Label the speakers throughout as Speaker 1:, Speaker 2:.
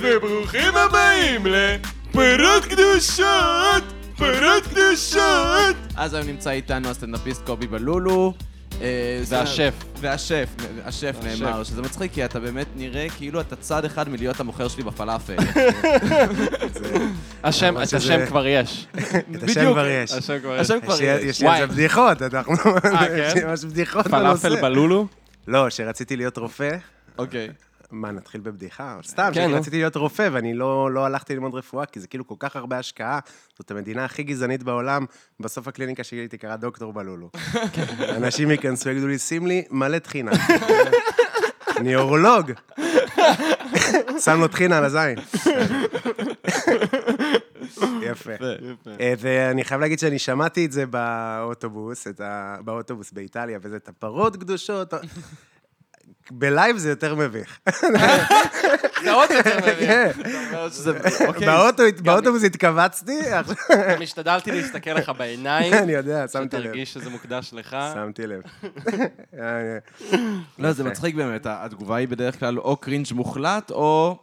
Speaker 1: וברוכים הבאים לפירות קדושות! פירות קדושות!
Speaker 2: אז היום נמצא איתנו הסטנדאפיסט קובי בלולו. אה,
Speaker 3: והשף.
Speaker 2: והשף, השף נאמר, שזה מצחיק, כי אתה באמת נראה כאילו אתה צד אחד מלהיות המוכר שלי בפלאפל.
Speaker 3: השם,
Speaker 4: אבל
Speaker 3: את
Speaker 4: שזה-
Speaker 3: השם כבר יש.
Speaker 4: את השם
Speaker 2: בדיוק.
Speaker 4: כבר יש.
Speaker 3: השם כבר יש.
Speaker 2: השם כבר
Speaker 4: יש לי-
Speaker 2: יש.
Speaker 4: יש לי על זה
Speaker 3: וואי.
Speaker 4: בדיחות, אנחנו...
Speaker 3: אה,
Speaker 4: יש לי
Speaker 3: כן?
Speaker 4: ממש בדיחות בנושא.
Speaker 3: פלאפל בלולו?
Speaker 4: לא, שרציתי להיות רופא.
Speaker 2: אוקיי.
Speaker 4: מה, נתחיל בבדיחה? סתם,
Speaker 3: כן, נו.
Speaker 4: שרציתי להיות רופא, ואני לא לא הלכתי ללמוד רפואה, כי זה כאילו כל כך הרבה השקעה. זאת המדינה הכי גזענית בעולם. בסוף הקליניקה שלי תקרא דוקטור בלולו. אנשים ייכנסו, יגידו לי, שים לי מלא טחינה. אני אורולוג. שם לו טחינה על הזין. יפה. אה, ואני חייב להגיד שאני שמעתי את זה באוטובוס, את ה... באוטובוס באיטליה, וזה את הפרות קדושות. בלייב זה יותר מביך.
Speaker 2: זה עוד יותר
Speaker 4: כן. באוטו- באוטובוס התכווצתי, עכשיו
Speaker 3: גם השתדלתי להסתכל לך בעיניים,
Speaker 4: אני יודע, שמתי לב.
Speaker 3: שתרגיש שזה מוקדש לך.
Speaker 4: שמתי לב. אה,
Speaker 2: לא, זה מצחיק באמת, התגובה היא בדרך כלל או קרינג' מוחלט, או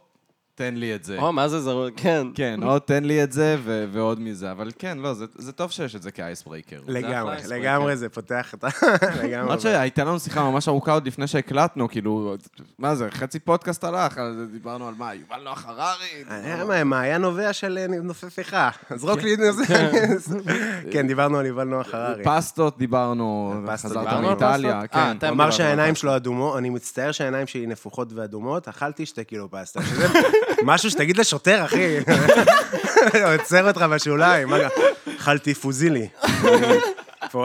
Speaker 2: תן לי את זה.
Speaker 3: או, מה זה זרור? כן.
Speaker 2: כן, או תן לי את זה ו- ועוד מזה, אבל כן, לא, זה- זה טוב שיש את זה כאייס ברייקר.
Speaker 4: לגמרי,
Speaker 3: אחלה
Speaker 4: לגמרי זה פותח את ה... לגמרי.
Speaker 2: למרות שהייתה לנו שיחה ממש ארוכה עוד לפני שהקלטנו, כאילו, מה זה, חצי פודקאסט הלך, על זה דיברנו על מה, יובל נוח הררי?
Speaker 4: אה, מה, מעיין נובע של אה, נופף איכה. זרוק לי את זה. כן, דיברנו על יובל נוח הררי.
Speaker 2: פסטות דיברנו,
Speaker 4: פסטות
Speaker 2: חזרת
Speaker 3: דיברנו על
Speaker 2: מאיטליה,
Speaker 3: פסטות? אה,
Speaker 2: כן.
Speaker 3: אתה- אתם
Speaker 4: הוא אמר
Speaker 3: דיברתם על
Speaker 4: שהעיניים שלו אדומות, אני מצטער שהעיניים שלי נפוחות ואדומות, אכלתי שתי קילו פסטה. שזה משהו שתגיד לשוטר, אחי. עוצר אותך בשוליים. מה, אכלתי פוזילי. פה-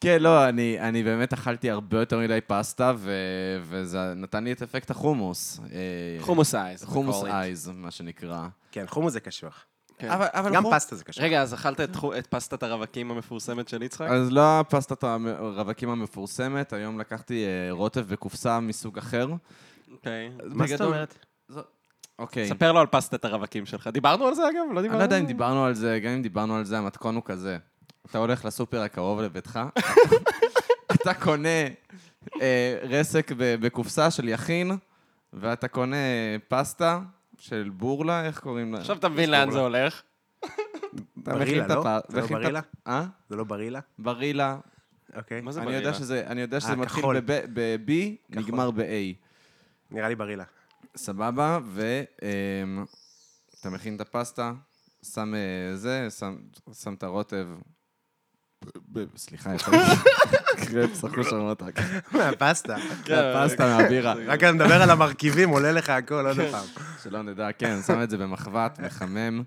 Speaker 2: כן, לא, אני אני באמת אכלתי הרבה יותר מדי פסטה, ו- וזה נתן לי את אפקט החומוס. אה,
Speaker 3: חומוס אייז.
Speaker 2: חומוס אייז, מה שנקרא.
Speaker 4: כן, חומוס זה קשוח.
Speaker 3: כן.
Speaker 2: אבל- אבל
Speaker 4: גם
Speaker 2: חומ-
Speaker 4: פסטה זה קשוח.
Speaker 3: רגע, אז אכלת את חו- את פסטת הרווקים המפורסמת של יצחק?
Speaker 2: אז לא הפסטת הרווקים המפורסמת, היום לקחתי אה, רוטב בקופסה מסוג אחר.
Speaker 3: אוקיי.
Speaker 4: מה זאת
Speaker 2: בגדול-
Speaker 4: אומרת?
Speaker 2: אוקיי.
Speaker 3: ספר לו על פסטת הרווקים שלך. דיברנו על זה אגב? לא דיברנו?
Speaker 2: אני לא יודע אם דיברנו על זה, גם אם דיברנו על זה, המתכון הוא כזה. אתה הולך לסופר הקרוב לביתך, אתה קונה אה, רסק ב- בקופסה של יחין, ואתה קונה פסטה של בורלה, איך קוראים לה?
Speaker 3: עכשיו אתה מבין לאן זה הולך.
Speaker 2: אתה מכין
Speaker 4: ברילה,
Speaker 2: את
Speaker 4: לא?
Speaker 2: הפ-
Speaker 4: זה לא
Speaker 2: מכין את
Speaker 4: ברילה?
Speaker 2: הפ- אה?
Speaker 4: זה לא ברילה?
Speaker 2: ברילה.
Speaker 4: אוקיי.
Speaker 3: מה זה
Speaker 2: אני יודע
Speaker 3: ברילה?
Speaker 2: שזה- אני יודע שזה
Speaker 4: אה,
Speaker 2: מתחיל
Speaker 4: כחול.
Speaker 2: בב- ב-B, נגמר ב-A.
Speaker 4: נראה לי ברילה.
Speaker 2: סבבה, ואתה מכין את הפסטה, שם אה, זה, שם- שם את הרוטב. ב- סליחה, יכול להיות. קרפ, סחרו שרמוטה.
Speaker 4: מהפסטה.
Speaker 2: כן,
Speaker 3: כן.
Speaker 2: הפסטה מהבירה,
Speaker 4: רק אתה מדבר על המרכיבים, עולה לך הכל עוד פעם.
Speaker 2: שלא נדע, כן, שם את זה במחבת, מחמם,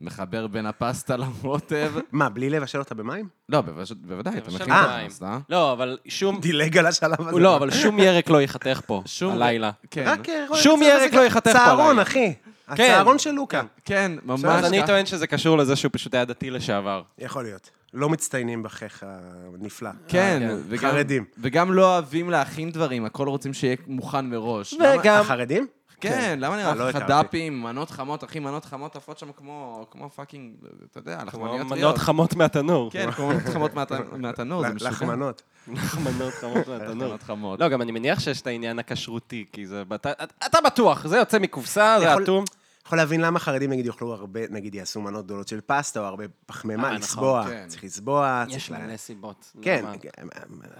Speaker 2: מחבר בין הפסטה לרוטב.
Speaker 4: מה, בלי לבשל אותה במים?
Speaker 2: לא, בוודאי, בוודאי, אתה
Speaker 3: לבשל
Speaker 2: מכין את
Speaker 4: מים.
Speaker 2: הפסטה.
Speaker 3: לא, אבל שום...
Speaker 4: דילג על השלב הזה.
Speaker 3: לא, אבל שום ירק לא ייחתך פה,
Speaker 2: שום-
Speaker 3: הלילה.
Speaker 2: כן,
Speaker 4: רק... אה, רואה,
Speaker 3: שום
Speaker 4: צריך
Speaker 3: ירק
Speaker 4: לעשות-
Speaker 3: לא ייחתך פה
Speaker 4: צהרון,
Speaker 3: עליי.
Speaker 4: אחי.
Speaker 3: כן.
Speaker 4: הצהרון של לוקה.
Speaker 2: כן, ממש
Speaker 3: אז אני
Speaker 2: ככה.
Speaker 3: טוען שזה קשור לזה שהוא פשוט היה דתי לשעבר.
Speaker 4: יכול להיות. לא מצטיינים בחייך הנפלא.
Speaker 2: כן,
Speaker 3: אה, כן.
Speaker 2: וגם-
Speaker 4: חרדים.
Speaker 2: וגם לא אוהבים להכין דברים, הכל רוצים שיהיה מוכן מראש. למה-
Speaker 3: וגם...
Speaker 4: החרדים?
Speaker 2: כן, למה
Speaker 4: אה,
Speaker 2: נראה
Speaker 4: לא
Speaker 2: לך
Speaker 4: הכרתי.
Speaker 2: דפים, מנות חמות, אחי, מנות חמות עפות שם כמו כמו פאקינג, אתה יודע, לחמניות טריות.
Speaker 3: מנות חמות מהתנור.
Speaker 2: כן, כמו מנות חמות מהת-
Speaker 3: לא,
Speaker 2: מהתנור, זה משוגע.
Speaker 4: לחמנות.
Speaker 3: מנות חמות מהתנור.
Speaker 2: מנות חמות.
Speaker 3: לא, גם אני מניח שיש את העניין הכשרותי, כי זה... בת- את- אתה בטוח, זה יוצא מקופסה, זה
Speaker 4: יכול-
Speaker 3: אטום.
Speaker 4: יכול להבין למה חרדים נגיד יאכלו הרבה, נגיד יעשו מנות גדולות של פסטה או הרבה פחמימה,
Speaker 3: אה, נכון,
Speaker 4: לסבוע.
Speaker 2: כן.
Speaker 4: צריך לסבוע,
Speaker 3: יש
Speaker 4: צריך... לה-
Speaker 3: מלא סיבות.
Speaker 4: כן,
Speaker 3: למה?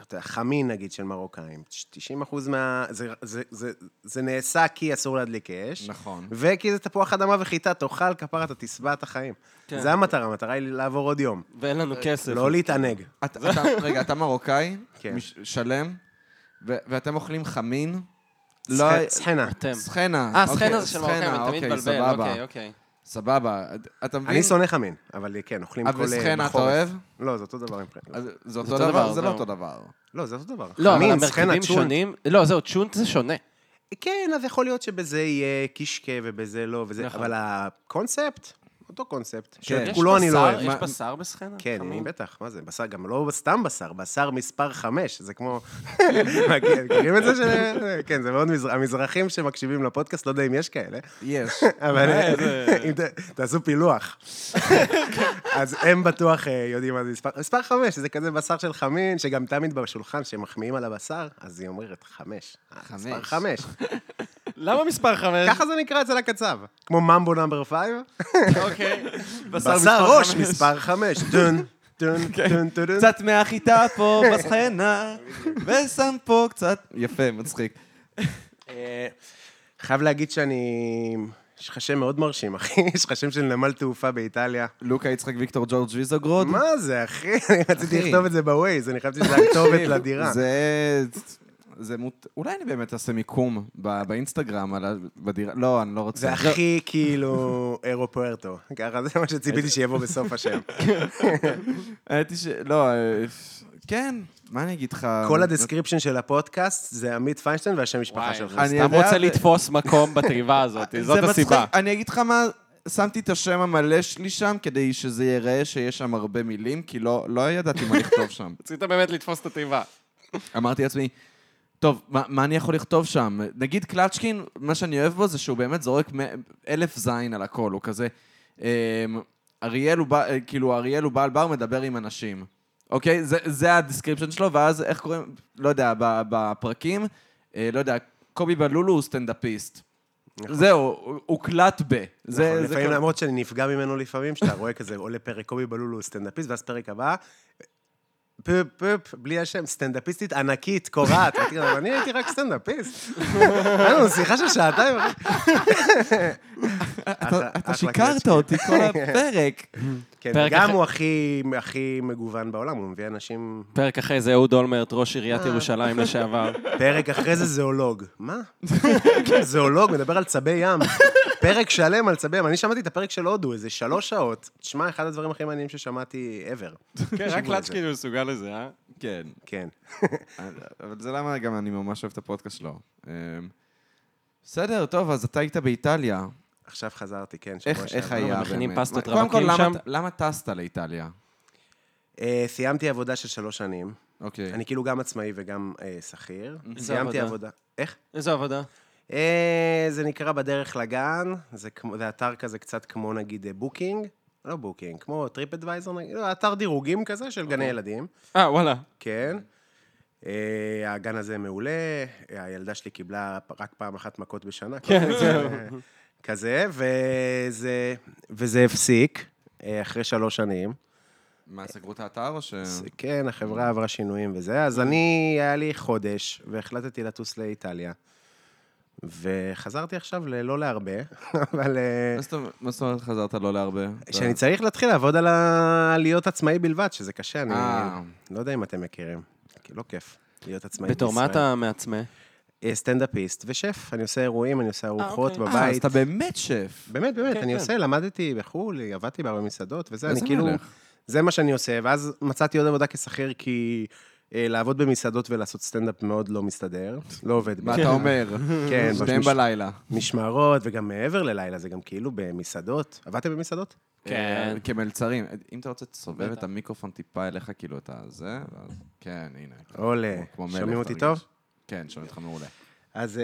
Speaker 4: אתה יודע, חמין נגיד של מרוקאים, 90 אחוז מה... זה- זה- זה- זה נעשה כי אסור להדליק אש,
Speaker 2: נכון.
Speaker 4: וכי זה תפוח אדמה וחיטה, תאכל כפרה, אתה תשבע את החיים.
Speaker 3: כן.
Speaker 4: זה המטרה, המטרה היא לעבור עוד יום,
Speaker 3: ואין לנו כסף.
Speaker 4: לא להתענג.
Speaker 2: אתה- אתה- רגע, אתה מרוקאי,
Speaker 4: כן.
Speaker 2: מש- שלם, ו- ואתם אוכלים חמין? לא...
Speaker 4: סחנה.
Speaker 3: אתם.
Speaker 2: סחנה.
Speaker 3: אה,
Speaker 2: אוקיי,
Speaker 3: סחנה זה של מרוקאים, אני תמיד
Speaker 2: אוקיי,
Speaker 3: מבלבל.
Speaker 2: סבבה,
Speaker 3: אוקיי, אוקיי.
Speaker 2: סבבה. אתה מבין?
Speaker 4: אני שונא חמין, אבל כן, אוכלים כל...
Speaker 2: אבל סחנה אתה
Speaker 4: בחורף.
Speaker 2: אוהב?
Speaker 4: לא, זה אותו דבר מבחינתי.
Speaker 2: אז זה אותו דבר? זה לא
Speaker 3: זהו.
Speaker 2: אותו דבר.
Speaker 4: לא, זה אותו דבר.
Speaker 3: לא, אבל
Speaker 4: חמין, סחנה,
Speaker 3: המרכיבים
Speaker 4: צ'ון.
Speaker 3: שונים. לא, זהו, צ'ונט זה שונה.
Speaker 4: כן, אז יכול להיות שבזה יהיה קישקה ובזה לא, וזה...
Speaker 3: נכון.
Speaker 4: אבל הקונספט, אותו קונספט.
Speaker 2: יש
Speaker 4: שאת כולו אני לא
Speaker 3: בשר?
Speaker 4: אוהב.
Speaker 3: יש
Speaker 2: מה-
Speaker 3: בשר בסחנה?
Speaker 4: כן,
Speaker 3: חמור.
Speaker 4: אני בטח, מה זה, בשר, גם לא סתם בשר, בשר מספר חמש, זה כמו... מה, כן, מכירים את זה? של- כן, זה מאוד מזרח, המזרחים שמקשיבים לפודקאסט, לא יודע אם יש כאלה,
Speaker 2: יש.
Speaker 4: אבל אם ת- תעשו פילוח. אז הם בטוח אה, יודעים מה זה מספר, מספר חמש, זה כזה בשר של חמין, שגם תמיד בשולחן, כשמחמיאים על הבשר, אז היא אומרת חמש. אה, מספר
Speaker 2: חמש.
Speaker 4: חמש.
Speaker 3: למה מספר חמש?
Speaker 4: ככה זה נקרא אצל הקצב. כמו ממבו נאמבר פייב.
Speaker 2: אוקיי.
Speaker 4: בשר ראש מספר חמש. כן. טון, טון, טון, טון. טון.
Speaker 2: קצת מהחיטה פה בסחנה, ושם פה קצת... יפה, מצחיק.
Speaker 4: אה, חייב להגיד שאני... יש לך שם מאוד מרשים, אחי. יש לך שם של נמל תעופה באיטליה.
Speaker 2: לוקה יצחק ויקטור ג'ורג' ויזוגרוד.
Speaker 4: מה זה, אחי? אני רציתי
Speaker 2: אחי.
Speaker 4: לכתוב את זה בווייז, אני חשבתי שזה הכתובת
Speaker 2: תקשיב,
Speaker 4: לדירה.
Speaker 2: זה... זה מות... אולי אני באמת אעשה מיקום ב... באינסטגרם, על ה... בדירה... לא, אני לא רוצה.
Speaker 4: זה הכי כאילו אירופוארטו. ככה זה מה שציפיתי שיבוא בסוף השם.
Speaker 2: הייתי ש... לא, אה, כן, מה אני אגיד לך?
Speaker 4: כל הדסקריפשן של הפודקאסט זה עמית פיינשטיין והשם משפחה
Speaker 3: וואי,
Speaker 4: שלך.
Speaker 2: אני
Speaker 3: סתם
Speaker 2: יודע,
Speaker 3: רוצה
Speaker 2: זה-
Speaker 3: לתפוס מקום בתיבה הזאת,
Speaker 2: זה
Speaker 3: זאת
Speaker 2: מצחיק.
Speaker 3: הסיבה.
Speaker 2: אני אגיד לך מה, שמתי את השם המלא שלי שם כדי שזה ייראה שיש שם הרבה מילים, כי לא, לא ידעתי מה לכתוב שם.
Speaker 3: רצית באמת לתפוס את התיבה.
Speaker 2: אמרתי לעצמי, טוב, מה, מה אני יכול לכתוב שם? נגיד קלצ'קין, מה שאני אוהב בו זה שהוא באמת זורק מ- אלף זין על הכל, הוא כזה... אמ, אריאל הוא, בא- אה, כאילו, אריאל הוא בעל בר מדבר עם אנשים. אוקיי? זה, זה הדיסקריפשן שלו, ואז איך קוראים, לא יודע, ב- בפרקים, אה, לא יודע, קובי בלולו הוא סטנדאפיסט. זהו, הוא- הוא קלט ב. זה-
Speaker 4: נכון,
Speaker 2: זה
Speaker 4: לפעמים
Speaker 2: כל-
Speaker 4: למרות שאני נפגע ממנו לפעמים, שאתה רואה כזה, עולה פרק קובי בלולו הוא סטנדאפיסט, ואז פרק הבא, פופ פופ, בלי השם, סטנדאפיסטית ענקית, קורעת. אמרתי לו, אני הייתי רק סטנדאפיסט. היה לנו שיחה של שעתיים. אחי. אחלה-
Speaker 2: אתה- אתה
Speaker 4: אחלה
Speaker 2: שיקרת
Speaker 4: קלצ'קין.
Speaker 2: אותי כל הפרק.
Speaker 4: כן,
Speaker 3: פרק
Speaker 4: גם
Speaker 3: אחרי-
Speaker 4: הוא הכי, הכי מגוון בעולם, הוא מביא אנשים...
Speaker 3: פרק אחרי זה אהוד אולמרט, ראש עיריית ירושלים לשעבר.
Speaker 4: פרק אחרי זה זואולוג. מה? זואולוג מדבר על צבי ים. פרק שלם על צבי ים. אני שמעתי את הפרק של הודו, איזה שלוש שעות. תשמע, אחד הדברים הכי מעניינים ששמעתי ever.
Speaker 3: כן, רק
Speaker 4: תקשיבו לזה.
Speaker 3: לצ'קין מסוגל לזה, אה?
Speaker 2: כן.
Speaker 4: כן.
Speaker 2: אבל זה למה גם אני ממש אוהב את הפודקאסט שלו. אמ, בסדר, טוב, אז אתה היית באיטליה.
Speaker 4: עכשיו חזרתי, כן, שבוע
Speaker 2: איך,
Speaker 4: שעבר.
Speaker 2: איך היה באמת?
Speaker 3: מכינים פסטות
Speaker 2: מה- קודם כל,
Speaker 3: רווקים
Speaker 2: למה-
Speaker 3: שם?
Speaker 2: למה טסת לאיטליה?
Speaker 4: אה, סיימתי עבודה של שלוש שנים.
Speaker 2: אוקיי.
Speaker 4: אני כאילו גם עצמאי וגם אה, שכיר.
Speaker 3: איזה
Speaker 4: סיימתי
Speaker 3: עבודה?
Speaker 4: עבודה. איך?
Speaker 3: איזו עבודה.
Speaker 4: אה, זה נקרא בדרך לגן, זה, כמו, זה אתר כזה קצת כמו נגיד אה, בוקינג, לא בוקינג, כמו טריפ אדוויזר, נגיד, לא, אתר דירוגים כזה של גני ילדים,
Speaker 3: אה, וואלה.
Speaker 4: כן. אה, הגן הזה מעולה, אה, הילדה שלי קיבלה פ- רק פעם אחת מכות בשנה. כן, זהו. כזה, וזה, וזה הפסיק אה, אחרי שלוש שנים.
Speaker 2: מה, סגרו את האתר או ש...
Speaker 4: אז כן, החברה עברה שינויים וזה, אז אני, היה לי חודש, והחלטתי לטוס לאיטליה. וחזרתי עכשיו ללא להרבה, אבל... אה,
Speaker 2: מה זאת אומרת- מה זאת אומרת חזרת לא להרבה?
Speaker 4: שאני צריך להתחיל לעבוד על ה... להיות עצמאי בלבד, שזה קשה, אני
Speaker 2: אה.
Speaker 4: לא יודע אם אתם מכירים. כי לא כיף להיות עצמאי בישראל.
Speaker 3: בתור מה אתה מעצמה?
Speaker 4: אה, סטנדאפיסט ושף, אני עושה אירועים, אני עושה ארוחות
Speaker 3: אוקיי.
Speaker 2: אה, אז
Speaker 4: בבית.
Speaker 2: אתה באמת שף.
Speaker 4: באמת, באמת,
Speaker 3: כן,
Speaker 4: אני
Speaker 3: כן.
Speaker 4: עושה, למדתי בחו"ל, עבדתי בהרבה מסעדות, וזה, אני
Speaker 2: איזה
Speaker 4: כאילו...
Speaker 2: מלך.
Speaker 4: זה מה שאני עושה, ואז מצאתי עוד עבודה כשכיר, כי אה, לעבוד במסעדות ולעשות סטנדאפ מאוד לא מסתדר, לא עובד.
Speaker 2: מה
Speaker 4: לי.
Speaker 2: אתה אומר?
Speaker 4: כן,
Speaker 2: שתיהם
Speaker 4: מש-
Speaker 2: בלילה.
Speaker 4: משמרות, וגם מעבר ללילה, זה גם כאילו במסעדות. עבדתם במסעדות?
Speaker 3: כן.
Speaker 2: אה, כמלצרים. אם אתה רוצה, תסובב
Speaker 3: בטח.
Speaker 2: את המיקרופון טיפה אליך, כאילו, אתה זה, ואז... כן, הנה.
Speaker 4: עולה.
Speaker 2: כמו מלך,
Speaker 4: שומעים אותי
Speaker 2: תרגיש.
Speaker 4: טוב?
Speaker 2: כן, שומעים אותך מעולה.
Speaker 4: אז אה,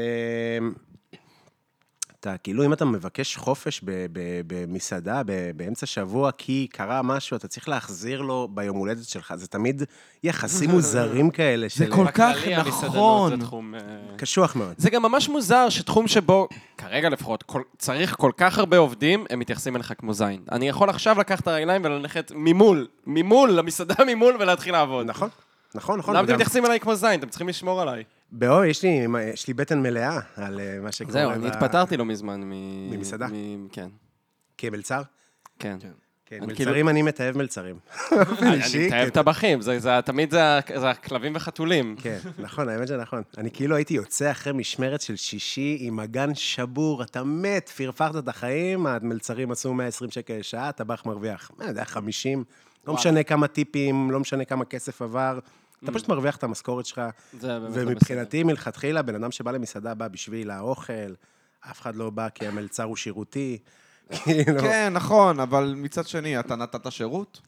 Speaker 4: אתה, כאילו, אם אתה מבקש חופש ב- ב- במסעדה, ב- באמצע שבוע, כי קרה משהו, אתה צריך להחזיר לו ביום הולדת שלך. זה תמיד יחסים מוזרים כאלה של...
Speaker 2: כל כך
Speaker 3: בכללי, המסעדנות
Speaker 2: נכון.
Speaker 3: זה תחום, אה,
Speaker 4: קשוח מאוד.
Speaker 3: זה גם ממש מוזר שתחום שבו, כרגע לפחות, כל, צריך כל כך הרבה עובדים, הם מתייחסים אליך כמו זין. אני יכול עכשיו לקחת את הרגליים וללכת ממול, ממול, למסעדה ממול ולהתחיל לעבוד.
Speaker 4: נכון, נכון, נכון.
Speaker 3: למה אתם
Speaker 4: וגם-
Speaker 3: מתייחסים אליי כמו זין? אתם צריכים לשמור עליי.
Speaker 4: באוי, יש לי, יש לי בטן מלאה על אה, מה שקורה.
Speaker 3: זהו, אני
Speaker 4: ב-
Speaker 3: התפטרתי לא מזמן מ...
Speaker 4: ממסעדה?
Speaker 3: מ- כן,
Speaker 4: כמלצר?
Speaker 3: כן.
Speaker 2: כן.
Speaker 4: כן,
Speaker 3: אני
Speaker 4: מלצרים,
Speaker 3: כאילו-
Speaker 4: אני מתעב מלצרים.
Speaker 3: אני
Speaker 4: אישי,
Speaker 3: אני מתאהב טבחים, זה- זה- תמיד זה ה- זה הכלבים וחתולים.
Speaker 4: כן, נכון, האמת שנכון. אני כאילו הייתי יוצא אחרי משמרת של שישי עם אגן שבור, אתה מת, פרפרת את החיים, המלצרים עשו 120 שקל לשעה, הטבח מרוויח. מה, זה היה 50, לא משנה כמה טיפים, לא משנה כמה כסף עבר, אתה פשוט מרוויח את המשכורת שלך.
Speaker 3: זה באמת לא בסדר.
Speaker 4: ומבחינתי, מלכתחילה, בן אדם שבא למסעדה בא בשביל האוכל, אף אחד לא בא כי המלצר הוא שירותי. כאילו...
Speaker 2: כן, נכון, אבל מצד שני, אתה נתת שירות?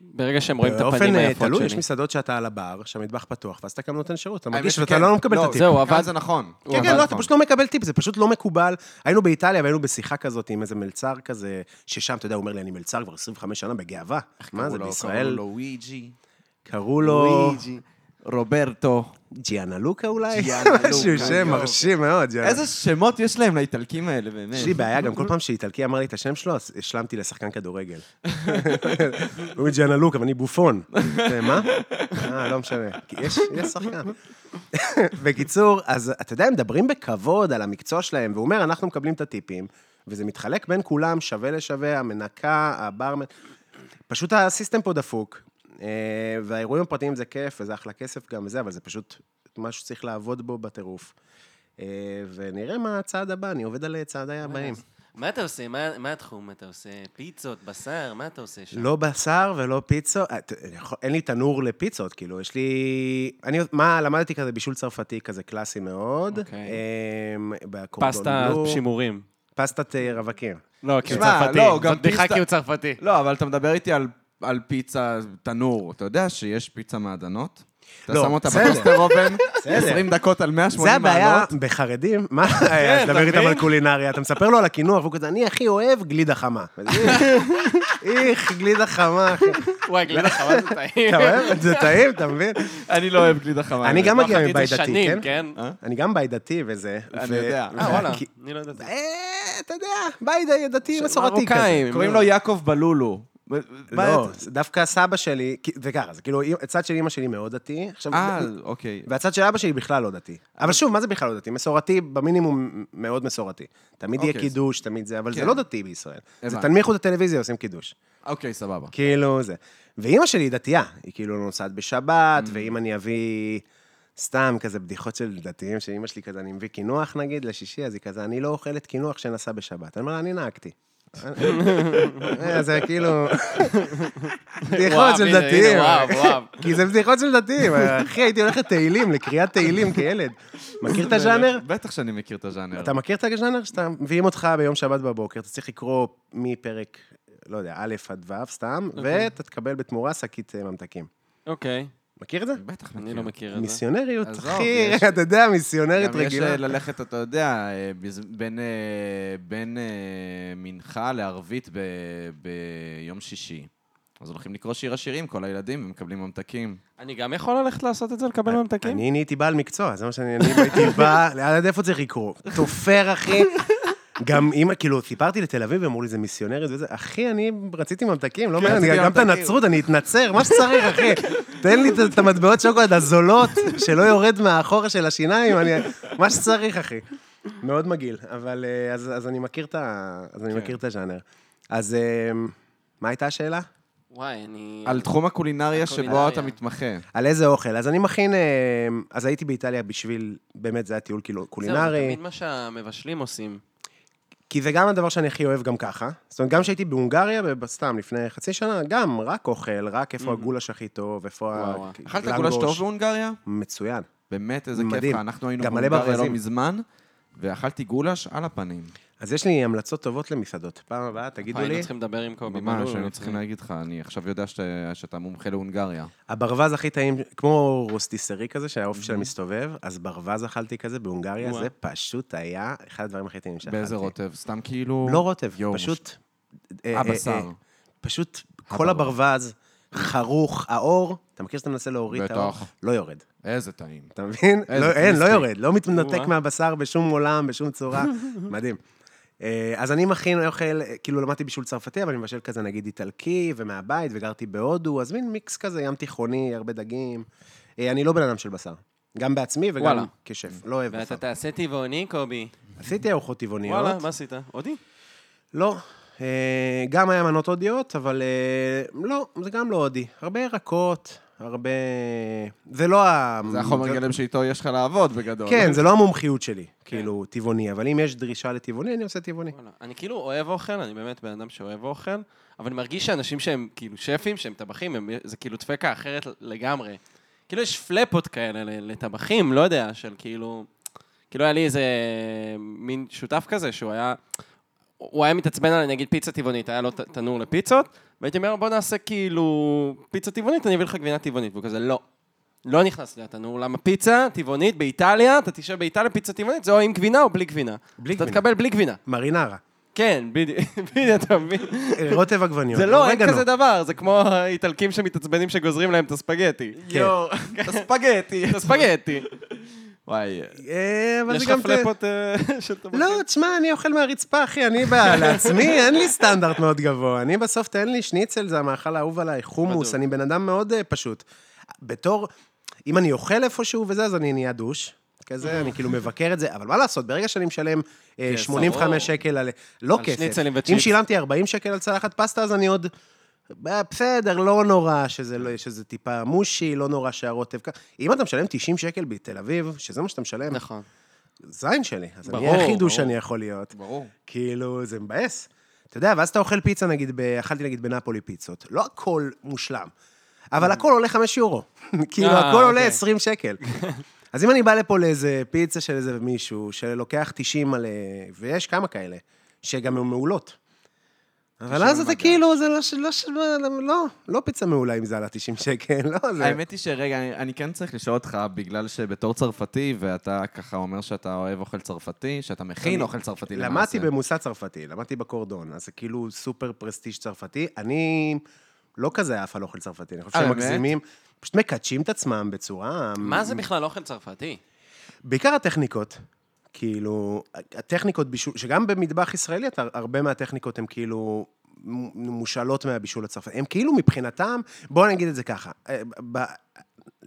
Speaker 3: ברגע שהם רואים את
Speaker 4: באופן
Speaker 3: הפנים
Speaker 4: אה,
Speaker 3: היפות
Speaker 4: תלוי, יש
Speaker 3: שלי.
Speaker 4: מסעדות שאתה על הבר, שהמטבח פתוח, ואז אתה גם נותן שירות, אתה
Speaker 2: האמת
Speaker 4: מרגיש
Speaker 2: שכן.
Speaker 4: ואתה לא מקבל את
Speaker 2: לא,
Speaker 4: הטיפ.
Speaker 3: זהו,
Speaker 2: כאן
Speaker 3: עבד.
Speaker 2: זה נכון. הוא
Speaker 4: כן,
Speaker 2: עבד
Speaker 4: כן, לא, אתה
Speaker 2: נכון.
Speaker 4: פשוט לא מקבל טיפ, זה פשוט לא מקובל. היינו באיטליה והיינו בשיחה כזאת עם איזה מלצר כזה, ששם, אתה יודע, הוא אומר לי, אני מלצר כבר 25 שנה בגאווה. מה
Speaker 2: קראו
Speaker 4: זה,
Speaker 2: לא לו-
Speaker 4: בישראל? לא.
Speaker 2: קראו לו לואיג'י.
Speaker 4: קראו לו...
Speaker 2: לואיג'י. רוברטו.
Speaker 4: ג'יאנה לוקה אולי?
Speaker 2: ג'יאנה לוקה,
Speaker 4: משהו שם
Speaker 2: יואו.
Speaker 4: מרשים מאוד, ג'יאנה.
Speaker 2: כן. איזה שמות יש להם לאיטלקים האלה, באמת.
Speaker 4: יש לי בעיה, גם כל פעם שאיטלקי אמר לי את השם שלו, אז השלמתי לשחקן כדורגל. הוא אומר ג'אנה לוק, אבל אני בופון. מה? אה, לא משנה. כי יש יש שחקן. בקיצור, אז אתה יודע, הם מדברים בכבוד על המקצוע שלהם, והוא אומר, אנחנו מקבלים את הטיפים, וזה מתחלק בין כולם, שווה לשווה, המנקה, הברמן. פשוט הסיסטם פה דפוק, אה, והאירועים הפרטיים זה כיף, וזה אחלה כסף גם וזה, אבל זה פשוט משהו שצריך לעבוד בו בטירוף. אה, ונראה מה הצעד הבא, אני עובד על צעדיי הבאים.
Speaker 3: מה אתה עושה? מה, מה התחום? אתה עושה פיצות, בשר? מה אתה עושה שם?
Speaker 4: לא בשר ולא פיצות, אה, ת- אני יכול- אין לי תנור לפיצות, כאילו, יש לי... אני, מה, למדתי כזה בישול צרפתי כזה קלאסי מאוד.
Speaker 3: אוקיי.
Speaker 4: אמ, בקורדון
Speaker 3: פסטה
Speaker 4: בלו.
Speaker 3: שימורים.
Speaker 4: פסטת אה, רווקים.
Speaker 3: לא, כי הוא
Speaker 2: תשמע,
Speaker 3: צרפתי.
Speaker 2: לא, גם
Speaker 3: זאת בדיחה
Speaker 2: פיסטה-
Speaker 3: כי הוא צרפתי.
Speaker 2: לא, אבל אתה מדבר איתי על- על פיצה תנור. אתה יודע שיש פיצה מעדנות? אתה
Speaker 4: לא,
Speaker 2: שם אותה
Speaker 4: בסדר.
Speaker 2: בטוסטר אובן,
Speaker 4: בסדר.
Speaker 2: 20 דקות על 180
Speaker 4: זה
Speaker 2: מעלות.
Speaker 4: הבעיה בחרדים, מה, אז
Speaker 3: אתה
Speaker 4: דבר איתם
Speaker 3: מבין?
Speaker 4: על קולינריה, אתה מספר לו על הקינוח, והוא כזה, אני הכי אוהב גלידה חמה. ואז, איך, איך, גלידה חמה, אחי.
Speaker 3: וואי, גלידה חמה זה טעים.
Speaker 4: אתה אוהב? זה טעים, אתה מבין?
Speaker 2: אני לא אוהב גלידה חמה.
Speaker 4: אני גם
Speaker 3: לא
Speaker 4: מגיע
Speaker 3: אכלתי את זה
Speaker 4: מבית דתי,
Speaker 3: שנים,
Speaker 4: כן?
Speaker 3: כן?
Speaker 2: אה?
Speaker 4: אני גם בית דתי וזה.
Speaker 2: אני
Speaker 4: ו-
Speaker 2: יודע.
Speaker 4: ו-
Speaker 3: אה, וואלה,
Speaker 4: כן. כי-
Speaker 3: אני לא ידעתי.
Speaker 4: אה, אתה יודע, בית דתי מסורתי כזה.
Speaker 3: מרוקאים.
Speaker 2: קוראים לו יעקב בלולו. מה-
Speaker 4: לא, זה דווקא סבא שלי, כי- זה ככה, זה כאילו, הצד של אמא שלי מאוד דתי, עכשיו,
Speaker 2: אה, אוקיי.
Speaker 4: והצד של אבא שלי בכלל לא דתי. אבל שוב, מה זה בכלל לא דתי? מסורתי, במינימום מאוד מסורתי. תמיד יהיה
Speaker 2: אוקיי,
Speaker 4: קידוש, תמיד זה, אבל זה
Speaker 2: כן.
Speaker 4: לא דתי בישראל. זה
Speaker 2: הבנתי.
Speaker 4: תנמיכו את הטלוויזיה, עושים קידוש.
Speaker 2: אוקיי, סבבה.
Speaker 4: כאילו זה. ואימא שלי היא דתייה, היא כאילו נוסעת בשבת,
Speaker 3: Mm.
Speaker 4: ואם אני אביא סתם כזה בדיחות של דתיים, שאימא שלי כזה, אני מביא קינוח נגיד לשישי, אז היא כזה, אני לא אוכלת קינוח שנסע בשבת. אני אומר לה, אני נהגתי. אה, זה כאילו... בדיחות
Speaker 3: וואו,
Speaker 4: של
Speaker 3: הנה, הנה,
Speaker 4: דתיים.
Speaker 3: וואו, וואו.
Speaker 4: כי זה בדיחות של דתיים. אחי, הייתי הולך לתהילים, לקריאת תהילים כילד. מכיר את הז'אנר?
Speaker 2: בטח שאני מכיר את הז'אנר.
Speaker 4: אתה מכיר את הז'אנר? שאתה מביאים אותך ביום שבת בבוקר, אתה צריך לקרוא מפרק, לא יודע, א' עד ו' סתם,
Speaker 2: אוקיי.
Speaker 4: ואתה תקבל בתמורה שקית אה, ממתקים.
Speaker 3: אוקיי,
Speaker 4: מכיר את זה?
Speaker 2: בטח מכיר.
Speaker 3: אני לא מכיר את זה.
Speaker 4: מיסיונריות,
Speaker 2: עזוב,
Speaker 4: אחי,
Speaker 2: יש-
Speaker 4: אתה יודע, מיסיונרית
Speaker 2: גם יש
Speaker 4: רגילה.
Speaker 2: אה, ללכת, אתה יודע, אה, בז- בין, אה, בין אה, מנחה לערבית ב- ביום שישי. אז הולכים לקרוא שיר השירים, כל הילדים, ומקבלים ממתקים.
Speaker 3: אני גם יכול ללכת לעשות את זה, לקבל ממתקים?
Speaker 4: אני נהייתי בעל מקצוע, זה מה שאני, אני הייתי בא, עד איפה צריך לקרוא? תופר, אחי. גם אם, כאילו, סיפרתי לתל אביב, אמרו לי, זה מיסיונרית וזה, אחי, אני רציתי ממתקים, לא מעניין,
Speaker 2: כן, רציתי
Speaker 4: אני- גם את
Speaker 2: ממתקים.
Speaker 4: הנצרות, אני אתנצר, מה שצריך, אחי. תן לי את- את המטבעות שוקולד הזולות, שלא יורד מהאחורה של השיניים, אני, מה שצריך, אחי. מאוד מגעיל, אבל אה, אז אז אני מכיר את ה... אז
Speaker 2: כן.
Speaker 4: אני מכיר את הז'אנר. אז אה, מה הייתה השאלה?
Speaker 3: וואי, אני...
Speaker 2: על תחום הקולינריה שבו
Speaker 3: הקולינריה.
Speaker 2: אתה מתמחה.
Speaker 4: על איזה אוכל. אז אני מכין, אה, אז הייתי באיטליה בשביל, באמת, זה היה טיול כאילו
Speaker 3: זהו, זה
Speaker 4: קולינרי.
Speaker 3: תמיד מה שהמבשלים עושים.
Speaker 4: כי זה גם הדבר שאני הכי אוהב גם ככה. זאת אומרת, גם כשהייתי בהונגריה, סתם לפני חצי שנה, גם רק אוכל, רק איפה הגולש הכי טוב, איפה ה...
Speaker 3: וואו, וואו.
Speaker 2: אכלת
Speaker 4: לנגוש.
Speaker 2: גולש טוב בהונגריה?
Speaker 4: מצוין.
Speaker 2: באמת, איזה כיף
Speaker 4: מדהים.
Speaker 2: לך. אנחנו היינו
Speaker 4: גם מלא
Speaker 2: בהונגריה לא
Speaker 4: ברווזים.
Speaker 2: מזמן, ואכלתי גולש על הפנים.
Speaker 4: אז יש לי המלצות טובות למסעדות. פעם הבאה, תגידו
Speaker 3: היינו
Speaker 4: לי.
Speaker 3: לא צריכים לדבר עם קובי בלול.
Speaker 2: ממש, היינו
Speaker 3: לפני.
Speaker 2: צריכים להגיד לך, אני עכשיו יודע שאתה- שאתה מומחה להונגריה.
Speaker 4: הברווז הכי טעים, כמו רוסטיסרי כזה, שהעוף שלה מסתובב, אז ברווז אכלתי כזה בהונגריה,
Speaker 3: וואו.
Speaker 4: זה פשוט היה אחד הדברים הכי טעימים שאכלתי.
Speaker 2: באיזה רוטב? סתם כאילו...
Speaker 4: לא רוטב,
Speaker 2: יואו,
Speaker 4: פשוט... אה, אה, אה,
Speaker 2: הבשר.
Speaker 4: פשוט כל הברווז, חרוך, האור, אתה מכיר שאתה מנסה להוריד את האור?
Speaker 2: בטח.
Speaker 4: לא יורד.
Speaker 2: איזה טעים.
Speaker 4: אתה מבין?
Speaker 2: איזה
Speaker 4: לא, אין, לא
Speaker 2: טוויסטי.
Speaker 4: יורד, לא מתנתק
Speaker 3: או-אה.
Speaker 4: מהבשר בשום עולם, בשום צורה. מדהים. אה, אז אני מכין אוכל, אה, כאילו למדתי בישול צרפתי, אבל אני מבשל כזה נגיד איטלקי ומהבית, וגרתי בהודו, אז מין מיקס כזה, ים תיכוני, הרבה דגים. אה, אני לא בן אדם של בשר. גם בעצמי
Speaker 3: וואלה.
Speaker 4: וגם כשף, לא אוהב בשר.
Speaker 3: ואתה תעשה טבעוני, קובי.
Speaker 4: עשיתי ארוחות טבעוניות.
Speaker 3: וואלה, מה עשית? הודי?
Speaker 4: לא. אה, גם היה מנות הודיות, אבל אה, לא, זה גם לא הודי. הרבה ירקות, הרבה... זה לא ה...
Speaker 2: זה החומר גלם שאיתו יש לך לעבוד בגדול.
Speaker 4: כן, זה לא המומחיות שלי, כאילו, טבעוני, אבל אם יש דרישה לטבעוני, אני עושה טבעוני.
Speaker 3: וואלה. אני כאילו אוהב אוכל, אני באמת בן אדם שאוהב אוכל, אבל אני מרגיש שאנשים שהם כאילו שפים, שהם טבחים, הם, זה כאילו דפקה אחרת לגמרי. כאילו יש פלפות כאלה ל- לטבחים, לא יודע, של כאילו... כאילו היה לי איזה מין שותף כזה שהוא היה... הוא היה מתעצבן על נגיד פיצה טבעונית, היה לו ת- תנור לפיצות, והייתי אומר לו בוא נעשה כאילו פיצה טבעונית, אני אביא לך גבינה טבעונית, והוא כזה לא. לא נכנס לי התנור, למה פיצה טבעונית באיטליה, אתה תשב באיטליה פיצה טבעונית, זה או עם גבינה או בלי גבינה.
Speaker 4: בלי
Speaker 3: אתה
Speaker 4: גבינה.
Speaker 3: תקבל בלי גבינה.
Speaker 4: מרינרה. אה,
Speaker 3: כן, בדיוק, בדיוק, אתה מבין?
Speaker 4: רוטב עגבניות.
Speaker 3: זה לא, אין
Speaker 4: אורגנו.
Speaker 3: כזה דבר, זה כמו האיטלקים שמתעצבנים שגוזרים להם את הספגטי.
Speaker 4: כן.
Speaker 2: יואו, את הספגטי.
Speaker 3: את הספגטי.
Speaker 2: וואי,
Speaker 4: אה, אבל
Speaker 3: יש
Speaker 4: זה
Speaker 3: לך
Speaker 4: גם... ת-
Speaker 3: פלאפות אה, של טבחים?
Speaker 4: לא, תשמע, אני אוכל מהרצפה, אחי, אני בא לעצמי, אין לי סטנדרט מאוד גבוה. אני בסוף, תן לי שניצל, זה המאכל האהוב עליי, חומוס,
Speaker 3: בדוק.
Speaker 4: אני בן אדם מאוד אה, פשוט. בתור, אם אני אוכל איפשהו וזה, אז אני נהיה דוש. כזה, אני כאילו מבקר את זה, אבל מה לעשות, ברגע שאני משלם אה,
Speaker 3: כן,
Speaker 4: 85
Speaker 3: ברור.
Speaker 4: שקל על... לא
Speaker 3: על
Speaker 4: כסף.
Speaker 3: שניצלים
Speaker 4: אם
Speaker 3: וצ'יפס.
Speaker 4: שילמתי 40 שקל על צלחת פסטה, אז אני עוד... אה, בסדר, לא נורא שזה, לא, שזה טיפה מושי, לא נורא שהרוטב ככה. אם אתה משלם 90 שקל בתל אביב, שזה מה שאתה משלם,
Speaker 3: נכון.
Speaker 4: זין שלי, אז אני
Speaker 3: ברור,
Speaker 4: אהיה הכי דוש
Speaker 3: ברור.
Speaker 4: שאני יכול להיות.
Speaker 2: ברור.
Speaker 4: כאילו, זה מבאס. אתה יודע, ואז אתה אוכל פיצה, נגיד, ב... אכלתי נגיד בנפולי פיצות. לא הכל מושלם, אבל הכל עולה 5 יורו. כאילו,
Speaker 3: Mm. אה,
Speaker 4: הכל עולה
Speaker 3: אוקיי.
Speaker 4: 20 שקל. אז אם אני בא לפה לאיזה פיצה של איזה מישהו, שלוקח 90 על... אה, ויש כמה כאלה, שגם הן מעולות. אבל אז אתה כאילו, זה לא, ש- לא, ש- לא, לא, לא פיצה מעולה אם זה עלה 90 שקל, לא, זה...
Speaker 2: האמת היא שרגע, אני, אני כן צריך לשאול אותך, בגלל שבתור צרפתי, ואתה ככה אומר שאתה אוהב אוכל צרפתי, שאתה מכין
Speaker 4: אני-
Speaker 2: אוכל צרפתי למעשה.
Speaker 4: למדתי במוסד צרפתי, למדתי בקורדון, אז זה כאילו סופר פרסטיג' צרפתי. אני לא כזה עף על אוכל צרפתי, אני חושב
Speaker 2: אה,
Speaker 4: שהם
Speaker 2: באמת?
Speaker 4: מגזימים, פשוט מקדשים את עצמם בצורה...
Speaker 3: מה זה בכלל אוכל צרפתי?
Speaker 4: בעיקר הטכניקות. כאילו, הטכניקות בישול, שגם במטבח ישראלי, אתה, הרבה מהטכניקות הן כאילו מ- מושאלות מהבישול הצרפתי. הם כאילו מבחינתם, בואו נגיד את זה ככה, אה, ב,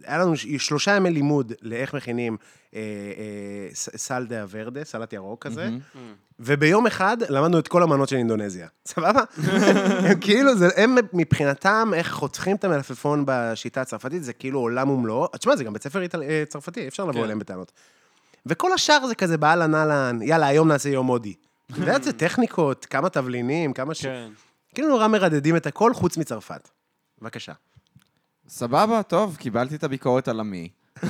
Speaker 4: היה לנו ש- שלושה ימי לימוד לאיך מכינים אה, אה, ס- סלדה ורדה, סלט ירוק כזה, Mm-hmm. וביום אחד למדנו את כל המנות של אינדונזיה. סבבה? הם כאילו, זה, הם מבחינתם, איך חותכים את המלפפון בשיטה הצרפתית, זה כאילו עולם ומלואו. תשמע, זה גם בית ספר איטל- אה, צרפתי, אי אפשר לבוא
Speaker 3: כן.
Speaker 4: אליהם בטענות. וכל השאר זה כזה באהלן אהלן, יאללה, היום נעשה יום הודי. אתה יודע איזה טכניקות, כמה תבלינים, כמה ש...
Speaker 3: כן.
Speaker 4: כאילו נורא מרדדים את הכל חוץ מצרפת. בבקשה.
Speaker 2: סבבה, טוב, קיבלתי את הביקורת על המי.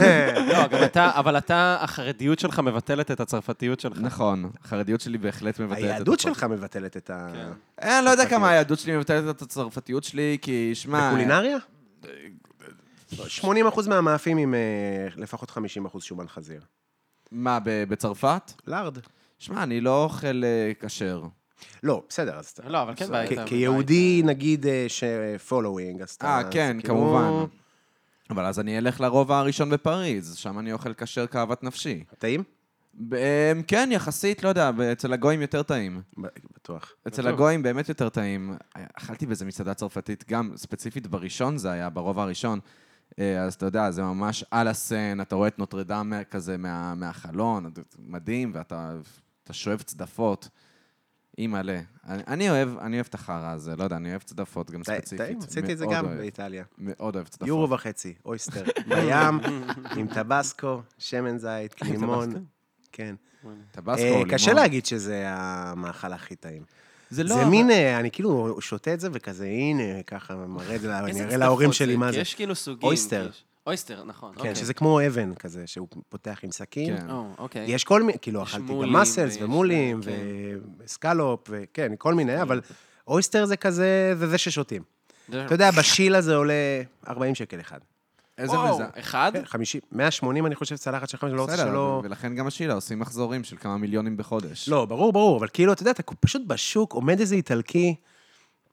Speaker 3: לא, גם אתה, אבל אתה, החרדיות שלך מבטלת את הצרפתיות שלך.
Speaker 2: נכון, החרדיות שלי בהחלט מבטאת את
Speaker 4: היהדות
Speaker 2: הכל.
Speaker 4: שלך מבטלת את ה...
Speaker 3: כן.
Speaker 2: אה, אני לא יודע כמה היהדות שלי מבטאת את הצרפתיות שלי, כי שמע...
Speaker 4: בקולינריה?
Speaker 2: אה,
Speaker 4: 80% מהמאפים עם אה, לפחות 50% שומן חזיר.
Speaker 2: מה, ב- בצרפת?
Speaker 4: לארד.
Speaker 2: שמע, אני לא אוכל אה, כשר.
Speaker 4: לא, בסדר, אז אתה...
Speaker 3: לא, אבל כן,
Speaker 4: כ-
Speaker 3: בית.
Speaker 4: כיהודי, נגיד, אה, ש... following, אז אתה...
Speaker 2: אה, כן,
Speaker 4: זה כאילו-
Speaker 2: כמובן. אבל אז אני אלך לרובע הראשון בפריז, שם אני אוכל כשר כאוות נפשי.
Speaker 4: טעים?
Speaker 2: ב- אמ, כן, יחסית, לא יודע, ב- אצל הגויים יותר טעים.
Speaker 4: ב- בטוח.
Speaker 2: אצל
Speaker 3: בטוח.
Speaker 2: הגויים באמת יותר טעים. אכלתי באיזה מסעדה צרפתית, גם ספציפית בראשון זה היה, ברובע הראשון. אה, אז אתה יודע, זה ממש על הסן, אתה רואה את נוטרדם מה- כזה מה, מהחלון, אתה- מדהים, ואתה אתה שואב צדפות. אי מלא. אני, אני אוהב, אני אוהב את החרא הזה, לא יודע, אני אוהב צדפות גם
Speaker 4: טעים,
Speaker 2: ספציפית.
Speaker 4: טעים, עשיתי את זה
Speaker 2: מאוד
Speaker 4: גם
Speaker 2: אוהב,
Speaker 4: באיטליה.
Speaker 2: מאוד אוהב צדפות.
Speaker 4: יורו וחצי, אויסטר, בים, עם טבסקו, שמן זית, לימון.
Speaker 3: טבסקו?
Speaker 4: כן.
Speaker 2: טבסקו,
Speaker 4: אה,
Speaker 2: לימון.
Speaker 4: קשה להגיד שזה המאכל הכי טעים.
Speaker 2: זה לא...
Speaker 4: זה מין, אה, אני כאילו שותה את זה וכזה, הנה, ככה מראה את זה, אני אראה להורים שלי מה זה.
Speaker 3: יש כאילו סוגים.
Speaker 4: אויסטר.
Speaker 3: כי יש- אויסטר, נכון.
Speaker 4: כן,
Speaker 3: אוקיי.
Speaker 4: שזה כמו אבן כזה, שהוא פותח עם סכין.
Speaker 2: כן.
Speaker 3: או, אוקיי.
Speaker 4: יש כל מיני, כאילו, אכלתי גם
Speaker 3: מולים,
Speaker 4: מסלס
Speaker 3: ויש-
Speaker 4: ומולים,
Speaker 3: כן.
Speaker 4: וסקלופ, וכן, כל מיני, אבל אויסטר זה כזה, זה זה ששותים.
Speaker 3: זה-
Speaker 4: אתה יודע, בשיל הזה עולה 40 שקל אחד.
Speaker 2: איזה
Speaker 3: וואו,
Speaker 2: מזה.
Speaker 3: אחד?
Speaker 4: כן, 50, 180, אני חושב, צלחת של חמש, אני לא רוצה שלא...
Speaker 2: ולכן גם השילה עושים מחזורים של כמה מיליונים בחודש.
Speaker 4: לא, ברור, ברור, אבל כאילו, אתה יודע, אתה פשוט בשוק, עומד איזה איטלקי,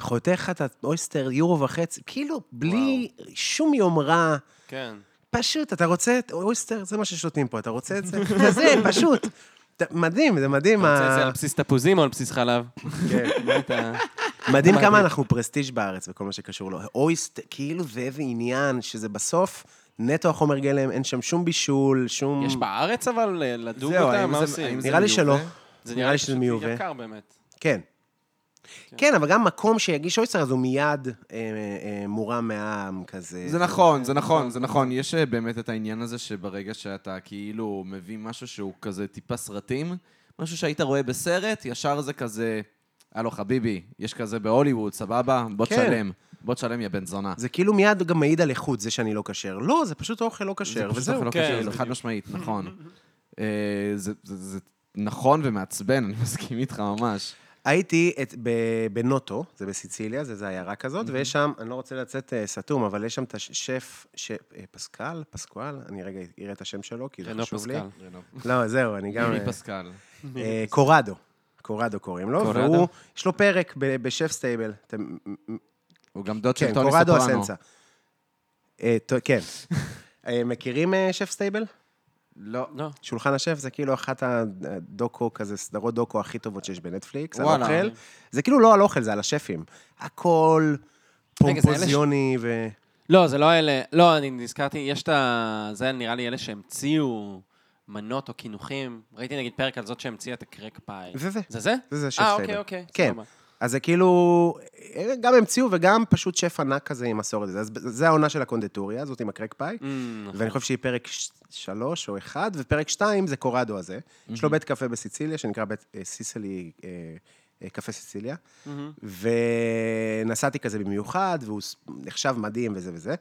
Speaker 4: חותך לך את האויסטר יורו וחצי, כאילו, בלי שום יומרה.
Speaker 3: כן.
Speaker 4: פשוט, אתה רוצה את אויסטר, זה מה ששותים פה, אתה רוצה את זה? כזה, פשוט. אתה- מדהים, זה מדהים.
Speaker 3: אתה רוצה
Speaker 4: ה-
Speaker 3: את זה על בסיס תפוזים או על בסיס חלב?
Speaker 4: כן.
Speaker 3: מה אתה-
Speaker 4: מדהים כמה אנחנו פרסטיג' בארץ בכל מה שקשור לו. אויסט, כאילו זה איזה עניין, שזה בסוף נטו החומר גלם, אין שם שום בישול, שום...
Speaker 3: יש בארץ אבל אה, לדוג
Speaker 2: Mm. זהו,
Speaker 3: אותה?
Speaker 2: האם
Speaker 3: מה
Speaker 2: זה-
Speaker 3: עושים?
Speaker 2: האם זה
Speaker 4: נראה לי
Speaker 2: מיובא?
Speaker 4: שלא.
Speaker 3: זה
Speaker 4: נראה לי שזה
Speaker 3: פשוט
Speaker 4: מיובא.
Speaker 3: יקר באמת.
Speaker 4: כן. כן, אבל גם מקום שיגיש אויסטר, אז הוא מיד אה, אה, מורם מהעם, כזה.
Speaker 2: זה נכון, זה נכון, זה נכון. יש אה, באמת את העניין הזה שברגע שאתה כאילו מביא משהו שהוא כזה טיפה סרטים, משהו שהיית רואה בסרט, ישר זה כזה, הלו חביבי, יש כזה בהוליווד, סבבה? בוא
Speaker 4: כן.
Speaker 2: תשלם. בוא תשלם, יא בן זונה.
Speaker 4: זה כאילו מיד גם מעיד על איכות, זה שאני לא כשר. לא, זה פשוט אוכל לא כשר,
Speaker 2: פשוט
Speaker 4: וזהו.
Speaker 2: אוכל לא
Speaker 3: כן,
Speaker 2: כשר, זה
Speaker 3: בדיוק.
Speaker 2: חד משמעית, נכון. אה, זה- זה זה נכון ומעצבן, אני מסכים איתך ממש.
Speaker 4: אה. הייתי את, ב, בנוטו, זה בסיציליה, זה זה עיירה
Speaker 2: Mhm.
Speaker 4: כזאת, mm-hmm. ויש שם, אני לא רוצה לצאת אה, סתום, אבל יש שם את השף, ש, אה, פסקל, פסקואל, אני רגע אראה
Speaker 2: לא
Speaker 4: את השם שלו, כי זה
Speaker 3: רנו
Speaker 4: חשוב לי.
Speaker 3: פסקל.
Speaker 4: לא, זהו, אני גם...
Speaker 2: רימי
Speaker 4: אה,
Speaker 2: פסקל.
Speaker 4: אה, קורדו. קורדו קוראים לו,
Speaker 2: קורדו?
Speaker 4: והוא, יש לו פרק ב- בשף סטייבל. אתם-
Speaker 2: הוא גם דוד של
Speaker 4: כן,
Speaker 2: טוני
Speaker 4: קורדו
Speaker 2: סופרנו.
Speaker 4: אסנסה. אה, ט- כן. אה, מכירים אה, שף סטייבל?
Speaker 2: לא.
Speaker 3: לא.
Speaker 4: שולחן השף זה כאילו אחת הדוקו כזה, סדרות דוקו הכי טובות שיש בנטפליקס, על
Speaker 2: וואלה.
Speaker 4: אוכל. זה כאילו לא על אוכל, זה על השפים. הכל
Speaker 3: רגע, זה אלה ש-
Speaker 4: פומפוזיוני ו...
Speaker 3: לא, זה לא אלה... לא, אני נזכרתי, יש את ה... זה נראה לי אלה שהמציאו מנות או קינוחים. ראיתי נגיד פרק על זאת שהמציאה את הקרק פאי.
Speaker 4: זה זה.
Speaker 3: זה זה?
Speaker 4: זה זה שף
Speaker 3: אה,
Speaker 4: סטייבל.
Speaker 3: אוקיי, אוקיי.
Speaker 4: כן.
Speaker 3: סבבה.
Speaker 4: אז זה כאילו, אה, גם המציאו וגם פשוט שף ענק כזה עם מסורת. אז זה העונה של הקונדטוריה הזאת עם הקרק פאי.
Speaker 3: אמ,
Speaker 4: ואני חושב שהיא פרק ש- שלוש או אחד, ופרק שתיים זה קורדו הזה. יש לו בית קפה בסיציליה, שנקרא בית אה, סיסלי, אה, אה, קפה סיציליה. ונסעתי כזה במיוחד, והוא ס- נחשב מדהים וזה וזה.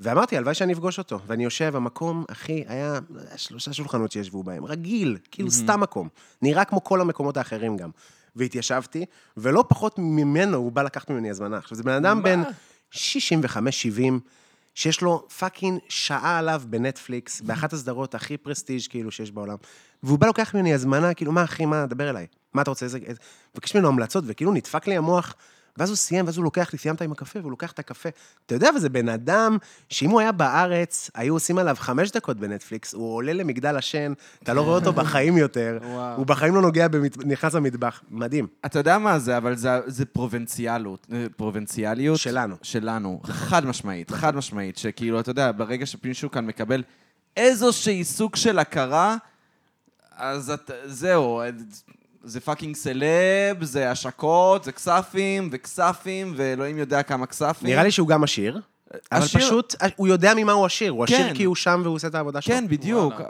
Speaker 4: ואמרתי, הלוואי שאני אפגוש אותו. ואני יושב, המקום, אחי, היה לא יודע, שלושה שולחנות שישבו בהם, רגיל, כאילו סתם מקום. נראה כמו כל המקומות האחרים גם. והתיישבתי, ולא פחות ממנו, הוא בא לקחת ממני הזמנה. עכשיו, זה בן אדם בן 65-70, שיש לו פאקינג שעה עליו בנטפליקס, באחת הסדרות הכי פרסטיג' כאילו שיש בעולם. והוא בא לוקח ממני הזמנה, כאילו, מה אחי, מה, דבר אליי. מה אתה רוצה, איזה... איזה-" מבקש ממנו המלצות, וכאילו נדפק לי המוח. ואז הוא סיים, ואז הוא לוקח לי, סיימת עם הקפה, והוא לוקח את הקפה. אתה יודע, וזה בן אדם שאם הוא היה בארץ, היו עושים עליו חמש דקות בנטפליקס, הוא עולה למגדל השן, אתה לא רואה אותו בחיים יותר,
Speaker 2: וואו.
Speaker 4: הוא בחיים לא נוגע, במת... נכנס למטבח. מדהים.
Speaker 2: אתה יודע מה זה, אבל זה, זה פרובינציאלות. אה, פרובינציאליות.
Speaker 4: שלנו.
Speaker 2: שלנו. חד משמעית, חד משמעית. שכאילו, אתה יודע, ברגע שמישהו כאן מקבל איזושהי סוג של הכרה, אז את, זהו, אה, זה פאקינג סלב, זה השקות, זה כספים, וכספים, ואלוהים יודע כמה כספים.
Speaker 4: נראה לי שהוא גם עשיר, אבל
Speaker 2: כן. עשיר-
Speaker 4: פשוט, אה, הוא יודע ממה הוא עשיר, הוא
Speaker 2: כן.
Speaker 4: עשיר כי הוא שם והוא עושה את העבודה שלו.
Speaker 2: כן, בדיוק.
Speaker 3: וואלה.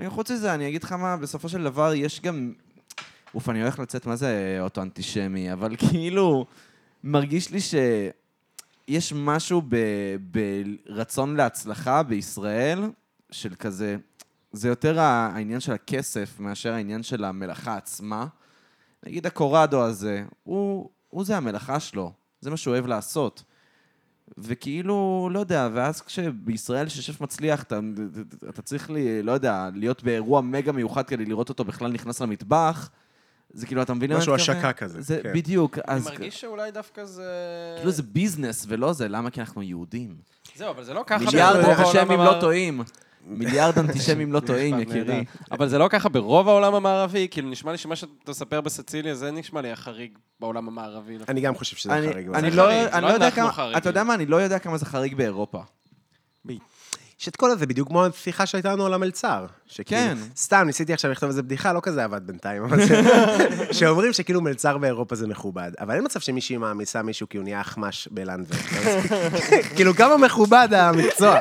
Speaker 2: אה, חוץ מזה, אני אגיד לך מה, בסופו של דבר יש גם... אוף, אני הולך לצאת, מה זה אוטו-אנטישמי, אבל כאילו, מרגיש לי ש... יש משהו ב- ברצון להצלחה בישראל, של כזה... זה יותר ה- העניין של הכסף מאשר העניין של המלאכה עצמה. נגיד הקורדו הזה, הוא, הוא זה המלאכה שלו, זה מה שהוא אוהב לעשות. וכאילו, לא יודע, ואז כשבישראל ששף מצליח, אתה, אתה צריך, לי, לא יודע, להיות באירוע מגה מיוחד כדי לראות אותו בכלל נכנס למטבח, זה כאילו, אתה מבין למה אני
Speaker 4: משהו
Speaker 2: מתכוון?
Speaker 4: השקה כזה,
Speaker 2: זה,
Speaker 4: כן.
Speaker 2: בדיוק, אז...
Speaker 3: אני מרגיש שאולי דווקא זה...
Speaker 2: כאילו זה ביזנס ולא זה, למה? כי אנחנו יהודים.
Speaker 3: זהו, אבל זה לא ככה.
Speaker 2: מיליארד
Speaker 3: ברוב העולם
Speaker 2: אנטישמים
Speaker 3: המערב-
Speaker 2: לא טועים. מיליארד אנטישמים לא טועים,
Speaker 3: נהדר.
Speaker 2: יקירי.
Speaker 3: אבל זה לא ככה ברוב העולם המערבי, כאילו נשמע לי שמה שאתה מספר בסציליה, זה נשמע לי החריג בעולם המערבי.
Speaker 4: אני גם חושב שזה
Speaker 2: אני-
Speaker 4: חריג.
Speaker 2: אני
Speaker 3: זה
Speaker 2: לא
Speaker 3: חריג, זה
Speaker 2: אני
Speaker 3: לא
Speaker 2: לא יודע
Speaker 3: אנחנו
Speaker 2: כמה...
Speaker 3: חריגים.
Speaker 2: אתה יודע מה? אני לא יודע כמה זה חריג באירופה.
Speaker 4: יש את כל הזה, בדיוק כמו השיחה שהייתה לנו על המלצר. שכאילו,
Speaker 2: כן.
Speaker 4: סתם, ניסיתי עכשיו לכתוב איזה בדיחה, לא כזה עבד בינתיים, אבל זה... שאומרים שכאילו מלצר באירופה זה מכובד, אבל אין מצב שמישהי מעמיסה מישהו כי הוא נהיה אחמש בלנדבר. כאילו, כמה מכובד המקצוע.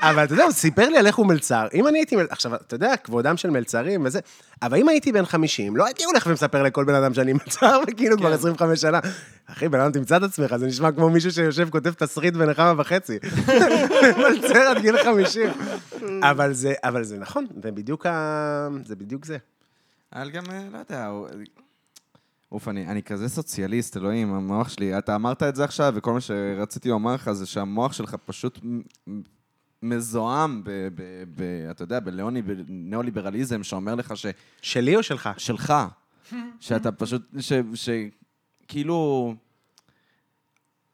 Speaker 4: אבל אתה יודע, הוא סיפר לי על איך הוא מלצר. אם אני הייתי... מל- עכשיו, אתה יודע, כבודם של מלצרים וזה, אבל אם הייתי בן 50, לא הייתי הולך ומספר לכל בן אדם שאני מלצר, וכאילו כבר 25 שנה. אחי, בן אדם תמצא את עצמך, זה נשמע כמו מישהו שיושב, כותב תסריט בנחמה וחצי. מלצר עד גיל 50. אבל זה, אבל זה נכון, זה בדיוק ה... זה בדיוק זה.
Speaker 2: אבל גם, אה, לא יודע, הוא- אוף, אני אני כזה סוציאליסט, אלוהים, המוח שלי. אתה אמרת את זה עכשיו, וכל מה שרציתי לומר לך זה שהמוח שלך פשוט מ- מ- מזוהם, ב- ב- ב- אתה יודע, בלאוני- בניאו-ליברליזם, שאומר לך ש...
Speaker 4: שלי או שלך?
Speaker 2: שלך. שאתה פשוט, ש... ש... כאילו...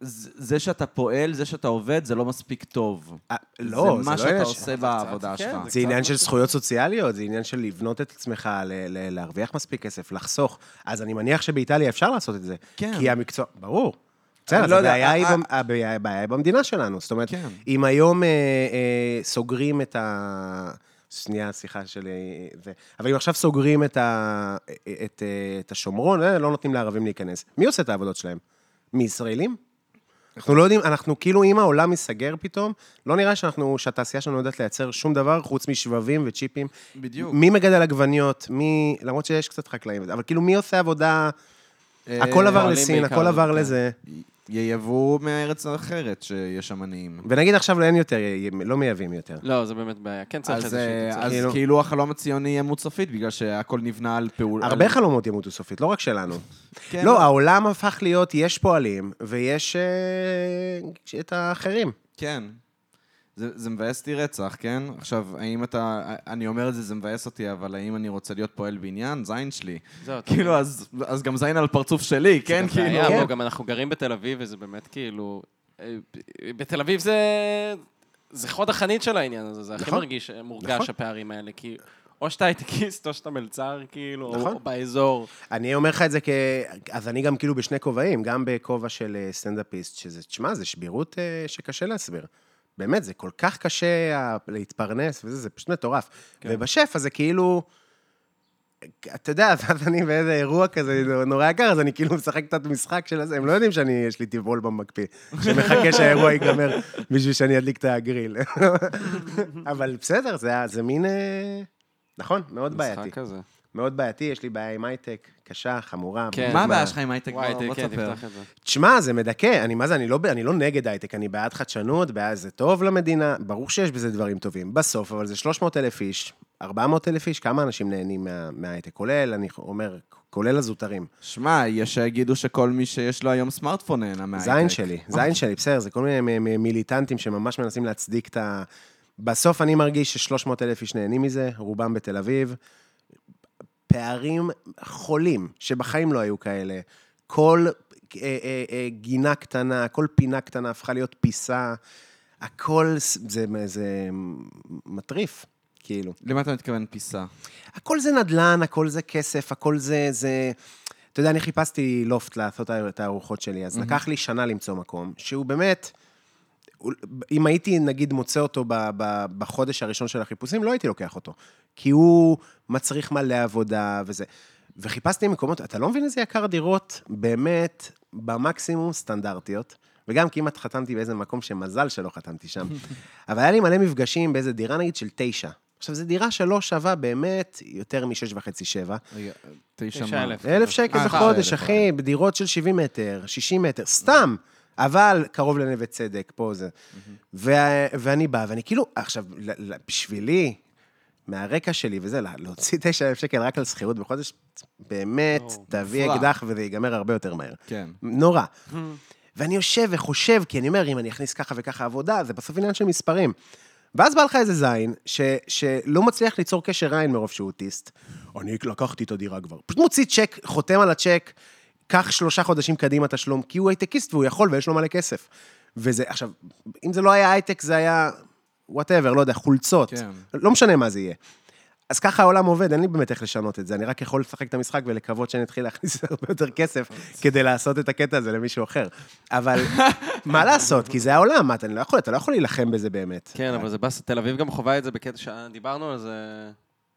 Speaker 2: ז- זה שאתה פועל, זה שאתה עובד, זה לא מספיק טוב.
Speaker 4: אה, לא,
Speaker 2: זה מה
Speaker 4: זה לא
Speaker 2: שאתה
Speaker 4: עניין ש-
Speaker 2: עושה בעבודה
Speaker 3: כן,
Speaker 2: שלך.
Speaker 3: זה
Speaker 4: זה עניין של זכויות סוציאליות, זה עניין של לבנות את עצמך, ל- ל- להרוויח מספיק כסף, לחסוך. אז אני מניח שבאיטליה אפשר לעשות את זה.
Speaker 2: כן.
Speaker 4: כי המקצוע... ברור.
Speaker 2: אני
Speaker 4: בסדר,
Speaker 2: לא
Speaker 4: אז
Speaker 2: יודע,
Speaker 4: הבעיה
Speaker 2: אה,
Speaker 4: היא
Speaker 2: אה.
Speaker 4: במ- הבעיה הבעיה היא במדינה שלנו. זאת אומרת,
Speaker 2: כן.
Speaker 4: אם היום אה, אה, סוגרים את ה... שנייה, סליחה שלי. אה, זה. אבל אם עכשיו סוגרים את ה- אה, את, אה, את השומרון, אה, לא נותנים לערבים להיכנס. מי עושה את העבודות שלהם? מישראלים? אנחנו לא יודעים, אנחנו כאילו, אם העולם ייסגר פתאום, לא נראה שאנחנו, שהתעשייה שלנו לא יודעת לייצר שום דבר חוץ משבבים וצ'יפים.
Speaker 2: בדיוק.
Speaker 4: מי מגדל עגבניות? מי... למרות שיש קצת חקלאים, אבל כאילו, מי עושה עבודה? הכל
Speaker 2: אה,
Speaker 4: עבר
Speaker 3: פועלים
Speaker 4: לסין,
Speaker 3: בעיקר,
Speaker 4: הכל עבר
Speaker 3: כן.
Speaker 4: לזה.
Speaker 2: יייבאו מארץ אחרת שיש שם עניים.
Speaker 4: ונגיד עכשיו אין יותר, לא מייבאים יותר.
Speaker 3: לא, זה באמת בעיה. כן צריך
Speaker 2: אז,
Speaker 3: איזושהי...
Speaker 2: אה,
Speaker 3: תוצאה.
Speaker 2: אז
Speaker 4: כאילו-
Speaker 2: כאילו החלום הציוני יהיה מוצפית, בגלל שהכל נבנה על פעול...
Speaker 4: הרבה
Speaker 2: על-
Speaker 4: חלומות ימותו סופית, לא רק שלנו.
Speaker 2: כן,
Speaker 4: לא, העולם הפך להיות, יש פועלים ויש אה, את האחרים.
Speaker 2: כן. זה, זה מבאס אותי רצח, כן? עכשיו, האם אתה... אני אומר את זה, זה מבאס אותי, אבל האם אני רוצה להיות פועל בניין? זין שלי.
Speaker 3: זהו, אתה-
Speaker 2: כאילו, אז, אז גם זין על פרצוף שלי, כן?
Speaker 3: זה
Speaker 2: כאילו...
Speaker 3: בעיה,
Speaker 4: כן.
Speaker 3: בוא, גם אנחנו גרים בתל אביב, וזה באמת כאילו... אה, בתל אביב זה... זה חוד החנית של העניין הזה, זה הכי
Speaker 4: נכון.
Speaker 3: מרגיש, אה, מורגש
Speaker 4: נכון.
Speaker 3: הפערים האלה, כי או שאתה הייטקיסט או שאתה מלצר, כאילו, או-
Speaker 4: נכון.
Speaker 3: או באזור.
Speaker 4: אני אומר לך את זה כ... אז אני גם כאילו בשני כובעים, גם בכובע של אה, סטנדאפיסט, שזה, תשמע, זה שבירות אה, שקשה להסביר. באמת, זה כל כך קשה ה- להתפרנס וזה, זה פשוט מטורף.
Speaker 3: כן.
Speaker 4: ובשפע זה כאילו... אתה יודע, ואז אני באיזה אירוע כזה נורא יקר, אז אני כאילו משחק קצת משחק של הזה, הם לא יודעים שאני, יש לי טבעול במקפיא, שמחכה שהאירוע ייגמר בשביל שאני אדליק את הגריל. אבל בסדר, זה, ה- זה מין... אה, נכון, מאוד בעייתי.
Speaker 3: משחק כזה.
Speaker 4: מאוד בעייתי, יש לי בעיה עם הייטק, קשה, חמורה.
Speaker 3: כן.
Speaker 2: מה
Speaker 3: מה-
Speaker 2: הבעיה שלך עם הייטק?
Speaker 3: וואי,
Speaker 2: בוא- בוא
Speaker 3: כן,
Speaker 2: תספר.
Speaker 3: תפתח את זה.
Speaker 4: תשמע, זה מדכא, אני, מה זה, אני לא, ב- אני לא נגד הייטק, אני בעד חדשנות, בעד זה טוב למדינה, ברור שיש בזה דברים טובים. בסוף, אבל זה 300 אלף איש, 400 אלף איש, כמה אנשים נהנים מה, מההייטק? כולל, אני אומר, כולל הזוטרים.
Speaker 2: שמע, יש שיגידו שכל מי שיש לו היום סמארטפון אה, נהנה מהייטק.
Speaker 4: זין שלי, זין שלי, בסדר, זה כל מיני מ- מ- מיליטנטים שממש מנסים להצדיק את ה... בסוף אני מרגיש ש-300 אלף איש נהנים מזה, רובם בתל אביב. פערים חולים, שבחיים לא היו כאלה. כל אה, אה, אה, גינה קטנה, כל פינה קטנה הפכה להיות פיסה. הכל, ס- זה, זה מטריף, כאילו.
Speaker 2: למה אתה מתכוון פיסה?
Speaker 4: הכל זה נדל"ן, הכל זה כסף, הכל זה... זה... אתה יודע, אני חיפשתי לופט לעשות את הארוחות שלי, אז לקח לי שנה למצוא מקום, שהוא באמת... הוא- אם הייתי, נגיד, מוצא אותו ב- ב- בחודש הראשון של החיפושים, לא הייתי לוקח אותו. כי הוא מצריך מלא עבודה וזה. וחיפשתי מקומות, אתה לא מבין איזה יקר דירות, באמת, במקסימום סטנדרטיות. וגם כמעט חתמתי באיזה מקום שמזל שלא חתמתי שם. אבל היה לי מלא מפגשים באיזה דירה, נגיד, של תשע. עכשיו, זו דירה שלא שווה באמת יותר משש וחצי, שבע.
Speaker 2: רגע, תשע
Speaker 3: תשע
Speaker 2: מה?
Speaker 3: אלף.
Speaker 4: אלף
Speaker 2: אה,
Speaker 4: שקל
Speaker 2: אלף,
Speaker 4: בחודש,
Speaker 2: אוקיי.
Speaker 4: אחי, בדירות של 70 מטר, 60 מטר, סתם. אבל קרוב לנווה צדק, פה זה. וה- ואני בא, ואני כאילו, עכשיו, ל- ל- בשבילי, מהרקע שלי וזה, לה- להוציא 9,000 שקל רק על שכירות בחודש, באמת,
Speaker 3: או,
Speaker 4: תביא
Speaker 2: מופרע.
Speaker 4: אקדח וזה ייגמר הרבה יותר מהר.
Speaker 2: כן.
Speaker 4: נורא. ואני יושב וחושב, כי אני אומר, אם אני אכניס ככה וככה עבודה, זה בסוף עניין של מספרים. ואז בא לך איזה זין, ש, שלא מצליח ליצור קשר עין מרוב שהוא אוטיסט. אני לקחתי את הדירה כבר. פשוט מוציא צ'ק, חותם על הצ'ק, קח שלושה חודשים קדימה תשלום, כי הוא הייטקיסט והוא יכול ויש לו מלא כסף. וזה, עכשיו, אם זה לא היה הייטק, זה היה וואטאבר, לא יודע, חולצות.
Speaker 2: כן.
Speaker 4: לא משנה מה זה יהיה. אז ככה העולם עובד, אין לי באמת איך לשנות את זה, אני רק יכול לשחק את המשחק ולקוות שאני אתחיל להכניס הרבה יותר כסף
Speaker 2: אוקיי.
Speaker 4: כדי לעשות את הקטע הזה למישהו אחר. אבל מה לעשות, כי זה העולם, מה, אתה אני לא יכול, אתה לא יכול להילחם בזה באמת.
Speaker 3: כן, אבל זה באסה. תל אביב גם חווה את זה בקטע שדיברנו על זה...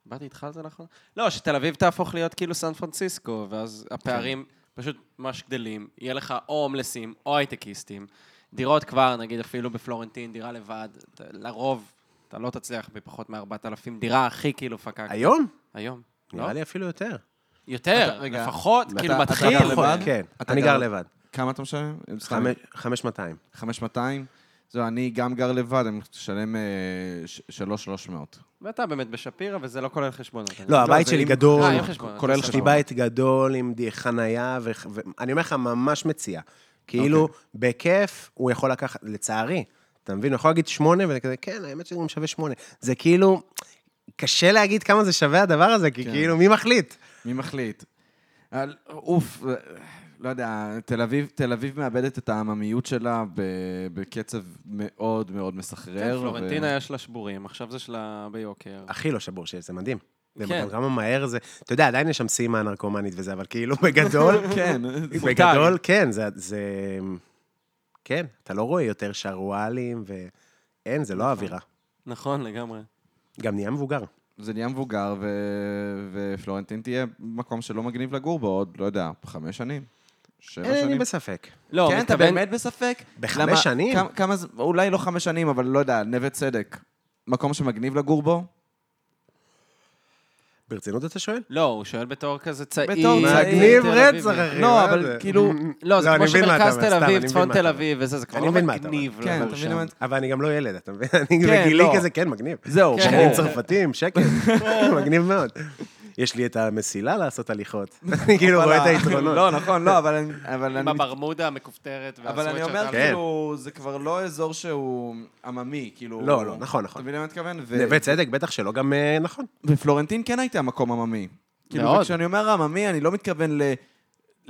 Speaker 3: באתי איתך על זה נכון? לא, שתל אביב תהפוך להיות כאילו סן פרנסיסקו, ואז הפערים פשוט ממש גדלים. יהיה לך או הומלסים או הייטקיסטים. דירות כבר, נגיד אפילו בפלורנטין, דירה לבד, אתה- לרוב אתה לא תצליח בפחות מ-4,000 דירה הכי כאילו פקקת.
Speaker 4: היום?
Speaker 3: היום. לא?
Speaker 4: נראה לי אפילו יותר.
Speaker 3: יותר,
Speaker 2: אתה- רגע.
Speaker 3: לפחות,
Speaker 2: אתה-
Speaker 3: כאילו
Speaker 2: אתה
Speaker 3: מתחיל.
Speaker 2: גר לבד?
Speaker 4: כן,
Speaker 2: אתה
Speaker 4: אני
Speaker 2: גר-
Speaker 4: גר לבד.
Speaker 2: כמה אתה משלם? סתם,
Speaker 4: חמש- 5,200.
Speaker 2: 5,200? זהו, אני גם גר לבד, אני משלם אה, 3,300.
Speaker 3: ואתה באמת בשפירא, וזה לא כולל חשבונות. אני-
Speaker 4: לא, הבית
Speaker 2: זה
Speaker 4: שלי
Speaker 2: עם-
Speaker 4: גדול,
Speaker 3: אה, עם חשבון,
Speaker 2: כולל
Speaker 3: אתה
Speaker 4: יש לי
Speaker 2: חשבון.
Speaker 4: בית גדול עם די- חנייה, ו- ואני אומר לך, ממש מציע. כאילו, בכיף, הוא יכול לקחת, לצערי, אתה מבין? הוא יכול להגיד שמונה, ואני כזה, כן, האמת שזה גם שווה שמונה. זה כאילו, קשה להגיד כמה זה שווה הדבר הזה, כי
Speaker 2: כן.
Speaker 4: כאילו, מי מחליט?
Speaker 2: מי מחליט? על- אוף, אה, לא יודע, תל אביב, תל אביב מאבדת את העממיות שלה ב- בקצב מאוד מאוד מסחרר.
Speaker 3: כן,
Speaker 2: ו-
Speaker 3: פלורנטין היה שלה שבורים, עכשיו זה שלה ביוקר.
Speaker 4: הכי לא שבור שיש, זה מדהים. זה
Speaker 3: כן.
Speaker 4: מדהים, כמה מהר זה, אתה יודע, עדיין יש שם סימה הנרקומנית וזה, אבל כאילו, בגדול,
Speaker 2: כן,
Speaker 4: בגדול, כן, זה, זה... כן, אתה לא רואה יותר שרוואלים, ואין, זה לא האווירה.
Speaker 3: נכון, לגמרי.
Speaker 4: גם נהיה מבוגר.
Speaker 2: זה נהיה מבוגר, ו... ופלורנטין תהיה מקום שלא מגניב לגור בו עוד, לא יודע, חמש שנים. שבע
Speaker 4: אין לי
Speaker 2: שנים.
Speaker 4: בספק.
Speaker 3: לא,
Speaker 2: כן, אתה
Speaker 3: מתכוון-
Speaker 2: באמת בספק?
Speaker 4: בחמש
Speaker 2: למה-
Speaker 4: שנים?
Speaker 2: כמה- כמה ז- אולי לא חמש שנים, אבל לא יודע, נווה צדק. מקום שמגניב לגור בו?
Speaker 4: ברצינות אתה שואל?
Speaker 3: לא, הוא שואל בתור כזה צעיר.
Speaker 2: בתור צעיר.
Speaker 4: מגניב
Speaker 3: אה, תל אביבי.
Speaker 4: רצח, אחי.
Speaker 2: לא,
Speaker 4: מה
Speaker 2: אבל
Speaker 4: זה?
Speaker 2: כאילו-
Speaker 3: לא, זה
Speaker 4: אני
Speaker 3: כמו
Speaker 4: מבין מה אתה
Speaker 3: שמרכז
Speaker 4: אומר,
Speaker 3: תל
Speaker 4: סתם, אני
Speaker 3: אביב,
Speaker 4: מבין
Speaker 3: צפון
Speaker 4: מה אתה
Speaker 3: תל
Speaker 4: אומר.
Speaker 3: אביב, וזה, זה כבר
Speaker 4: אני
Speaker 3: לא
Speaker 4: מבין מה אתה
Speaker 3: מגניב.
Speaker 2: כן,
Speaker 3: לגור
Speaker 2: אתה מבין
Speaker 3: שם.
Speaker 2: מה...
Speaker 4: אבל אני גם לא ילד, אתה מבין? אני
Speaker 2: כן,
Speaker 4: בגילי
Speaker 2: לא.
Speaker 4: כזה, כן, מגניב.
Speaker 2: זהו,
Speaker 3: כן.
Speaker 2: ברור.
Speaker 4: שכנים צרפתים, שקט, מגניב מאוד. יש לי את המסילה לעשות הליכות. אני כאילו רואה את היתרונות.
Speaker 2: לא, נכון, לא, אבל אני... אבל
Speaker 3: עם
Speaker 2: אני מת-
Speaker 3: הברמודה המכופתרת
Speaker 2: אבל אני
Speaker 3: והסוואצ'רט
Speaker 2: אומר,
Speaker 3: על.
Speaker 4: כן.
Speaker 2: כאילו, זה כבר לא אזור שהוא עממי, כאילו...
Speaker 4: לא, לא, נכון, נכון.
Speaker 2: אתה מבין למה אני מתכוון? ו-
Speaker 4: נווה צדק, בטח שלא, גם אה, נכון.
Speaker 2: ופלורנטין כן הייתה מקום עממי. כאילו,
Speaker 3: מאוד.
Speaker 2: וכשאני אומר עממי, אני לא מתכוון ל...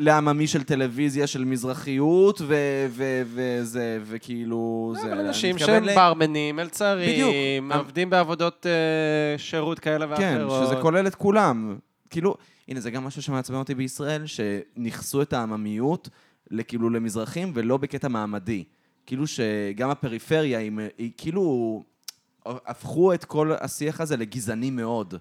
Speaker 2: לעממי של טלוויזיה, של מזרחיות, ו- ו- וזה, וכאילו... זה,
Speaker 3: לא, אבל
Speaker 2: אני
Speaker 3: אנשים
Speaker 2: מתכוון
Speaker 3: שהם
Speaker 2: ל-
Speaker 3: ברמנים, מלצרים,
Speaker 2: בדיוק.
Speaker 3: עובדים בעבודות אה, שירות כאלה
Speaker 2: כן,
Speaker 3: ואחרות.
Speaker 2: שזה כולל את כולם. כאילו, הנה, זה גם משהו שמעצבן אותי בישראל, שניכסו את העממיות לכאילו למזרחים, ולא בקטע מעמדי. כאילו שגם הפריפריה היא, מ- היא כאילו... הפכו את כל השיח הזה לגזעני מאוד.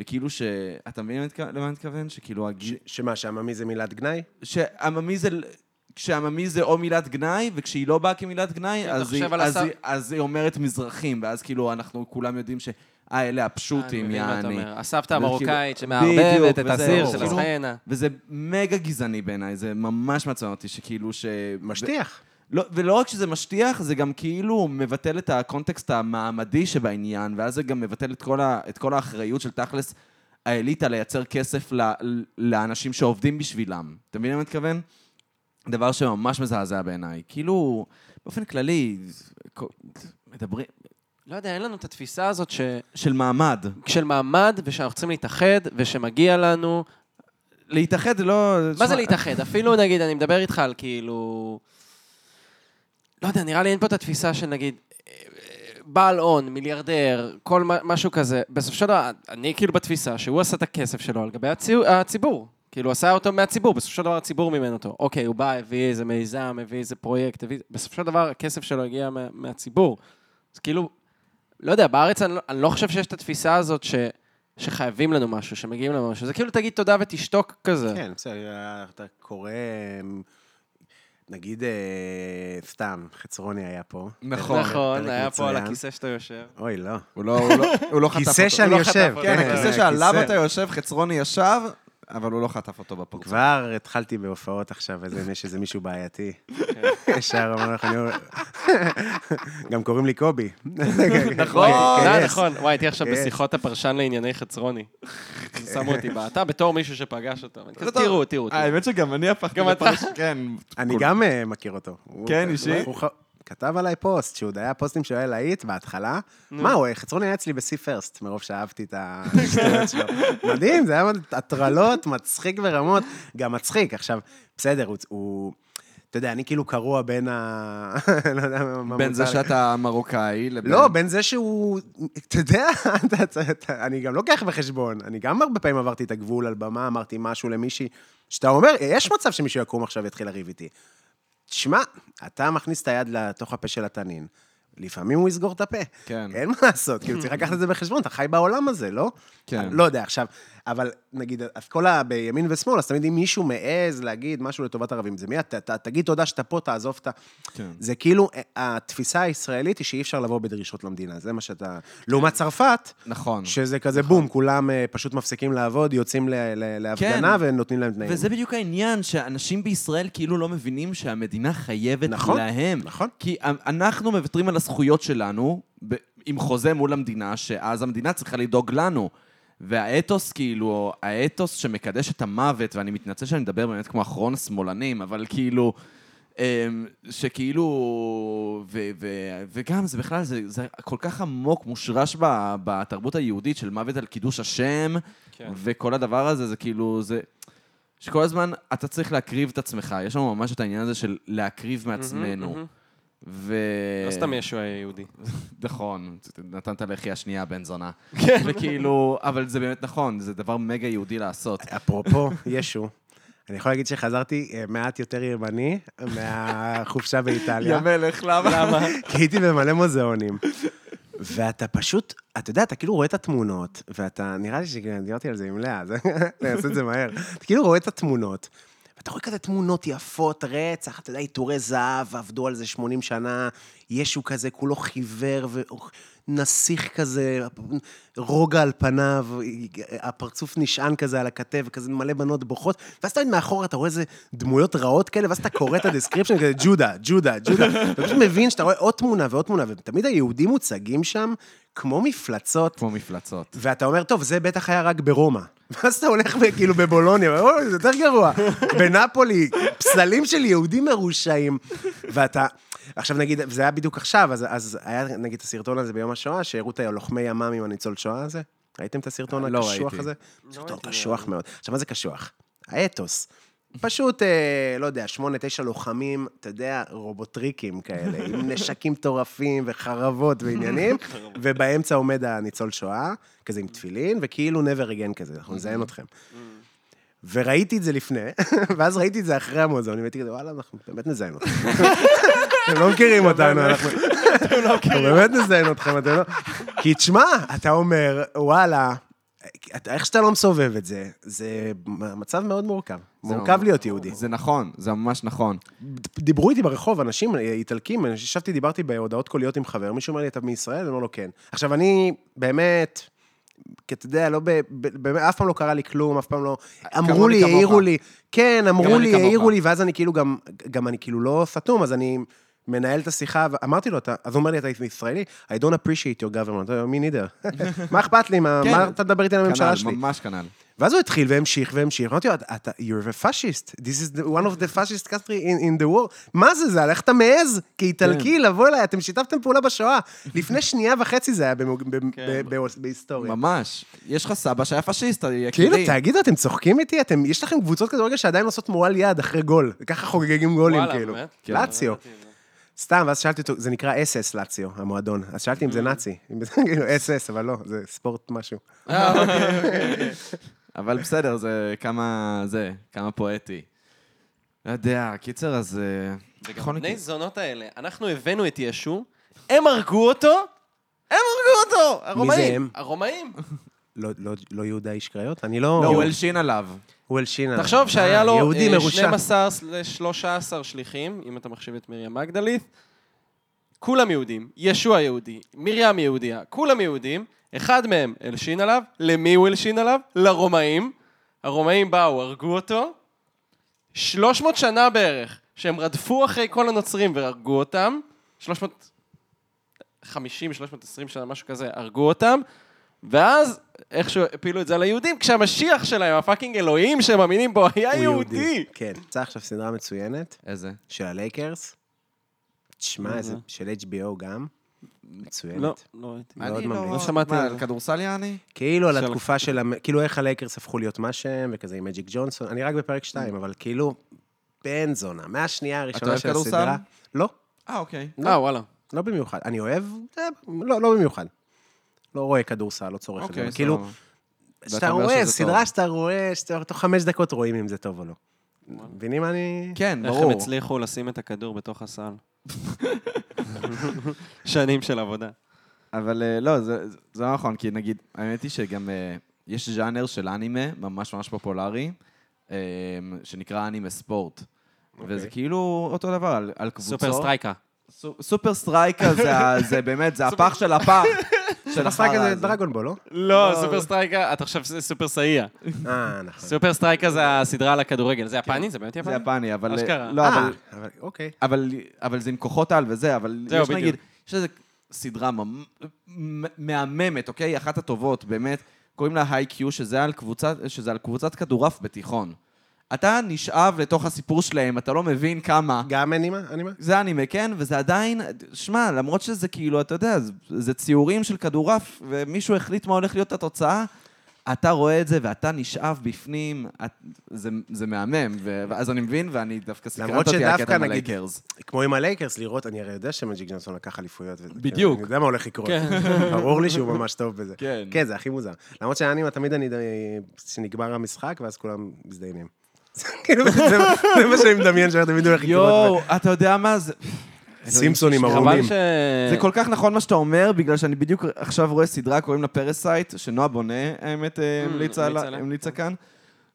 Speaker 2: וכאילו ש... אתה מבין למה אני מתכוון? שכאילו... הגז...
Speaker 4: ש- שמה, שעממי זה מילת גנאי?
Speaker 2: שעממי זה... כשעממי זה או מילת גנאי, וכשהיא לא באה כמילת גנאי,
Speaker 3: כן, אתה
Speaker 2: אז היא,
Speaker 3: חושב על
Speaker 2: אז,
Speaker 3: הס-
Speaker 2: היא, אז היא אומרת מזרחים, ואז כאילו אנחנו כולם יודעים ש... אה, אלה הפשוטים,
Speaker 3: אני מבין מה אתה
Speaker 2: יעני.
Speaker 3: אומר. הסבתא
Speaker 2: וכאילו-
Speaker 3: המרוקאית
Speaker 2: כאילו- בדיוק,
Speaker 3: שמערבבת את
Speaker 2: וזה-
Speaker 3: הסיר
Speaker 2: ברור.
Speaker 3: של הסחיינה.
Speaker 2: וזה מגה גזעני בעיניי, זה ממש מעצבן אותי, שכאילו ש...
Speaker 4: משטיח.
Speaker 2: לא, ולא רק שזה משטיח, זה גם כאילו מבטל את הקונטקסט המעמדי שבעניין, ואז זה גם מבטל את כל, ה, את כל האחריות של תכלס האליטה לייצר כסף ל, לאנשים שעובדים בשבילם. אתה מבין למה אני מתכוון? דבר שממש מזעזע בעיניי. כאילו, באופן כללי, זה- כל- מדברים...
Speaker 3: לא יודע, אין לנו את התפיסה הזאת ש...
Speaker 2: של מעמד.
Speaker 3: של מעמד, ושאנחנו צריכים להתאחד, ושמגיע לנו.
Speaker 2: להתאחד זה לא...
Speaker 3: מה זה להתאחד? אפילו, נגיד, אני מדבר איתך על כאילו... לא יודע, נראה לי אין פה את התפיסה של נגיד... אה, אה, בעל הון, מיליארדר, כל מה- משהו כזה. בסופו של דבר, אני כאילו בתפיסה שהוא עשה את הכסף שלו על גבי הציו- הציבור. כאילו, הוא עשה אותו מהציבור, בסופו של דבר הציבור מימן אותו. אוקיי, הוא בא, הביא איזה מיזם, הביא איזה פרויקט, הביא... בסופו של דבר הכסף שלו הגיע מה, מהציבור. אז כאילו, לא יודע, בארץ אני, לא- אני לא חושב שיש את התפיסה הזאת ש, שחייבים לנו משהו, שמגיעים לנו משהו. זה כאילו תגיד תודה ותשתוק כזה.
Speaker 4: כן, בסדר, אתה קורא... אמ, נגיד, אה, סתם, חצרוני היה פה.
Speaker 2: נכון.
Speaker 3: נכון,
Speaker 4: פרק
Speaker 3: היה פה על
Speaker 4: מצוין.
Speaker 3: הכיסא שאתה יושב.
Speaker 4: אוי, לא.
Speaker 2: הוא לא, הוא לא, הוא לא חטף אותו.
Speaker 4: כיסא שאני
Speaker 3: הוא לא חטף
Speaker 4: יושב.
Speaker 3: אותו.
Speaker 2: כן,
Speaker 3: כן,
Speaker 2: הכיסא
Speaker 4: הכיסא.
Speaker 2: שעליו אתה יושב, חצרוני ישב, אבל הוא לא חטף אותו בפרצוף.
Speaker 4: כבר התחלתי בהופעות עכשיו, איזה- יש איזה מישהו בעייתי.
Speaker 2: כן.
Speaker 4: ישר אמר לך, אני אומר... גם קוראים לי קובי. נכון,
Speaker 3: אה, נכון, וואי, הייתי עכשיו
Speaker 4: כן.
Speaker 3: בשיחות הפרשן לענייני חצרוני. אז שמו אותי בה, אתה בתור מישהו שפגש אותו. ואני כזה,
Speaker 2: אתה-
Speaker 3: תראו, תראו. תראו."
Speaker 2: האמת שגם אני הפכתי
Speaker 3: גם אתה.
Speaker 2: לפרשן, כן.
Speaker 4: אני
Speaker 2: כול-
Speaker 4: גם אה, מכיר אותו. הוא-
Speaker 2: כן, אישי?
Speaker 4: הוא ח- כתב עליי פוסט, שהוא עוד היה פוסטים שהוא היה להיט בהתחלה. מה, הוא חצרוני היה אצלי בשיא פרסט, מרוב שאהבתי את השטויות שלו. מדהים, זה היה הטרלות, מצחיק ברמות, גם מצחיק. עכשיו, בסדר, הוא- הוא... אתה יודע, אני כאילו קרוע בין ה... לא יודע מה מותר
Speaker 2: בין זה
Speaker 4: לי.
Speaker 2: שאתה מרוקאי לבין...
Speaker 4: לא, בין זה שהוא... אתה יודע, אתה- אתה- אתה- אני גם לוקח בחשבון. אני גם הרבה פעמים עברתי את הגבול על במה, אמרתי משהו למישהי, שאתה אומר, יש מצב שמישהו יקום עכשיו ויתחיל לריב איתי. תשמע, אתה מכניס את היד לתוך הפה של התנין. לפעמים הוא יסגור את הפה.
Speaker 2: כן.
Speaker 4: אין מה לעשות, כאילו, צריך לקחת את זה בחשבון, אתה חי בעולם הזה, לא?
Speaker 2: כן.
Speaker 4: לא יודע, עכשיו, אבל נגיד, אז כל ה... בימין ושמאל, אז תמיד אם מישהו מעז להגיד משהו לטובת ערבים, זה מי אתה? אתה- תגיד תודה שאתה פה, תעזוב את ה...
Speaker 2: כן.
Speaker 4: זה כאילו, אה, התפיסה הישראלית היא שאי אפשר לבוא בדרישות למדינה, זה מה שאתה... לעומת צרפת,
Speaker 2: כן. נכון.
Speaker 4: שזה כזה בום, כולם אה, פשוט מפסיקים לעבוד, יוצאים ל- ל- להפגנה ונותנים להם תנאים.
Speaker 2: כן. וזה בדיוק העניין, שאנשים בישראל כאילו לא מבינים שהמדינה חייבת
Speaker 4: נכון,
Speaker 2: להם.
Speaker 4: נכון.
Speaker 2: כי אנחנו מוותרים על הזכויות שלנו ב- עם חוזה מול המדינה, שאז המדינה צריכה לדאוג לנו. והאתוס, כאילו, האתוס שמקדש את המוות, ואני מתנצל שאני מדבר באמת כמו אחרון השמאלנים, אבל כאילו, אמ, שכאילו, ו, ו, וגם זה בכלל, זה, זה כל כך עמוק מושרש ב, בתרבות היהודית של מוות על קידוש השם,
Speaker 3: כן.
Speaker 2: וכל הדבר הזה, זה כאילו, זה... שכל הזמן אתה צריך להקריב את עצמך, יש לנו ממש את העניין הזה של להקריב מעצמנו.
Speaker 3: מהמם.
Speaker 2: ו...
Speaker 3: לא סתם ישו היה יהודי.
Speaker 2: נכון, נתנת לחי השנייה, בן זונה.
Speaker 3: כן.
Speaker 2: וכאילו, אבל זה באמת נכון, זה דבר מגה יהודי לעשות.
Speaker 4: אפרופו ישו, אני יכול להגיד שחזרתי אה, מעט יותר ימני מהחופשה באיטליה.
Speaker 2: המלך, למה?
Speaker 4: כי הייתי במלא מוזיאונים. ואתה פשוט, אתה יודע, אתה כאילו רואה את התמונות, ואתה, נראה לי שדיברתי על זה עם לאה, אז אני אעשה את זה מהר. אתה כאילו רואה את התמונות, ואתה רואה כזה תמונות יפות, רצח, אתה יודע, עיטורי זהב, עבדו על זה 80 שנה, ישו כזה, כולו חיוור, ונסיך כזה, רוגע על פניו, הפרצוף נשען כזה על הכתף, כזה מלא בנות בוכות, ואז אתה עומד מאחורה, אתה רואה איזה דמויות רעות כאלה, ואז אתה קורא את הדסקריפשן, כזה ג'ודה, ג'ודה, ג'ודה, אתה פשוט מבין שאתה רואה עוד תמונה ועוד תמונה, ותמיד היהודים מוצגים שם כמו מפלצות.
Speaker 2: כמו מפלצות.
Speaker 4: ואתה אומר, טוב, זה בטח היה רק ברומא. ואז אתה הולך כאילו בבולוניה, אוי, זה יותר גרוע. בנפולי, פסלים של יהודים מרושעים. ואתה, עכשיו נגיד, זה היה בדיוק עכשיו, אז, אז היה נגיד את הסרטון הזה ביום השואה, שהראו את הלוחמי ימ"מ עם הניצול שואה הזה. ראיתם את הסרטון
Speaker 2: לא
Speaker 4: הקשוח
Speaker 2: ראיתי. לא
Speaker 4: הזה? סרטון קשוח מאוד. עכשיו, מה זה קשוח? האתוס. פשוט, אה, לא יודע, שמונה, תשע לוחמים, אתה יודע, רובוטריקים כאלה, עם נשקים מטורפים וחרבות ועניינים, ובאמצע עומד הניצול שואה, כזה עם תפילין, וכאילו never again כזה, אנחנו נזיין אתכם. וראיתי את זה לפני, ואז ראיתי את זה אחרי המוזיאון, והייתי כזה, וואלה, אנחנו באמת נזיין אתכם. אתם לא מכירים אותנו, אנחנו... אנחנו באמת נזיין אתכם, אתם לא... כי תשמע, אתה אומר, וואלה, אה, אתה- איך שאתה לא מסובב את זה, זה מצב מאוד מורכב.
Speaker 2: זה
Speaker 4: מורכב
Speaker 2: ממש-
Speaker 4: להיות יהודי.
Speaker 2: זה נכון, זה ממש נכון.
Speaker 4: דיברו איתי ברחוב, אנשים אה, איטלקים, אני ישבתי, דיברתי בהודעות קוליות עם חבר, מישהו אומר לי, אתה מישראל? אני אומר לו, כן. עכשיו, אני באמת, כי אתה יודע, לא ב... ב- באמת, אף פעם לא קרה לי כלום, אף פעם לא... אמרו
Speaker 2: כמוני,
Speaker 4: לי,
Speaker 2: כמוך.
Speaker 4: העירו לי, כן, אמרו
Speaker 2: כמוני,
Speaker 4: לי,
Speaker 2: כמוך.
Speaker 4: העירו לי, ואז אני כאילו גם, גם אני כאילו לא סתום, אז אני מנהל את השיחה, ואמרתי לו, "אתה-" אז הוא אומר לי, אתה ישראלי? I don't appreciate your government, me neither. מה אכפת לי, מה
Speaker 2: כן.
Speaker 4: מה אתה מדבר איתי על
Speaker 2: כנ"ל,
Speaker 4: הממשלה שלי?
Speaker 2: ממש כנ"ל.
Speaker 4: ואז הוא התחיל והמשיך והמשיך, אמרתי לו, "אתה- אתה, you're a fascist, this is the- one of the fascist country in, in the world. מה זה זה, על איך אתה מעז, כאיטלקי, לבוא אליי, אתם שיתפתם פעולה בשואה. לפני שנייה וחצי זה היה במוג- ב- ב- ב- בהיסטוריה.
Speaker 2: ממש. יש לך סבא שהיה פשיסט,
Speaker 4: אוקיי. כאילו,
Speaker 2: יקירי.
Speaker 4: תגידו, אתם צוחקים איתי? אתם, יש לכם קבוצות כדורגל שעדיין עושות מורל יד אחרי גול. ככה חוגגים גולים,
Speaker 3: וואלה,
Speaker 4: כאילו.
Speaker 3: באמת? כן.
Speaker 4: לאציו. סתם, ואז שאלתי אותו, זה נקרא אס-אס לאציו, המועדון. אז שאלתי אם זה נאצי. אם זה כאילו אס-אס, אבל לא, זה ספורט משהו.
Speaker 3: אה, אוקיי,
Speaker 2: אבל בסדר, זה כמה... זה, כמה פואטי. לא יודע, קיצר, אז... אה, בכל
Speaker 3: וגם
Speaker 2: מקרה-
Speaker 3: בני זונות האלה, אנחנו הבאנו את ישו, הם הרגו אותו, הם הרגו אותו! הרומאים!
Speaker 4: הם?
Speaker 3: הרומאים.
Speaker 4: לא- לא- לא יהודה איש קריות? אני לא...
Speaker 2: לא, הוא הלשין עליו.
Speaker 4: הוא הלשין עליו.
Speaker 3: תחשוב שהיה
Speaker 4: אה,
Speaker 3: לו
Speaker 4: יהודי
Speaker 3: אה,
Speaker 4: מרושע.
Speaker 3: 12-13 שליחים, אם אתה מחשיב את מרים מגדלית, כולם יהודים, ישוע יהודי, מרים יהודייה, כולם יהודים, אחד מהם הלשין עליו, למי הוא הלשין עליו? לרומאים. הרומאים באו, הרגו אותו, 300 שנה בערך, שהם רדפו אחרי כל הנוצרים והרגו אותם, 350, 320 שנה, משהו כזה, הרגו אותם, ואז איכשהו הפילו את זה על היהודים, כשהמשיח שלהם, הפאקינג אלוהים שהם מאמינים בו, היה
Speaker 4: הוא
Speaker 3: יהודי.
Speaker 4: כן. יצא עכשיו סדרה מצוינת
Speaker 2: איזה?
Speaker 4: של הלייקרס. תשמע,
Speaker 3: מה
Speaker 4: איזה...
Speaker 3: זה?
Speaker 4: של HBO גם. מצוינת.
Speaker 3: לא, לא הייתי.
Speaker 4: מאוד
Speaker 2: אני
Speaker 4: ממליץ.
Speaker 3: לא שמעתי
Speaker 2: מה,
Speaker 3: על זה.
Speaker 2: על כדורסל יעני?
Speaker 4: כאילו על
Speaker 3: של-
Speaker 4: התקופה של... המ- כאילו איך הלייקרס הפכו להיות מה שהם, וכזה עם מג'יק ג'ונסון. אני רק בפרק 2, אבל כאילו, בן זונה. מהשנייה הראשונה
Speaker 2: אוהב
Speaker 4: של
Speaker 2: כדורסל?
Speaker 4: הסדרה... לא,
Speaker 2: אה, אוקיי.
Speaker 3: אה, וואלה.
Speaker 4: לא במיוחד. אני אוהב... אה, לא, לא במיוחד. לא רואה כדורסל, לא צורך את זה.
Speaker 2: אוקיי,
Speaker 4: אבל כאילו,
Speaker 2: סבבה.
Speaker 4: שאתה
Speaker 2: ואתה אומר
Speaker 4: רואה,
Speaker 2: שזה
Speaker 4: סדרה
Speaker 2: טוב.
Speaker 4: שאתה רואה, שאתה תוך חמש דקות רואים אם זה טוב או לא. מבינים מה אני...
Speaker 2: כן,
Speaker 3: איך הם
Speaker 2: ברור.
Speaker 3: הצליחו לשים את הכדור בתוך הסל. שנים של עבודה.
Speaker 2: אבל אה, לא, זה, זה- זה לא נכון, כי נגיד, האמת היא שגם אה, יש ז'אנר של אנימה ממש ממש פופולרי, אה, שנקרא אנימה ספורט. וזה כאילו אותו דבר, על, על קבוצות.
Speaker 3: סופר סטרייקה.
Speaker 2: סו, סופר סטרייקה זה, ה- זה באמת, זה הפח של הפח. של
Speaker 4: המשחק
Speaker 2: החרא
Speaker 4: הזה
Speaker 2: הזה.
Speaker 4: דרגון בול, לא?
Speaker 3: לא, סופר סטרייקה, אתה חושב שזה סופר סאייה.
Speaker 4: אה, נכון.
Speaker 3: סופר סטרייקה זה הסדרה על הכדורגל. זה יפני? זה באמת יפני?
Speaker 2: זה יפני, אבל... אה,
Speaker 3: אשכרה.
Speaker 2: לא, אבל,
Speaker 4: אה, אבל אוקיי.
Speaker 2: אבל, אבל זה עם כוחות על וזה, אבל
Speaker 3: זהו,
Speaker 2: יש נגיד,
Speaker 3: בדיוק.
Speaker 2: יש איזו סדרה ממ- מ- מהממת, אוקיי? אחת הטובות, באמת. קוראים לה היי-קיו, שזה על קבוצת, שזה על קבוצת כדורעף בתיכון. אתה נשאב לתוך הסיפור שלהם, אתה לא מבין כמה.
Speaker 4: גם אנימה? אנימה?
Speaker 2: זה אנימה, כן? וזה עדיין, שמע, למרות שזה כאילו, אתה יודע, זה, זה ציורים של כדורעף, ומישהו החליט מה הולך להיות התוצאה, אתה רואה את זה ואתה נשאב בפנים, את, זה, זה מהמם, ו- ואז אני מבין, ואני דווקא סקרנת
Speaker 4: למרות
Speaker 2: אותי
Speaker 4: שדווקא,
Speaker 2: הקטע עם
Speaker 4: נגיד,
Speaker 2: הלייקרס.
Speaker 4: כמו עם הלייקרס, לראות, אני הרי יודע שמג'יק ג'ונסון לקח אליפויות. וזה-
Speaker 2: בדיוק.
Speaker 4: אני יודע מה הולך לקרות.
Speaker 3: כן.
Speaker 4: ברור לי שהוא ממש טוב בזה.
Speaker 2: כן.
Speaker 4: כן, זה הכי מוזר. למרות שהאנימה תמיד אני... שנגמר המשחק, ואז כולם מזדיינים. זה כאילו, זה זה מה שאני מדמיין, שאתם תמיד הולך לקרות.
Speaker 2: יואו, אתה יודע מה זה?
Speaker 4: סימפסונים
Speaker 3: חבל
Speaker 4: ערומים.
Speaker 3: ש...
Speaker 2: זה כל כך נכון מה שאתה אומר, בגלל שאני בדיוק עכשיו רואה סדרה, קוראים לה פרסייט, שנועה בונה, האמת, אה,
Speaker 3: Mm,
Speaker 2: המליצה עליה-
Speaker 3: המליצה עליה.
Speaker 2: המליצה כאן,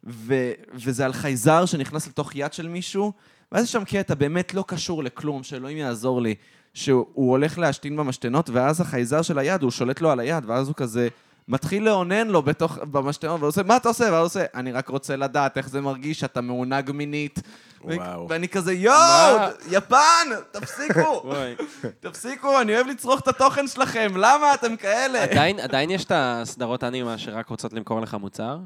Speaker 2: ו- וזה על חייזר שנכנס לתוך יד של מישהו, ואז יש שם קטע באמת לא קשור לכלום, שאלוהים יעזור לי, שהוא הולך להשתין במשתנות, ואז החייזר של היד, הוא שולט לו על היד, ואז הוא כזה מתחיל לאונן לו בתוך, במשתנות, והוא עושה, מה אתה עושה? והוא עושה, אני רק רוצה לדעת איך זה מרגיש שאתה מעונג מינית. ו-
Speaker 4: וואו.
Speaker 2: ואני כזה, יואו,
Speaker 3: מה?
Speaker 2: יפן, תפסיקו,
Speaker 3: וואי.
Speaker 2: תפסיקו, אני אוהב לצרוך את התוכן שלכם, למה אתם כאלה?
Speaker 3: עדיין, עדיין יש את הסדרות אנימה שרק רוצות למכור לך מוצר?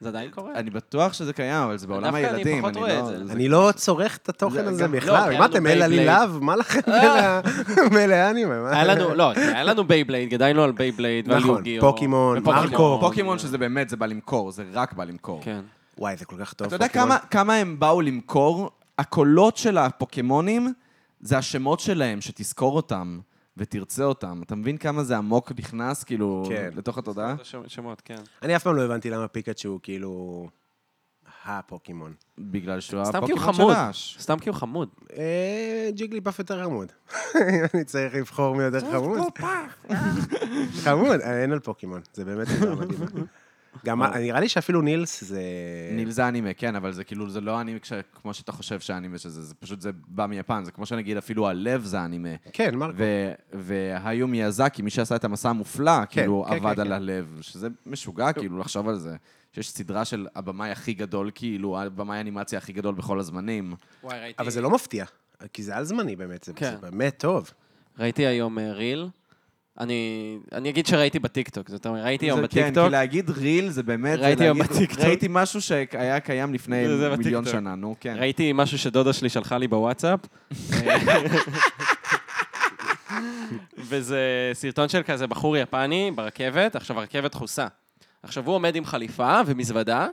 Speaker 3: זה עדיין קורה?
Speaker 2: אני בטוח שזה קיים, אבל זה בעולם
Speaker 3: דווקא אני
Speaker 2: הילדים,
Speaker 3: פחות
Speaker 2: אני
Speaker 3: רואה את
Speaker 2: לא...
Speaker 3: זה.
Speaker 4: אני לא צורך את התוכן
Speaker 2: זה
Speaker 4: הזה
Speaker 2: גם- לא,
Speaker 3: כי
Speaker 4: בכלל.
Speaker 3: היה
Speaker 4: מה
Speaker 3: לנו
Speaker 4: אתם אלה
Speaker 3: בייבלייד.
Speaker 4: לילב? מה לכם מאלה- מאלה אנימה? מה-
Speaker 3: היה לנו, לא, היה לנו בייבלייד, גדלנו על בייבלייד ועל
Speaker 4: נכון,
Speaker 3: יוגיו.
Speaker 4: פוקימון,
Speaker 3: ופוקימון.
Speaker 4: מרקו.
Speaker 2: פוקימון שזה באמת, זה בא למכור, זה רק בא למכור.
Speaker 3: כן.
Speaker 4: וואי, זה כל כך טוב.
Speaker 2: אתה יודע
Speaker 4: פוקימון.
Speaker 2: כמה, כמה הם באו למכור? הקולות של הפוקימונים זה השמות שלהם, שתזכור אותם ותרצה אותם. אתה מבין כמה זה עמוק נכנס, כאילו,
Speaker 4: כן.
Speaker 2: לתוך התודעה?
Speaker 3: שמות- שמות, כן.
Speaker 4: אני אף פעם לא הבנתי למה פיקאצ'ו הוא כאילו... הפוקימון.
Speaker 2: בגלל שהוא
Speaker 3: סתם כי הוא
Speaker 2: הפוקימון
Speaker 3: חמוד.
Speaker 2: אה, שלש.
Speaker 3: סתם כי הוא חמוד.
Speaker 4: אה, ג'יגלי פאף יותר חמוד. אני צריך לבחור אה. מי יותר חמוד. חמוד, אה, אין על פוקימון, זה באמת דבר מדהים. גם אה, נראה לי שאפילו נילס זה...
Speaker 2: ניל זה אנימה, כן, אבל זה כאילו, זה לא אנימה כש- כמו שאתה חושב שאנימה שזה, זה פשוט, זה בא מיפן, זה כמו שנגיד אפילו הלב זה אנימה.
Speaker 4: כן, מרקו.
Speaker 2: ו- והיו מיאזקי, מי שעשה את המסע המופלא, כאילו
Speaker 4: כן,
Speaker 2: עבד
Speaker 4: כן,
Speaker 2: על
Speaker 4: כן.
Speaker 2: הלב, שזה משוגע כאילו לחשוב על זה. שיש סדרה של הבמאי הכי גדול, כאילו, הבמאי האנימציה הכי גדול בכל הזמנים.
Speaker 3: וואי, ראיתי...
Speaker 4: אבל זה לא מפתיע, כי זה על זמני באמת, זה
Speaker 3: כן.
Speaker 4: זה באמת טוב.
Speaker 3: ראיתי היום אה, ריל. אני אני אגיד שראיתי בטיקטוק, זאת אומרת, ראיתי היום
Speaker 2: זה- כן,
Speaker 3: בטיקטוק.
Speaker 2: כי להגיד ריל זה באמת... זה
Speaker 3: ראיתי היום
Speaker 2: להגיד-
Speaker 3: בטיקטוק.
Speaker 2: ראיתי משהו שהיה קיים לפני
Speaker 3: זה- זה
Speaker 2: מיליון
Speaker 3: בטיקטוק.
Speaker 2: שנה, נו, כן.
Speaker 3: ראיתי משהו שדודה שלי שלחה לי בוואטסאפ. וזה סרטון של כזה בחור יפני ברכבת, עכשיו הרכבת דחוסה. עכשיו הוא עומד עם חליפה ומזוודה,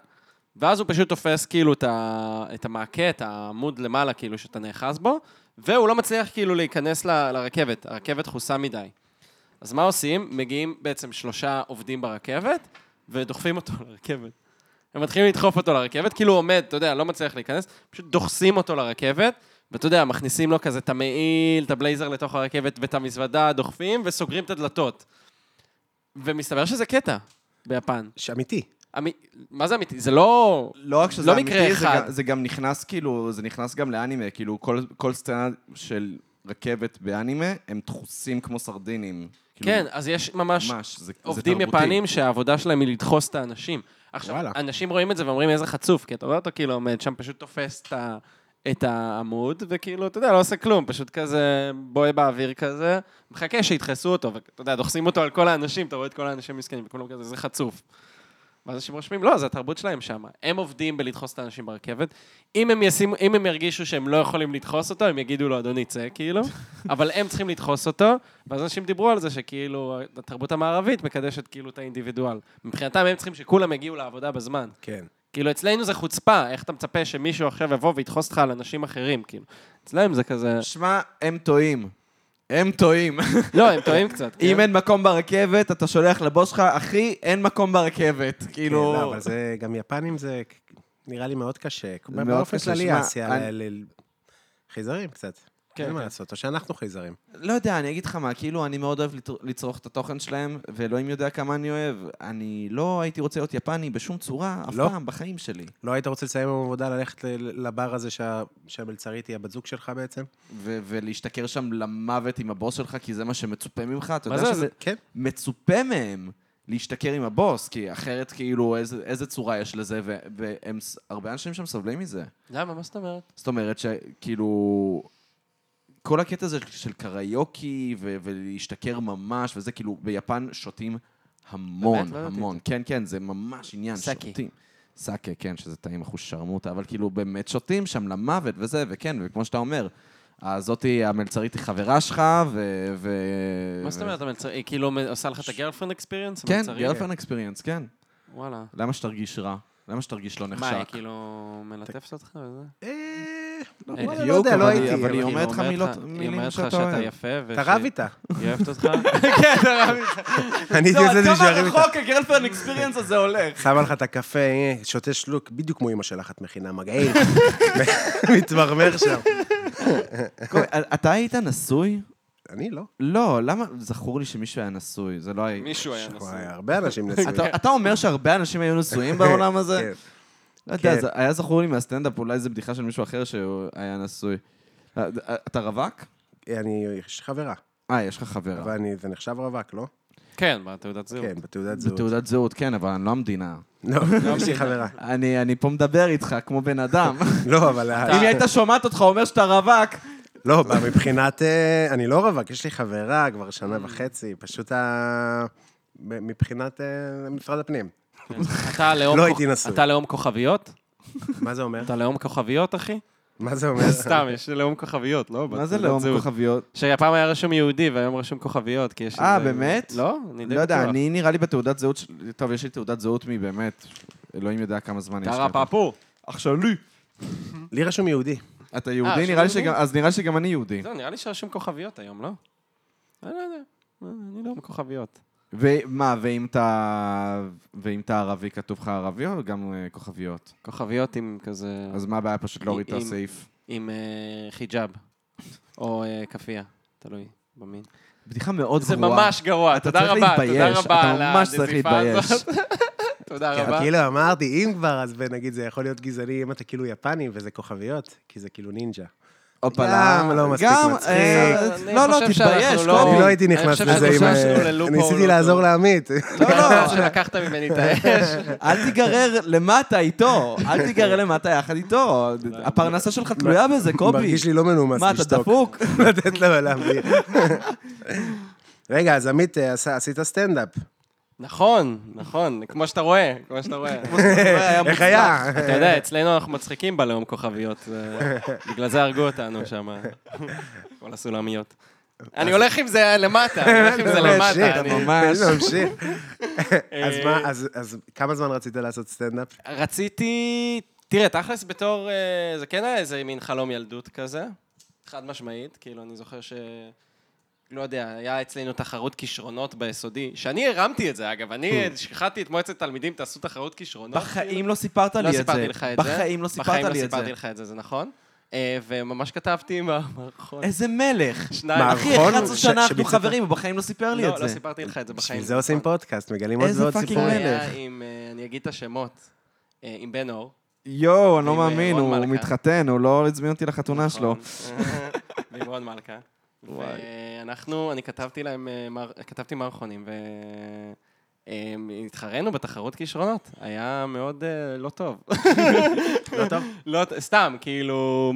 Speaker 3: ואז הוא פשוט תופס כאילו את, ה... את המעקה, את העמוד למעלה כאילו שאתה נאחז בו, והוא לא מצליח כאילו להיכנס ל... לרכבת, הרכבת דחוסה מדי. אז מה עושים? מגיעים בעצם שלושה עובדים ברכבת, ודוחפים אותו לרכבת. הם מתחילים לדחוף אותו לרכבת, כאילו הוא עומד, אתה יודע, לא מצליח להיכנס, פשוט דוחסים אותו לרכבת, ואתה יודע, מכניסים לו כזה את המעיל, את הבלייזר לתוך הרכבת ואת המזוודה, דוחפים וסוגרים את הדלתות. ומסתבר שזה קטע ביפן.
Speaker 4: שאמיתי.
Speaker 3: אמי... מה זה אמיתי? זה לא...
Speaker 2: לא רק שזה
Speaker 3: לא
Speaker 2: אמיתי,
Speaker 3: מקרה
Speaker 2: זה גם-
Speaker 3: אחד.
Speaker 2: זה גם נכנס כאילו, זה נכנס גם לאנימה, כאילו כל- כל סצנה של רכבת באנימה, הם דחוסים כמו סרדינים. כאילו,
Speaker 3: כן, אז יש ממש
Speaker 2: ממש, זה זה תרבותי.
Speaker 3: עובדים יפנים שהעבודה שלהם היא לדחוס את האנשים. עכשיו,
Speaker 4: וואלה.
Speaker 3: אנשים רואים את זה ואומרים איזה חצוף, כי אתה רואה אותו כאילו עומד שם, פשוט תופס את ה... את העמוד, וכאילו, אתה יודע, לא עושה כלום, פשוט כזה בוי באוויר כזה, מחכה שידחסו אותו, ואתה יודע, דוחסים אותו על כל האנשים, אתה רואה את כל האנשים מסכנים, וכולם כזה, זה חצוף. ואז אנשים רושמים, לא, זה התרבות שלהם שם. הם עובדים בלדחוס את האנשים ברכבת. אם הם, ישימו, אם הם ירגישו שהם לא יכולים לדחוס אותו, הם יגידו לו, אדוני, צא, כאילו. אבל הם צריכים לדחוס אותו, ואז אנשים דיברו על זה שכאילו, התרבות המערבית מקדשת כאילו את האינדיבידואל. מבחינתם הם צריכים שכולם יגיעו לעבודה בזמן.
Speaker 4: כן.
Speaker 3: כאילו, אצלנו זה חוצפה, איך אתה מצפה שמישהו עכשיו יבוא וידחוס אותך על אנשים אחרים, כאילו. אצלם זה כזה...
Speaker 2: שמע, הם טועים. הם טועים.
Speaker 3: לא, הם טועים קצת.
Speaker 2: אם
Speaker 3: כן?
Speaker 2: אין מקום ברכבת, אתה שולח לבוס שלך, אחי, אין מקום ברכבת.
Speaker 4: כן,
Speaker 2: כאילו...
Speaker 4: לא, אבל זה, גם יפנים זה נראה לי מאוד קשה.
Speaker 2: מאוד
Speaker 4: באופן
Speaker 2: קשה,
Speaker 4: כללי,
Speaker 2: שמע,
Speaker 4: אסיה,
Speaker 2: אני-
Speaker 4: ל- ל- חייזרים קצת.
Speaker 3: כן,
Speaker 4: אין מה
Speaker 3: כן.
Speaker 4: לעשות, או שאנחנו חייזרים.
Speaker 2: לא יודע, אני אגיד לך מה, כאילו, אני מאוד אוהב לצר- לצרוך את התוכן שלהם, ואלוהים יודע כמה אני אוהב. אני לא הייתי רוצה להיות יפני בשום צורה, אף
Speaker 4: לא.
Speaker 2: פעם, בחיים שלי.
Speaker 4: לא היית רוצה לסיים עם עבודה, ללכת ל- לבר הזה שה- שהמלצרית היא הבת זוג שלך בעצם?
Speaker 2: ו- ולהשתכר שם למוות עם הבוס שלך, כי זה מה שמצופה ממך. אתה
Speaker 3: מה
Speaker 2: יודע
Speaker 3: זה?
Speaker 2: שזה
Speaker 4: כן.
Speaker 2: מצופה מהם להשתכר עם הבוס, כי אחרת, כאילו, איזה, איזה צורה יש לזה, ו- והם, ס- הרבה אנשים שם סובלים מזה.
Speaker 3: למה? מה זאת אומרת?
Speaker 2: זאת אומרת שכאילו... כל הקטע הזה של קריוקי ו- ולהשתכר ממש וזה, כאילו, ביפן שותים המון,
Speaker 3: באמת? לא ידעתי
Speaker 2: המון. כן, כן, זה ממש עניין,
Speaker 3: סאקי.
Speaker 2: שותים. סאקה, כן, שזה טעים אחוז שרמוטה, אבל כאילו באמת שותים שם למוות וזה, וכן, וכמו שאתה אומר, הזאתי, המלצרית היא חברה שלך, ו... ו-
Speaker 3: מה זאת אומרת? המצר- היא כאילו עושה לך את הגרלפרנד אקספיריאנס?
Speaker 2: אה, כן, גרפן אקספיריאנס, כן.
Speaker 3: וואלה.
Speaker 2: למה שתרגיש רע? למה שתרגיש לא
Speaker 3: מה, היא
Speaker 2: נחשק?
Speaker 3: כאילו מלטפת אותך וזה?
Speaker 4: אה,
Speaker 2: לא,
Speaker 3: בדיוק,
Speaker 2: וואלה,
Speaker 4: לא יודע, לא
Speaker 2: אבל-
Speaker 4: הייתי,
Speaker 2: אבל
Speaker 4: אבל
Speaker 2: היא
Speaker 4: היא
Speaker 2: אומרת לך מילות-
Speaker 3: היא
Speaker 2: מילים
Speaker 3: אומרת לך
Speaker 2: שאתה
Speaker 3: שאתה
Speaker 2: אוהב.
Speaker 3: יפה,
Speaker 4: אתה רב איתה.
Speaker 3: היא אוהבת אותך.
Speaker 2: כן,
Speaker 4: אני
Speaker 2: לא,
Speaker 4: הייתי עושה את זה שירים איתה.
Speaker 2: הגרלפרנד אקספיריאנס הזה הולך.
Speaker 4: שמה לך את הקפה, אה, שותה שלוק, בדיוק כמו אמא שלך, את מכינה מגעיל. מתמרמר שם.
Speaker 2: אתה היית נשוי?
Speaker 4: אני לא.
Speaker 2: לא, למה? זכור לי שמישהו היה נשוי, זה לא היה...
Speaker 3: מישהו היה
Speaker 4: וואי,
Speaker 3: נשוי.
Speaker 4: הרבה אנשים נשואים.
Speaker 2: אתה- אתה אומר שהרבה אנשים היו נשואים בעולם הזה?
Speaker 4: כן.
Speaker 2: לא יודע,
Speaker 4: כן.
Speaker 2: זה היה זכור לי מהסטנדאפ, אולי זו בדיחה של מישהו אחר שהיה נשוי. אה, אתה רווק?
Speaker 4: כן. אני, יש חברה,
Speaker 2: אה, יש לך חברה.
Speaker 4: אבל אני, זה נחשב רווק, לא?
Speaker 3: כן, בתעודת זהות.
Speaker 4: כן, בתעודת זהות.
Speaker 2: בתעודת זהות, כן, אבל אני לא המדינה.
Speaker 4: לא, יש לי חברה.
Speaker 2: אני אני פה מדבר איתך כמו בן אדם.
Speaker 4: לא, אבל...
Speaker 2: אם היא הייתה שומעת אותך אומר שאתה רווק,
Speaker 4: לא, אבל מבחינת... אה, אני לא רווק, יש לי חברה כבר שנה וחצי, פשוט ה... ב- מבחינת אה, משרד הפנים.
Speaker 3: כן. אתה לאום
Speaker 4: לא
Speaker 3: כוכ-
Speaker 4: הייתי נשוי.
Speaker 3: אתה לאום כוכביות?
Speaker 4: מה זה אומר?
Speaker 3: אתה לאום כוכביות, אחי?
Speaker 4: מה זה אומר?
Speaker 3: סתם, יש לאום כוכביות, לא?
Speaker 2: מה זה
Speaker 3: בתעודת
Speaker 2: לאום
Speaker 3: זהות.
Speaker 2: כוכביות?
Speaker 3: שהפעם היה רשום יהודי והיום רשום כוכביות, כי יש...
Speaker 2: אה,
Speaker 3: איזה-
Speaker 2: באמת?
Speaker 3: לא? אני די
Speaker 2: לא יודע,
Speaker 3: בטוח.
Speaker 2: אני נראה לי בתעודת זהות, של- טוב, יש לי תעודת זהות מבאמת, אלוהים יודע כמה זמן יש לי. אוקיי.
Speaker 3: טרה פאפו.
Speaker 2: עכשיו לי.
Speaker 4: לי רשום יהודי.
Speaker 2: אתה
Speaker 3: אה,
Speaker 2: יהודי? נראה לי
Speaker 3: שהוא
Speaker 2: שגם, אז נראה לי שגם אני יהודי.
Speaker 3: זהו, לא, נראה לי שרשום כוכביות היום, לא? אני לא יודע. אני לאום כוכביות.
Speaker 2: ומה, ואם אתה ואם אתה ערבי, כתוב לך ערבי או גם אה, כוכביות?
Speaker 3: כוכביות עם כזה...
Speaker 2: אז מה הבעיה פשוט להוריד את
Speaker 3: כן. אם-
Speaker 2: הסעיף?
Speaker 3: עם אה, חיג'אב. או אה, כאפיה, תלוי במין.
Speaker 2: בדיחה מאוד
Speaker 3: זה
Speaker 2: גרועה.
Speaker 3: ממש גרוע,
Speaker 2: אתה
Speaker 3: תודה
Speaker 2: צריך
Speaker 3: רבה, תודה
Speaker 2: להתבייש,
Speaker 3: רבה
Speaker 2: אתה
Speaker 3: על
Speaker 2: ממש צריך
Speaker 3: הדחיפה הזאת. תודה
Speaker 4: כן,
Speaker 3: רבה.
Speaker 4: אבל כאילו אמרתי, אם כבר, אז נגיד זה יכול להיות גזעני אם אתה כאילו יפני וזה כוכביות, כי זה כאילו נינג'ה.
Speaker 2: הופלה.
Speaker 4: גם לא מספיק
Speaker 2: גם,
Speaker 4: מצחיק.
Speaker 2: אה,
Speaker 3: אני
Speaker 2: לא, לא,
Speaker 3: חושב
Speaker 2: תתבייש.
Speaker 3: שאנחנו
Speaker 4: אני
Speaker 2: קובי.
Speaker 4: לא הייתי
Speaker 3: אני
Speaker 4: נכנס
Speaker 3: חושב
Speaker 4: לזה עם...
Speaker 3: שהתחושה
Speaker 4: אה,
Speaker 3: שלו ללופו
Speaker 4: אני
Speaker 3: הוא
Speaker 4: ניסיתי
Speaker 3: לא
Speaker 4: לעזור לעמית.
Speaker 3: לא, לא, שלקחת ממני את האש.
Speaker 2: אל תיגרר למטה איתו, אל תיגרר למטה יחד איתו.
Speaker 3: לא,
Speaker 2: הפרנסה שלך תלויה בזה, קובי.
Speaker 4: מרגיש לי לא מנומס
Speaker 2: מה, אתה
Speaker 4: לשתוק.
Speaker 2: דפוק?
Speaker 4: לתת לו להמריא. רגע, אז עמית, אה, עשה- עשית סטנדאפ.
Speaker 3: נכון, נכון, כמו שאתה רואה, כמו שאתה רואה.
Speaker 4: איך היה?
Speaker 3: אתה יודע, אצלנו אנחנו מצחיקים בלאום כוכביות, זה- בגלל זה הרגו אותנו שם, כל הסולמיות. אני הולך עם זה למטה, אני הולך עם זה למטה.
Speaker 4: ממשיך,
Speaker 3: אני-
Speaker 2: ממש.
Speaker 4: ממשיך.
Speaker 3: אה,
Speaker 4: אז מה, אז- אז כמה זמן רצית לעשות סטנדאפ?
Speaker 3: רציתי... תראה, תכלס בתור... אה, זה כן היה איזה מין חלום ילדות כזה, חד משמעית. כאילו, אני זוכר ש... לא יודע, היה אצלנו תחרות כישרונות ביסודי, שאני הרמתי את זה, אגב. אני
Speaker 4: Hmm.
Speaker 3: שחטתי את מועצת תלמידים, תעשו תחרות כישרונות.
Speaker 2: בחיים לא סיפרת לי את זה.
Speaker 3: לא סיפרתי לך את זה.
Speaker 2: בחיים לא סיפרת
Speaker 3: בחיים
Speaker 2: לי את
Speaker 3: סיפרתי
Speaker 2: זה.
Speaker 3: לך את זה, זה נכון. אה, וממש כתבתי עם המערכון.
Speaker 2: איזה מלך.
Speaker 3: שניים.
Speaker 2: אה, אחי,
Speaker 4: נכון,
Speaker 2: 11
Speaker 4: ש-
Speaker 2: שנה אנחנו
Speaker 4: שביצעת-
Speaker 2: חברים, הוא בחיים לא סיפר לי
Speaker 3: לא,
Speaker 2: את
Speaker 3: לא
Speaker 2: זה.
Speaker 3: סיפרתי לך את זה בחיים.
Speaker 4: בשביל זה עושים
Speaker 3: נכון.
Speaker 4: פודקאסט, מגלים עוד
Speaker 2: איזה
Speaker 4: ועוד
Speaker 2: פאקינג
Speaker 4: סיפורים.
Speaker 2: מלך.
Speaker 3: זה היה עם, אה, אני אגיד את השמות, אה, עם בן אור.
Speaker 2: יואו, אני לא
Speaker 3: עם,
Speaker 2: מאמין,
Speaker 3: אה,
Speaker 2: הוא
Speaker 3: רון
Speaker 2: הוא
Speaker 3: מלכה. נכון.
Speaker 2: מתחתן, הוא לא הזמין אותי לחתונה שלו.
Speaker 3: לימון מלכה.
Speaker 2: וואי.
Speaker 3: ואנחנו, אני כתבתי להם, אה, מר- כתבתי מערכונים, והתחרנו בתחרות כישרונות. היה מאוד אה, לא טוב.
Speaker 4: לא טוב?
Speaker 3: לא, ט- סתם, כאילו...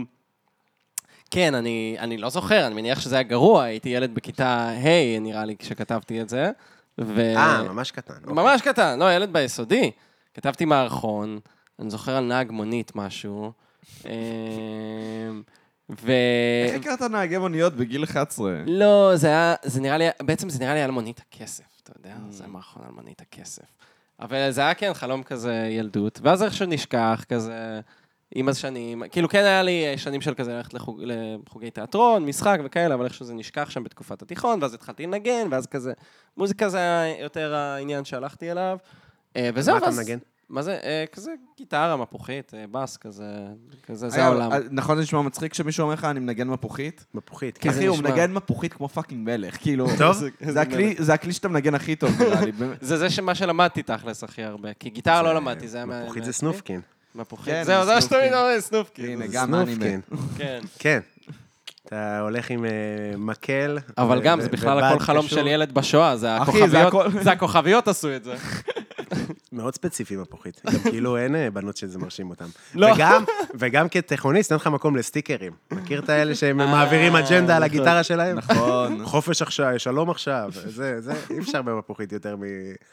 Speaker 3: כן, אני, אני לא זוכר, אני מניח שזה היה גרוע, הייתי ילד בכיתה ה', נראה לי, כשכתבתי את זה. ו-
Speaker 4: אה, ממש קטן.
Speaker 3: ממש קטן, לא, ילד ביסודי. כתבתי מערכון, אני זוכר על נהג מונית משהו. אמ, ו... אה,
Speaker 2: איך הכרת נהגי מוניות בגיל 11?
Speaker 3: לא, זה היה, זה נראה לי, בעצם זה נראה לי על מונית הכסף, אתה יודע,
Speaker 4: Mm.
Speaker 3: זה היה מערכון על מונית הכסף. אבל זה היה כן חלום כזה ילדות, ואז איכשהו נשכח כזה, עם השנים, כאילו כן היה לי אה, שנים של כזה ללכת לחוג, לחוגי תיאטרון, משחק וכאלה, אבל איכשהו זה נשכח שם בתקופת התיכון, ואז התחלתי לנגן, ואז כזה, מוזיקה זה היה יותר העניין שהלכתי אליו. אה, וזהו,
Speaker 4: מה אתה
Speaker 3: ואז-
Speaker 4: מנגן?
Speaker 3: מה זה? אה, כזה גיטרה מפוחית, אה, בס, כזה, כזה, זה
Speaker 2: היה-
Speaker 3: העולם.
Speaker 2: אה, נכון, זה נשמע מצחיק כשמישהו אומר לך, אני מנגן מפוחית?
Speaker 4: מפוחית.
Speaker 3: כן.
Speaker 2: אחי, הוא
Speaker 3: נשמע.
Speaker 2: מנגן מפוחית כמו פאקינג מלך, כאילו...
Speaker 4: טוב.
Speaker 2: זה- זה הכלי- זה הכלי שאתה מנגן הכי טוב, נראה לי. באמת.
Speaker 3: זה זה שמה שלמדתי תכלס הכי הרבה, כי גיטרה לא למדתי, זה היה... אה, מה-
Speaker 4: כן. מפוחית
Speaker 3: מה-
Speaker 4: זה סנופקין.
Speaker 2: כן,
Speaker 3: מפוחית. זהו, זה מה
Speaker 2: סנופקין.
Speaker 4: כן.
Speaker 3: שתמיד אומר, סנופקין.
Speaker 2: הנה,
Speaker 4: זה
Speaker 2: גם
Speaker 4: סנופקין.
Speaker 2: אנימה.
Speaker 3: כאילו, כן.
Speaker 4: כן. אתה הולך עם אה, מקל.
Speaker 3: אבל
Speaker 4: ו-
Speaker 3: גם,
Speaker 4: ו-
Speaker 3: זה בכלל
Speaker 4: ובד
Speaker 3: הכל חלום
Speaker 4: קשור.
Speaker 3: של ילד בשואה, זה
Speaker 2: אחי, זה
Speaker 3: הכוכביות,
Speaker 2: הכל-
Speaker 3: זה הכוכביות עשו את זה.
Speaker 4: מאוד ספציפי מפוחית. גם כאילו אין אה, בנות שזה מרשים אותן.
Speaker 3: לא.
Speaker 4: וגם, וגם כתיכוניסט, אין לך מקום לסטיקרים. מכיר את האלה שהם מעבירים אג'נדה על הגיטרה שלהם?
Speaker 2: אה, נכון.
Speaker 4: חופש עכשיו, שלום עכשיו. זה, זה, אי אפשר במפוחית יותר מ...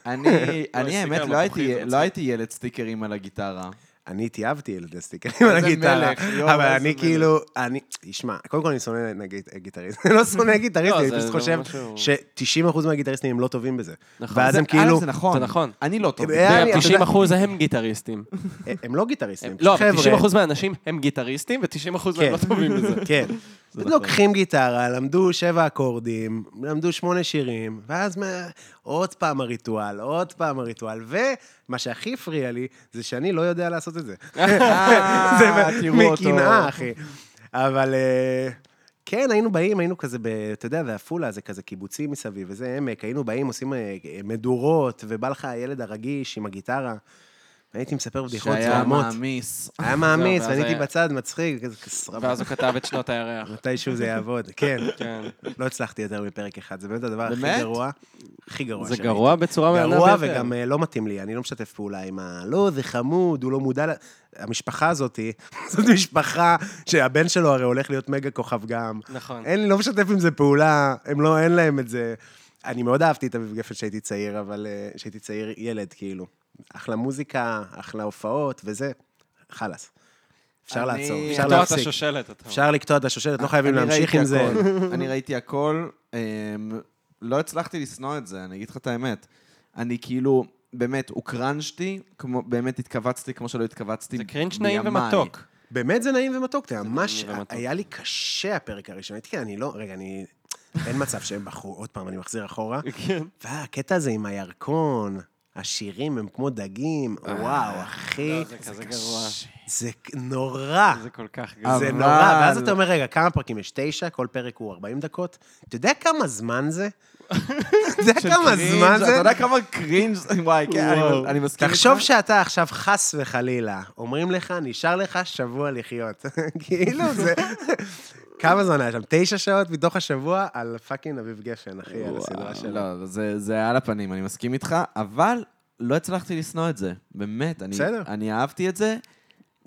Speaker 2: אני, אני
Speaker 3: הסטיקר
Speaker 2: האמת, לא
Speaker 3: מפחיד,
Speaker 2: הייתי-
Speaker 3: זה מצחיק.
Speaker 2: לא הייתי ילד סטיקרים על הגיטרה.
Speaker 4: אני התייבתי ילדי סטיקרים על
Speaker 2: איזה
Speaker 4: הגיטרה.
Speaker 2: מלך, יואו,
Speaker 4: אבל
Speaker 2: איזה
Speaker 4: אני
Speaker 2: מלך.
Speaker 4: כאילו, אני, תשמע, קודם כל אני שונא נגיד גיטריסט. אני לא שונא גיטריסט,
Speaker 3: לא,
Speaker 4: אני
Speaker 3: זה-
Speaker 4: פשוט
Speaker 3: זה
Speaker 4: חושב
Speaker 3: משהו-
Speaker 4: ש-90% מהגיטריסטים הם לא טובים בזה.
Speaker 3: נכון.
Speaker 4: ואז
Speaker 2: זה-
Speaker 4: הם
Speaker 2: א',
Speaker 4: כאילו,
Speaker 2: זה נכון.
Speaker 3: זה נכון.
Speaker 2: אני לא טוב.
Speaker 4: אה, היה לי- אתה
Speaker 3: 90
Speaker 4: יודע-
Speaker 3: אחוז הם גיטריסטים.
Speaker 4: הם לא גיטריסטים,
Speaker 3: הם-
Speaker 4: הם
Speaker 3: לא,
Speaker 4: פשוט
Speaker 3: 90
Speaker 4: חבר'ה.
Speaker 3: אחוז מהאנשים הם גיטריסטים, ו-90 אחוז מהם
Speaker 4: כן.
Speaker 3: לא טובים בזה. לא
Speaker 4: כן. לוקחים גיטרה, למדו שבע אקורדים, למדו שמונה שירים, ואז מה- עוד פעם הריטואל, עוד פעם הריטואל, ומה שהכי הפריע לי, זה שאני לא יודע לעשות את זה.
Speaker 2: אה,
Speaker 4: זה
Speaker 2: תראו אותו.
Speaker 4: מקנאה, אחי. אבל אה, כן, היינו באים, היינו כזה, ב- אתה יודע, ועפולה זה כזה קיבוצים מסביב, אה, וזה עמק, היינו באים, עושים אה, מדורות, ובא לך הילד הרגיש עם הגיטרה. והייתי מספר בדיחות
Speaker 2: שהיה
Speaker 4: זוהמות.
Speaker 2: מעמיס.
Speaker 4: היה מעמיס,
Speaker 3: ואז
Speaker 4: ואני הייתי
Speaker 3: היה-
Speaker 4: בצד, מצחיק, כזה כסרבה.
Speaker 3: ואז הוא כתב את שנות הירח.
Speaker 4: מתישהו זה יעבוד, כן.
Speaker 3: כן.
Speaker 4: לא הצלחתי יותר מפרק אחד, זה באמת הדבר הכי
Speaker 2: באמת?
Speaker 4: גרוע. הכי גרוע
Speaker 3: זה
Speaker 4: שראיתי.
Speaker 3: גרוע בצורה מעניינת
Speaker 4: גרוע
Speaker 3: ביותר.
Speaker 4: וגם אה, לא מתאים לי, אני לא משתף פעולה עם ה... לא, זה חמוד, הוא לא מודע ל... המשפחה הזאת, זאת משפחה שהבן שלו הרי הולך להיות מגה כוכב גם.
Speaker 3: נכון.
Speaker 4: אין, לא משתף עם זה פעולה, הם לא, אין להם את זה. אני מאוד אהבתי את אביב גפן כשהייתי צעיר, אבל אה, כשהייתי צעיר ילד, כאילו. אחלה מוזיקה, אחלה הופעות וזה, חלאס. אפשר
Speaker 2: אני-
Speaker 4: לעצור, אפשר
Speaker 3: קטוע את
Speaker 4: להפסיק.
Speaker 3: השושלת, אתה אומר.
Speaker 4: אפשר לקטוע את השושלת, לא חייבים
Speaker 2: אה, אני
Speaker 4: להמשיך
Speaker 2: ראיתי
Speaker 4: עם זה.
Speaker 2: הכל. אני ראיתי הכל, אמ, לא הצלחתי לשנוא את זה, אני אגיד לך את האמת. אני כאילו, באמת, הוקרנג'תי, כמו- באמת התכווצתי כמו שלא התכווצתי
Speaker 3: זה קרינג' נעים
Speaker 2: מימיי.
Speaker 3: ומתוק.
Speaker 4: באמת זה נעים ומתוק, אתה יודע,
Speaker 3: נעים
Speaker 4: ממש
Speaker 3: ומתוק.
Speaker 4: היה לי קשה הפרק הראשון. הייתי כאן, אני לא, רגע, אני... אין מצב שהם בחרו, עוד פעם, אני מחזיר אחורה.
Speaker 3: כן.
Speaker 4: והקטע הזה עם הירקון, השירים הם כמו דגים, וואו, אחי,
Speaker 3: לא, זה כזה גרוע.
Speaker 4: זה נורא.
Speaker 3: זה כל כך גרוע.
Speaker 4: זה
Speaker 2: אבל-
Speaker 4: נורא, ואז אתה אומר, רגע, כמה פרקים יש? תשע, כל פרק הוא 40 דקות. אתה יודע כמה זמן זה? אתה יודע
Speaker 2: של
Speaker 4: כמה
Speaker 2: קרינג',
Speaker 4: זמן
Speaker 2: אתה
Speaker 4: זה?
Speaker 2: יודע כמה קרינג', וואי, כן, אני- אני מסכים
Speaker 4: תחשוב שאתה עכשיו, חס וחלילה, אומרים לך, נשאר לך שבוע לחיות. כאילו, זה... כמה זמן היה שם? תשע שעות מתוך השבוע על פאקינג אביב גפן, אחי, על הסדרה שלו.
Speaker 2: לא, זה, זה על הפנים, אני מסכים איתך, אבל לא הצלחתי לשנוא את זה. באמת, אני,
Speaker 4: בסדר.
Speaker 2: אני אהבתי את זה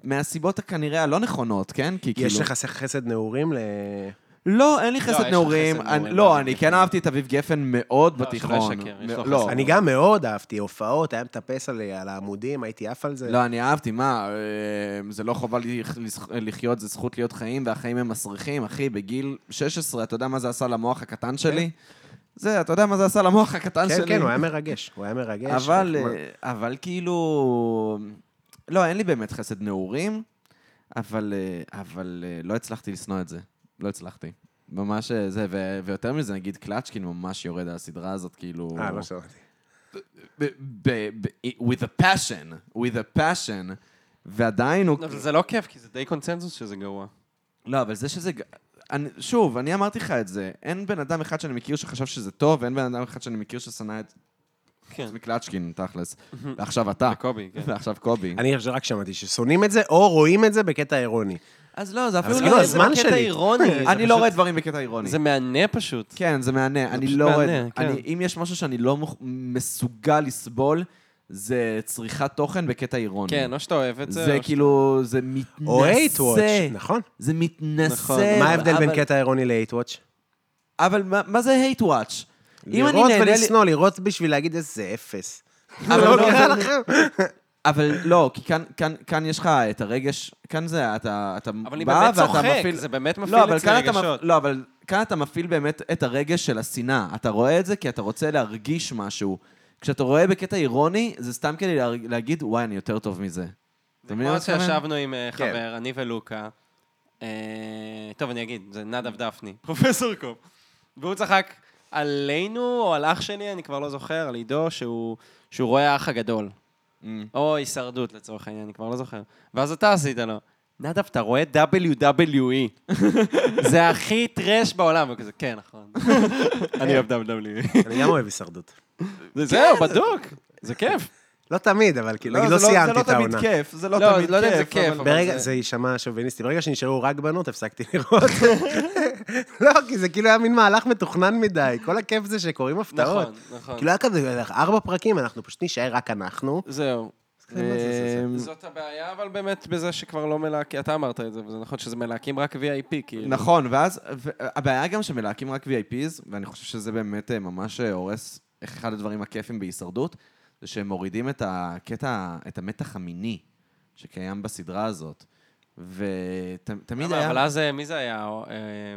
Speaker 2: מהסיבות הכנראה הלא נכונות, כן? כי כאילו...
Speaker 4: יש לך חסד נעורים ל...
Speaker 2: לא, אין לי
Speaker 3: יש
Speaker 2: חסד
Speaker 3: לך
Speaker 2: נעורים.
Speaker 3: חסד
Speaker 2: אני-
Speaker 3: נעורים
Speaker 2: לא,
Speaker 3: באביב
Speaker 2: אני
Speaker 3: גפן.
Speaker 2: כן אהבתי את אביב גפן מאוד
Speaker 3: לא, שלא
Speaker 2: בתיכון.
Speaker 3: ישקר, יש
Speaker 2: מ-
Speaker 3: לו חסד
Speaker 2: לא,
Speaker 3: נעורים.
Speaker 4: אני גם מאוד אהבתי הופעות, היה מטפס על על העמודים, הייתי עף על זה.
Speaker 2: לא, אני אהבתי, מה, אה, זה לא חובה לח- לח- לחיות, זה זכות להיות חיים, והחיים הם מסריחים. אחי, בגיל 16, אתה יודע מה זה עשה למוח הקטן שלי? זה, אתה יודע מה לא, זה עשה למוח הקטן
Speaker 4: כן,
Speaker 2: שלי?
Speaker 4: כן, הוא היה מרגש, הוא היה מרגש.
Speaker 2: אבל,
Speaker 4: נחמד.
Speaker 2: אה, אבל כאילו... לא, אין לי באמת חסד נעורים, אבל, אה, אבל אה, לא הצלחתי לשנוא את זה. לא הצלחתי. ממש אה, זה, ו- ויותר מזה, נגיד קלצ'קין ממש יורד על הסדרה הזאת, כאילו...
Speaker 4: אה, לא שמעתי.
Speaker 2: ב- ב- ב- with a passion, with a passion, ועדיין
Speaker 4: אה,
Speaker 2: הוא...
Speaker 3: אבל זה לא כיף, כי זה די קונצנזוס שזה גרוע.
Speaker 2: לא, אבל זה שזה... ג- אני, שוב, אני אמרתי לך את זה. אין בן אדם אחד שאני מכיר שחשב שזה טוב, ואין בן אדם אחד שאני מכיר ששנא את...
Speaker 3: כן.
Speaker 2: חוץ מקלצ'קין, תכלס. ועכשיו אתה.
Speaker 3: קובי, כן.
Speaker 2: ועכשיו קובי.
Speaker 4: אני חושב שרק שמעתי ששונאים את זה, או רואים את זה בקטע אירוני.
Speaker 2: אז לא, זה
Speaker 4: אז
Speaker 2: אפילו
Speaker 4: כאילו,
Speaker 2: לא...
Speaker 4: הזמן
Speaker 3: זה
Speaker 4: שלי.
Speaker 3: בקטע אירוני. זה
Speaker 2: אני לא
Speaker 3: פשוט-
Speaker 2: רואה דברים בקטע אירוני.
Speaker 3: זה מהנה פשוט.
Speaker 2: כן, זה מהנה. אני
Speaker 3: פשוט
Speaker 2: לא רואה...
Speaker 3: מהנה, כן.
Speaker 2: אני- אם יש משהו שאני לא מוכ- מסוגל לסבול, זה צריכת תוכן בקטע אירוני.
Speaker 3: כן, או שאתה אוהב את זה,
Speaker 2: זה
Speaker 3: או
Speaker 2: כאילו, זה
Speaker 4: או
Speaker 2: מתנשא.
Speaker 4: hate-watch, נכון?
Speaker 2: זה מתנשא.
Speaker 3: נכון.
Speaker 4: מה ההבדל בין
Speaker 2: אה, אבל-
Speaker 4: קטע אירוני ל-hate-watch?
Speaker 2: אבל מה מה זה hate watch? אם אני
Speaker 4: לראות
Speaker 2: נהנה... לי-
Speaker 4: ולשנוא, לראות בשביל להגיד איזה אפס.
Speaker 2: אבל
Speaker 4: לא
Speaker 2: לא, זה-
Speaker 4: קרה לכם.
Speaker 2: אבל לא, כי כאן- כאן- כאן יש לך את הרגש, כאן זה, אתה אתה בא ואתה מפעיל...
Speaker 3: אבל אני באמת צוחק, זה באמת מפעיל
Speaker 2: לא, אבל
Speaker 3: אצלי
Speaker 2: כאן אתה
Speaker 3: רגשות.
Speaker 2: מפ- לא, אבל כאן אתה מפעיל באמת את הרגש של השנאה. אתה רואה את זה כי אתה רוצה להרגיש משהו. כשאתה רואה בקטע אירוני, זה סתם כדי להרג- להגיד, וואי, אני יותר טוב מזה. אתה
Speaker 3: זה
Speaker 2: מבין מה
Speaker 3: כמו
Speaker 2: אני מתכוון?
Speaker 3: שישבנו עם אה,
Speaker 4: כן.
Speaker 3: חבר, אני ולוקה. אה, טוב, אני אגיד, זה נדב דפני, פרופסור קופ. והוא צחק עלינו או על אח שלי, אני כבר לא זוכר, על עידו, שהוא שהוא רואה האח הגדול. או הישרדות לצורך העניין, אני כבר לא זוכר. ואז אתה עשית לו, נדב, אתה רואה WWE. זה הכי טרש בעולם. וכזה, כן, נכון. אני אוהב E. WWE.
Speaker 4: אני גם אוהב הישרדות.
Speaker 3: זהו, בדוק. זה כיף.
Speaker 4: לא תמיד, אבל כאילו, נגיד, לא
Speaker 2: זה
Speaker 4: סיימתי את
Speaker 2: זה
Speaker 4: העונה.
Speaker 2: לא תמיד כיף, זה לא
Speaker 3: לא,
Speaker 2: תמיד
Speaker 3: לא יודע אם זה
Speaker 2: כיף.
Speaker 3: כיף,
Speaker 2: אבל-
Speaker 3: אבל-
Speaker 4: ברגע,
Speaker 3: זה-
Speaker 4: זה יישמע שוביניסטי, ברגע שנשארו רק בנות, הפסקתי לראות. לא, כי זה כאילו היה מין מהלך מתוכנן מדי. כל הכיף זה שקורים הפתעות.
Speaker 3: נכון, נכון.
Speaker 4: כאילו היה כזה, ארבע פרקים, אנחנו פשוט נישאר רק אנחנו.
Speaker 3: זהו.
Speaker 4: זה- זה-
Speaker 2: אמ,
Speaker 3: זאת הבעיה, אבל באמת בזה שכבר לא מלהקים, אתה אמרת את זה, וזה נכון שזה מלהקים רק VIP, כאילו.
Speaker 2: נכון, ואז, ו- הבעיה גם שמלהקים רק VIPs, ואני חושב שזה באמת אה, ממש אה, הורס אחד הדברים הכיפים בהישרדות, זה שהם מורידים את הקטע, את המתח המיני שקיים בסדרה הזאת. ותמיד
Speaker 3: למה?
Speaker 2: היה...
Speaker 3: אבל אז אה, מי זה היה? או,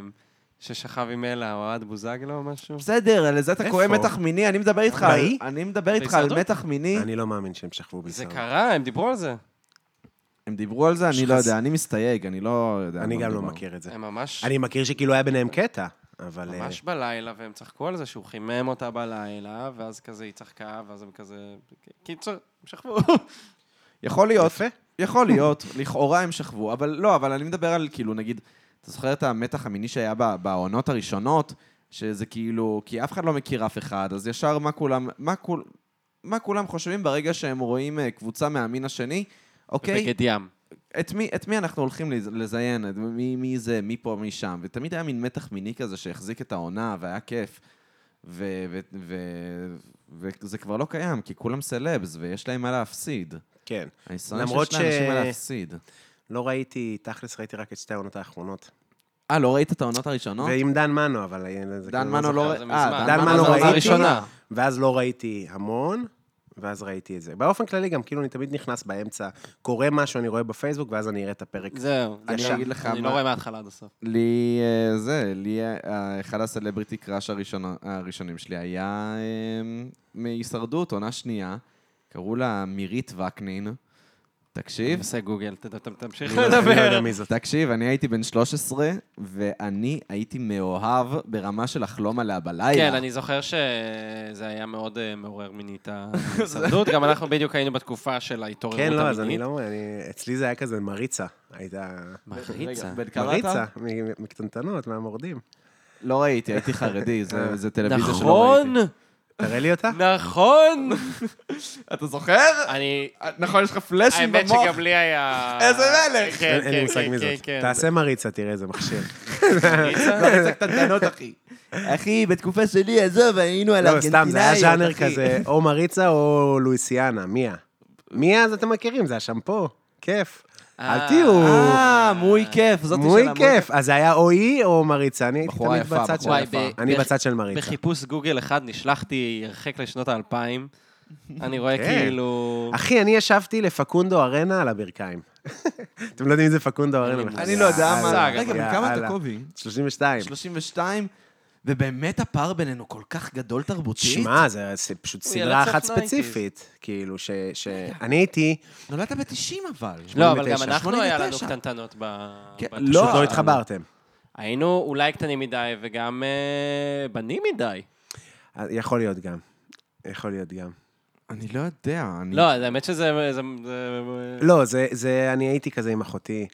Speaker 3: אמ, ששכב עם אלה, אוהד בוזגלו או משהו?
Speaker 2: בסדר, על זה אתה
Speaker 4: איפה?
Speaker 2: קורא מתח מיני, אני מדבר איתך על...
Speaker 4: באי?
Speaker 2: אני מדבר איתך על
Speaker 3: בהישרדות?
Speaker 2: מתח מיני.
Speaker 4: אני לא מאמין שהם שכבו
Speaker 3: זה
Speaker 4: בהישרדות.
Speaker 3: קרה, הם דיברו על זה.
Speaker 2: הם דיברו על זה, אני לא
Speaker 4: שחס-
Speaker 2: יודע, אני מסתייג, אני לא יודע. על
Speaker 4: אני
Speaker 2: מה
Speaker 4: גם לא
Speaker 2: מדובר.
Speaker 4: מכיר את זה.
Speaker 3: הם ממש...
Speaker 4: אני מכיר שכאילו היה ביניהם קטע, אבל... אה,
Speaker 3: ממש בלילה, והם צחקו על זה שהוא חימם אותה בלילה, ואז כזה היא צחקה, ואז הם כזה... קיצור, הם שכבו.
Speaker 2: יכול להיות. יפה. יכול להיות, לכאורה הם שכבו, אבל לא, אבל אני מדבר על כאילו, נגיד, אתה זוכר את המתח המיני שהיה ב- בעונות הראשונות, שזה כאילו, כי אף אחד לא מכיר אף אחד, אז ישר מה כולם, מה כול... מה כולם חושבים ברגע שהם רואים אה, קבוצה מהמין השני, אוקיי?
Speaker 3: בגד ים.
Speaker 2: את מי, את מי אנחנו הולכים לז- לזיין? את מי, מי זה, מי פה, מי שם? ותמיד היה מין מתח מיני כזה שהחזיק את העונה, והיה כיף. ו- ו- ו- וזה כבר לא קיים, כי כולם סלבס, ויש להם מה להפסיד.
Speaker 4: כן.
Speaker 2: אני שונא
Speaker 4: למרות
Speaker 2: שיש לאנשים מה
Speaker 4: ש-
Speaker 2: להפסיד.
Speaker 4: לא ראיתי, תכלס ראיתי רק את שתי העונות האחרונות.
Speaker 2: אה, לא ראית את העונות הראשונות?
Speaker 4: ועם דן מנו, אבל... אה, זה
Speaker 2: דן
Speaker 4: כאילו
Speaker 2: מנו לא...
Speaker 3: זוכר,
Speaker 2: רא-
Speaker 3: זה
Speaker 2: אה,
Speaker 3: מזמן.
Speaker 4: דן
Speaker 2: מנו
Speaker 4: מנו
Speaker 2: זה
Speaker 4: ראיתי,
Speaker 2: העונה הראשונה.
Speaker 3: הראשונה.
Speaker 4: ואז לא ראיתי המון, ואז ראיתי את זה. באופן כללי, גם כאילו אני תמיד נכנס באמצע, קורה משהו, אני רואה בפייסבוק, ואז אני אראה את הפרק.
Speaker 3: זהו. זה
Speaker 2: אני
Speaker 3: שם.
Speaker 2: אגיד לך
Speaker 3: אני
Speaker 2: מה-
Speaker 3: לא רואה מההתחלה עד הסוף.
Speaker 2: לי, אה, זה, לי, אה, אחד הסלבריטי קראש הראשון- הראשונים שלי היה אה, מהישרדות, עונה שנייה. קראו לה מירית וקנין.
Speaker 3: אני
Speaker 2: תקשיב,
Speaker 3: עושה גוגל, ת- ת- תמשיך
Speaker 4: אני לא- אני לא
Speaker 3: לדבר.
Speaker 4: יודע מי זאת.
Speaker 2: תקשיב, אני הייתי בן 13, ואני הייתי מאוהב ברמה של לחלום עליה
Speaker 4: אה,
Speaker 2: בלילה.
Speaker 3: כן, אני זוכר שזה היה מאוד אה, מעורר מינית ההישרדות. גם אנחנו בדיוק היינו בתקופה של ההתעוררות
Speaker 4: כן,
Speaker 3: המינית.
Speaker 4: לא, אז אני לא... אני- אצלי זה היה כזה מריצה. הייתה...
Speaker 3: מריצה.
Speaker 2: רגע, בן כמה
Speaker 4: מריצה,
Speaker 2: אתה?
Speaker 4: מ- מקטנטנות, מהמורדים.
Speaker 2: לא ראיתי, הייתי חרדי, זה זה טלוויזיה שלא ראיתי.
Speaker 3: נכון,
Speaker 4: תראה לי אותה?
Speaker 3: נכון.
Speaker 2: אתה זוכר?
Speaker 5: אני...
Speaker 2: נכון, יש לך פלאשים
Speaker 5: האמת
Speaker 2: במוח?
Speaker 5: שגם לי היה...
Speaker 2: איזה מלך!
Speaker 5: כן,
Speaker 4: אין אין לי
Speaker 5: כן,
Speaker 4: מושג
Speaker 5: כן,
Speaker 4: מי
Speaker 5: כן,
Speaker 4: זאת.
Speaker 5: כן.
Speaker 4: תעשה מריצה, תראה איזה מכשיר.
Speaker 2: מריצה קטנטנות, אחי. אחי, בתקופה שלי, עזוב, היינו על
Speaker 4: לא, סתם, זה היה
Speaker 2: ארגנטינאיות,
Speaker 4: ז'אנר
Speaker 2: אחי.
Speaker 4: כזה, או מריצה או לואיסיאנה, מיה. מיה, אז אתם מכירים, זה השמפו. כיף. אל
Speaker 3: אה,
Speaker 4: תהיו...
Speaker 2: אה, מוי כיף, זאתי של
Speaker 4: מוי
Speaker 2: המוי
Speaker 4: כיף. אז זה היה או היא או מריצה. אני הייתי
Speaker 2: בחורה
Speaker 4: תמיד
Speaker 2: יפה,
Speaker 4: בצד של...
Speaker 2: בחורה
Speaker 3: וואי, ב-
Speaker 4: אני
Speaker 3: בח-
Speaker 4: בצד של מריצה.
Speaker 3: בחיפוש גוגל אחד נשלחתי הרחק לשנות האלפיים. אני רואה
Speaker 4: כן.
Speaker 3: כאילו...
Speaker 4: אחי, אני ישבתי לפקונדו ארנה על הברכיים. אתם לא יודעים מי זה פקונדו ארנה.
Speaker 3: מושג.
Speaker 4: בכלל.
Speaker 2: אני לא יודע מה...
Speaker 4: יאללה,
Speaker 2: רגע, בן כמה אתה
Speaker 4: יאללה.
Speaker 2: קובי?
Speaker 4: 32.
Speaker 2: 32? ובאמת הפער בינינו כל כך גדול תרבותית?
Speaker 4: שמע, זה זה פשוט
Speaker 3: הוא
Speaker 4: סדרה
Speaker 3: ילד
Speaker 4: אחת
Speaker 3: סוף 90s.
Speaker 4: ספציפית. כאילו, ש... ש- אני הייתי,
Speaker 2: נולדת ב-90 אבל.
Speaker 3: לא, אבל גם
Speaker 4: 89.
Speaker 3: אנחנו היה לנו
Speaker 2: 89.
Speaker 3: קטנטנות ב...
Speaker 2: כן,
Speaker 3: ב-
Speaker 2: לא,
Speaker 4: פשוט
Speaker 2: אבל-
Speaker 4: לא התחברתם.
Speaker 3: היינו אולי קטנים מדי וגם אה, בנים מדי.
Speaker 4: אז אה, יכול להיות גם. יכול להיות גם.
Speaker 2: אני לא יודע, אני...
Speaker 3: לא, אז האמת שזה... זה- זה-
Speaker 4: לא, זה, זה, אני הייתי כזה עם אחותי.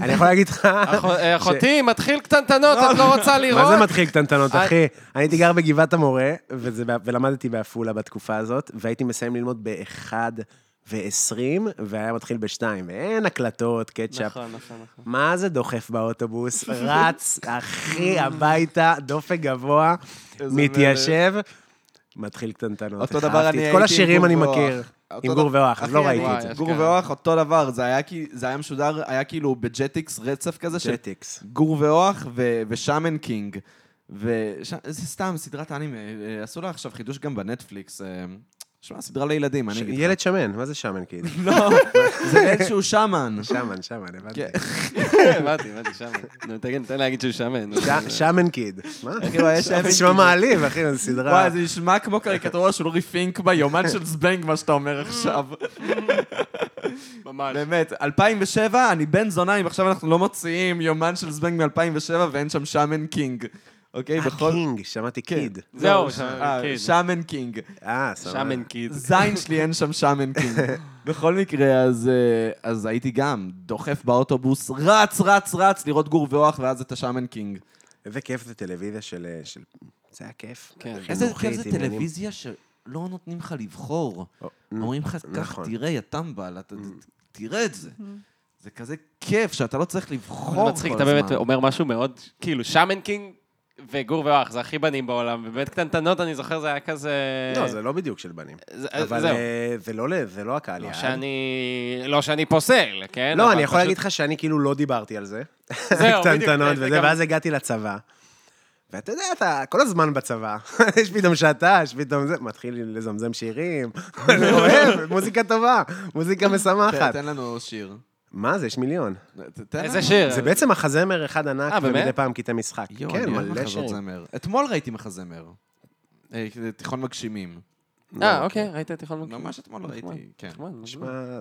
Speaker 4: אני יכול להגיד לך...
Speaker 3: אח- אה, אחותי, מתחיל קטנטנות, את לא רוצה
Speaker 4: מה
Speaker 3: לראות?
Speaker 4: זה מתחיל קטנטנות,
Speaker 2: אה,
Speaker 4: אחי? אני הייתי גר בגבעת המורה, וזה ב- ולמדתי בעפולה בתקופה הזאת, והייתי מסיים ללמוד ב-1 ו-20, והיה מתחיל ב-2, ואין הקלטות, קטשאפ.
Speaker 3: נכון, נכון, נכון.
Speaker 4: מה זה דוחף באוטובוס? רץ, אחי, הביתה, דופק גבוה, מתיישב, מתחיל קטנטנות.
Speaker 2: אותו
Speaker 4: איך
Speaker 2: דבר
Speaker 4: אהבתי
Speaker 2: אני
Speaker 4: את
Speaker 2: הייתי
Speaker 4: כל
Speaker 2: עם
Speaker 4: השירים
Speaker 2: גור
Speaker 4: אני
Speaker 2: ואוח.
Speaker 4: מכיר.
Speaker 2: אותו
Speaker 4: עם
Speaker 2: דבר-
Speaker 4: גור ואוח, אז
Speaker 2: אחי,
Speaker 4: לא
Speaker 2: אני-
Speaker 4: ראיתי
Speaker 3: וואי,
Speaker 4: את זה.
Speaker 2: גור
Speaker 3: אשכרה.
Speaker 2: ואוח אותו דבר, זה היה, כי- זה היה משודר, היה כאילו בג'טיקס רצף כזה של
Speaker 4: ג'טיקס.
Speaker 2: גור ואוח ו- ושאמן קינג. וזה סתם, סדרת אנימה, אה, עשו לה עכשיו חידוש גם בנטפליקס. אה, שמע, סדרה לילדים, אני אגיד לך.
Speaker 4: ילד שמן, מה זה שמן כאילו?
Speaker 2: לא, זה איזשהו שמן.
Speaker 4: שמן, שמן, הבנתי.
Speaker 2: כן.
Speaker 3: הבנתי, הבנתי, שמן. נו, תגיד, תן להגיד שהוא שמן. נו.
Speaker 4: ש- שמן קיד. מה?
Speaker 2: כאילו, היה שמן
Speaker 4: זה נשמע
Speaker 2: קיד.
Speaker 4: מעליב, אחי, זו סדרה.
Speaker 2: וואי, זה נשמע כמו קריקטורה של אורי פינק ביומן של זבנג, מה שאתה אומר עכשיו.
Speaker 3: ממש.
Speaker 2: באמת, 2007, אני בן זונה אם עכשיו אנחנו לא מוציאים יומן של זבנג מ-2007 ואין שם שמן קינג. אוקיי,
Speaker 4: אה,
Speaker 2: בכל...
Speaker 4: קינג, שמעתי קיד.
Speaker 3: זהו,
Speaker 2: לא,
Speaker 3: שמן
Speaker 2: אה,
Speaker 3: קינג.
Speaker 2: שמן קינג.
Speaker 4: אה, סבבה.
Speaker 3: שמן קיד.
Speaker 2: זין שלי אין שם שמן קינג. בכל מקרה, אז, אה, אז הייתי גם דוחף באוטובוס, רץ, רץ, רץ, לראות גור ואוח, ואז את השמן קינג.
Speaker 4: איזה כיף זה טלוויזיה של... אה, של- זה היה כיף.
Speaker 3: כן.
Speaker 4: חינוכית,
Speaker 2: איזה כיף זה
Speaker 4: עניינים.
Speaker 2: טלוויזיה שלא נותנים לך לבחור.
Speaker 4: או,
Speaker 2: אומרים לך, קח,
Speaker 4: נכון.
Speaker 2: תראה, יא טמבל, אתה- תראה את זה. זה כזה כיף שאתה לא צריך לבחור
Speaker 3: זה
Speaker 2: כל
Speaker 3: מצחיק,
Speaker 4: נכון.
Speaker 3: אתה באמת
Speaker 2: הזמן.
Speaker 3: אומר משהו מאוד, כאילו, שמן קינג וגור ואוח, זה הכי בנים בעולם, ובאמת קטנטנות, אני זוכר, זה היה כזה...
Speaker 4: לא, זה לא בדיוק של בנים.
Speaker 3: זה-
Speaker 4: אבל
Speaker 3: זהו.
Speaker 4: אה, זה לא ל- זה לא הקהל
Speaker 3: לא
Speaker 4: יעד.
Speaker 3: שאני... לא שאני פוסל, כן?
Speaker 4: לא,
Speaker 3: אבל
Speaker 4: אני יכול
Speaker 3: פשוט-
Speaker 4: להגיד לך שאני כאילו לא דיברתי על זה.
Speaker 3: זהו, בדיוק,
Speaker 4: קטנטנות
Speaker 3: זה
Speaker 4: וזה,
Speaker 3: גם-
Speaker 4: ואז הגעתי לצבא. ואתה יודע, אתה כל הזמן בצבא. יש פתאום שעתה, יש פתאום זה, מתחיל לזמזם שירים. אני אוהב, מוזיקה טובה, מוזיקה
Speaker 3: כן,
Speaker 4: משמחת.
Speaker 2: תן לנו שיר.
Speaker 4: מה זה, יש מיליון.
Speaker 2: ת- תן לנו.
Speaker 3: איזה שיר.
Speaker 4: זה בעצם מחזמר אחד ענק,
Speaker 3: אה, באמת?
Speaker 4: ומדי פעם קטעי משחק.
Speaker 2: יואו,
Speaker 4: כן,
Speaker 2: אני אוהב
Speaker 4: מלא
Speaker 2: מחזות
Speaker 4: שירים.
Speaker 2: זמר. אתמול ראיתי מחזמר. אה, תיכון מגשימים.
Speaker 3: אה, אוקיי, ראית את נכון. יכולנו...
Speaker 2: ממש אתמול ראיתי, כן.
Speaker 4: נשמע-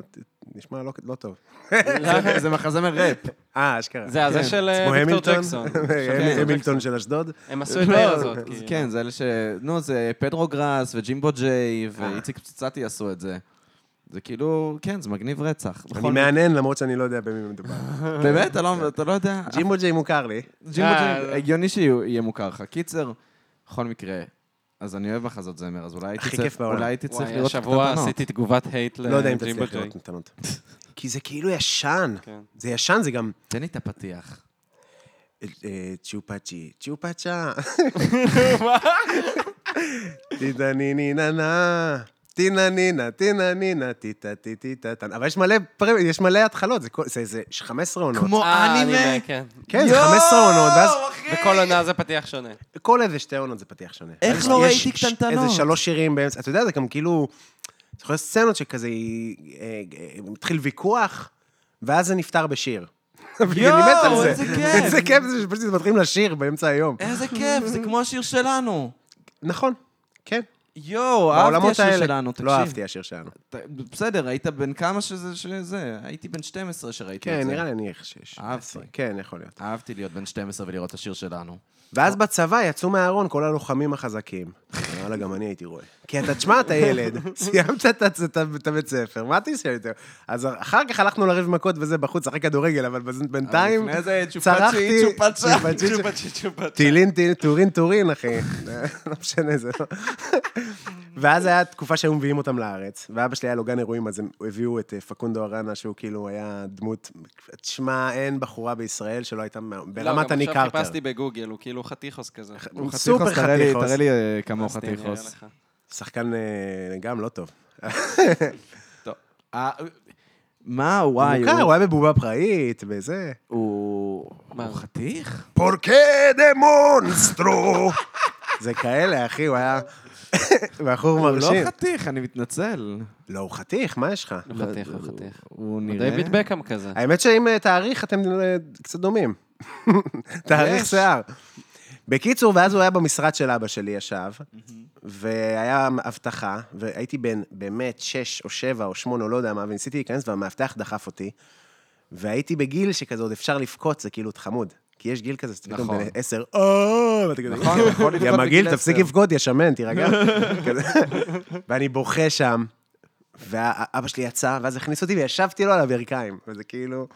Speaker 4: נשמע לא- לא טוב.
Speaker 3: נכון.
Speaker 2: זה- זה מחזמר ראפ.
Speaker 4: אה, אשכרה.
Speaker 3: זה הזה של אה, ויקטור
Speaker 4: המילטון?
Speaker 3: ג'קסון.
Speaker 2: כן,
Speaker 4: המילטון של אשדוד.
Speaker 3: הם עשו את העיר
Speaker 2: לא,
Speaker 3: הזאת.
Speaker 2: זה-
Speaker 3: כאילו.
Speaker 2: כן, זה אלה ש... נו, זה פדרו גראס וג'ימבו
Speaker 4: אה.
Speaker 2: ג'יי ואיציק פצצתי עשו את זה. זה כאילו, כן, זה מגניב רצח. בכל
Speaker 4: אני
Speaker 2: מקרה.
Speaker 4: מהנהן למרות שאני לא יודע במי מדובר.
Speaker 2: באמת? אתה לא- אתה לא יודע?
Speaker 4: ג'ימבו ג'יי מוכר לי.
Speaker 2: ג'ימבו
Speaker 3: אה,
Speaker 2: ג'יי,
Speaker 3: לא.
Speaker 2: הגיוני שיהיה מוכר לך. קיצר, בכל מקרה, אז אני אוהב מחזות זמר, אז אולי הייתי
Speaker 4: הכי
Speaker 2: צריך
Speaker 4: כיף בעולם.
Speaker 2: אולי הייתי צריך
Speaker 3: וואי,
Speaker 2: לראות את
Speaker 3: השבוע
Speaker 2: התקנות.
Speaker 3: עשיתי תגובת הייט
Speaker 4: לא יודע אם תצליח
Speaker 3: לג'ימבו אה, ג'יי.
Speaker 4: לראות נתנות. כי זה כאילו ישן.
Speaker 3: כן.
Speaker 4: זה ישן, זה גם...
Speaker 2: תן לי את הפתיח.
Speaker 4: אה, אה, צ'ופצ'י, צ'ופצ'ה. טיטה ניני ננה. טינה נינה, טינה נינה, טיטה טיטי טטה. אבל יש מלא פרמ- יש מלא התחלות, זה כל- זה- זה 15 עונות.
Speaker 2: כמו
Speaker 3: אה,
Speaker 2: אנימה.
Speaker 3: אנימה, כן.
Speaker 4: כן, זה 15 עונות, ואז
Speaker 3: וכל עונה זה פתיח שונה.
Speaker 4: כל איזה שתי עונות זה פתיח שונה.
Speaker 2: איך
Speaker 4: יש-
Speaker 2: לא
Speaker 4: יש
Speaker 2: ראיתי
Speaker 4: ש-
Speaker 2: קטנטנות?
Speaker 4: איזה שלוש שירים באמצע, אתה יודע, זה גם כאילו... זוכר סצנות שכזה, היא- אה, אה, מתחיל ויכוח, ואז זה נפתר בשיר. ואני מת על זה.
Speaker 2: איזה כיף. אה?
Speaker 4: איזה כיף זה שפשוט מתחילים לשיר באמצע היום.
Speaker 2: איזה כיף, זה כמו השיר שלנו.
Speaker 4: נכון, כן.
Speaker 2: יואו, אהבתי
Speaker 4: בעולמות
Speaker 2: השיר
Speaker 4: האלה-
Speaker 2: שלנו, תקשיב.
Speaker 4: לא אהבתי השיר שלנו.
Speaker 2: ת- בסדר, היית בן כמה שזה, שזה, הייתי בן 12 שראיתי את
Speaker 4: כן,
Speaker 2: זה.
Speaker 4: נראה לי אני חושש.
Speaker 2: אהבתי.
Speaker 4: כן, יכול להיות.
Speaker 2: אהבתי להיות בן 12 ולראות את השיר שלנו.
Speaker 4: ואז בצבא יצאו מהארון כל הלוחמים החזקים. וואלה, גם אני הייתי רואה. כי אתה, תשמע, אתה ילד, סיימת את הצ- את ה- את הבית ספר, מה תשאל יותר? אז אחר כך הלכנו לריב מכות וזה בחוץ, אחרי כדורגל, אבל בז- בינתיים
Speaker 2: לפני זה צ'ופצ'י,
Speaker 4: צרחתי...
Speaker 2: צ'ופצ'ה.
Speaker 4: צ'ופצ'י, צ'ופ-
Speaker 3: צ'ופצ'י צ'ופצ'י.
Speaker 4: טילין, טילין, טורין, טורין, אחי. לא משנה, זה לא... ואז היה תקופה שהיו מביאים אותם לארץ, ואבא שלי היה לו גן אירועים, אז הם הביאו את אה, פקונדו ארנה, שהוא כאילו היה דמות... תשמע, אין בחורה בישראל שלא הייתה מה- ברמת אני
Speaker 3: לא, גם עכשיו
Speaker 4: קרטר.
Speaker 3: חיפשתי בגוגל, הוא כאילו חטיחוס כזה.
Speaker 4: הוא
Speaker 2: חתיכוס,
Speaker 4: סופר
Speaker 2: תראה לי-
Speaker 4: חתיכוס.
Speaker 2: תראה לי אה, כמה הוא
Speaker 3: אז תראה
Speaker 2: חתיכוס.
Speaker 3: לך.
Speaker 4: שחקן אה, גם לא טוב.
Speaker 2: טוב. אה, מה, וואי,
Speaker 4: הוא מוכר,
Speaker 2: הוא-
Speaker 4: הוא היה בבובה פראית, בזה.
Speaker 2: הוא...
Speaker 3: מה?
Speaker 2: הוא חתיך?
Speaker 4: פורקה דה מונסטרו. זה כאלה, אחי, הוא היה בחור
Speaker 2: הוא לא
Speaker 4: מרשים.
Speaker 2: חתיך, אני מתנצל.
Speaker 4: לא, הוא חתיך, מה יש לך?
Speaker 3: הוא חתיך, הוא חתיך.
Speaker 2: הוא לא. נראה...
Speaker 3: דיוויד בקאם כזה.
Speaker 4: האמת שאם אה, תאריך, אתם אה, קצת דומים. תאריך שיער. בקיצור, ואז הוא היה במשרד של אבא שלי, ישב, והיה אבטחה, והייתי בן באמת שש או שבע או שמונה, או לא יודע מה, וניסיתי להיכנס, והמאבטח דחף אותי, והייתי בגיל שכזה עוד אפשר לבכות, זה כאילו עוד חמוד. כי יש גיל כזה, שאתה פתאום
Speaker 2: נכון.
Speaker 4: בן עשר, "אה", ואתה כזה,
Speaker 2: נכון, יכול לבכות
Speaker 4: יא מגעיל,
Speaker 2: בגיל
Speaker 4: תפסיק
Speaker 2: עשר.
Speaker 4: לבכות, יא שמן, תירגע. כזה. ואני בוכה שם, ואבא שלי יצא, ואז הכניס אותי וישבתי לו על הברכיים. וזה כאילו,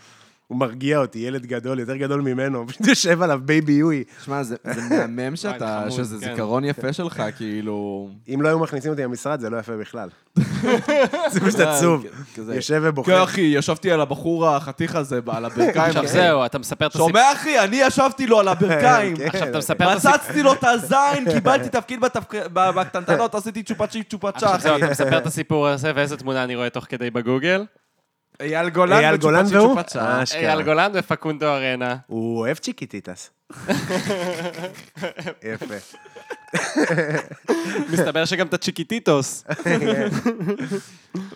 Speaker 4: הוא מרגיע אותי, ילד גדול, יותר גדול ממנו, פשוט יושב עליו בייבי יואי.
Speaker 2: שמע, זה זה מהמם
Speaker 3: וואי,
Speaker 2: שאתה...
Speaker 3: חמוד,
Speaker 2: שזה
Speaker 3: כן.
Speaker 2: זיכרון יפה שלך, כאילו...
Speaker 4: אם לא היו מכניסים אותי למשרד, זה לא יפה בכלל. זה פשוט עצוב.
Speaker 2: כזה-
Speaker 4: יושב
Speaker 2: כן,
Speaker 4: ובוכה.
Speaker 2: אחי, ישבתי על הבחור החתיך הזה, ב- על הברכיים.
Speaker 3: עכשיו
Speaker 2: אחי.
Speaker 3: זהו, אתה מספר את הסיפור.
Speaker 2: שומע, אחי? אני ישבתי לו על הברכיים.
Speaker 4: כן,
Speaker 3: עכשיו
Speaker 4: כן.
Speaker 3: אתה מספר את הסיפור.
Speaker 2: מצצתי לו את הזין, קיבלתי תפקיד בתפק- ב- בקטנטנות, עשיתי צ'ופת צ'יפ צ'ופת צ'ה,
Speaker 3: עכשיו
Speaker 2: אחי.
Speaker 3: זהו, אתה מספר את הסיפור הזה, ואיזה תמונה אני רואה תוך כדי בגוגל?
Speaker 2: אייל גולן
Speaker 4: אייל גולן
Speaker 2: וצ'ופת צ'יפ
Speaker 4: והוא?
Speaker 2: צ'ופת צ'ה.
Speaker 4: אה, אשכרה.
Speaker 3: אייל גולן ופקונדו ארנה.
Speaker 4: הוא אוהב צ'יקיטיטס. יפה.
Speaker 3: מסתבר שגם את הצ'יקיטיטוס.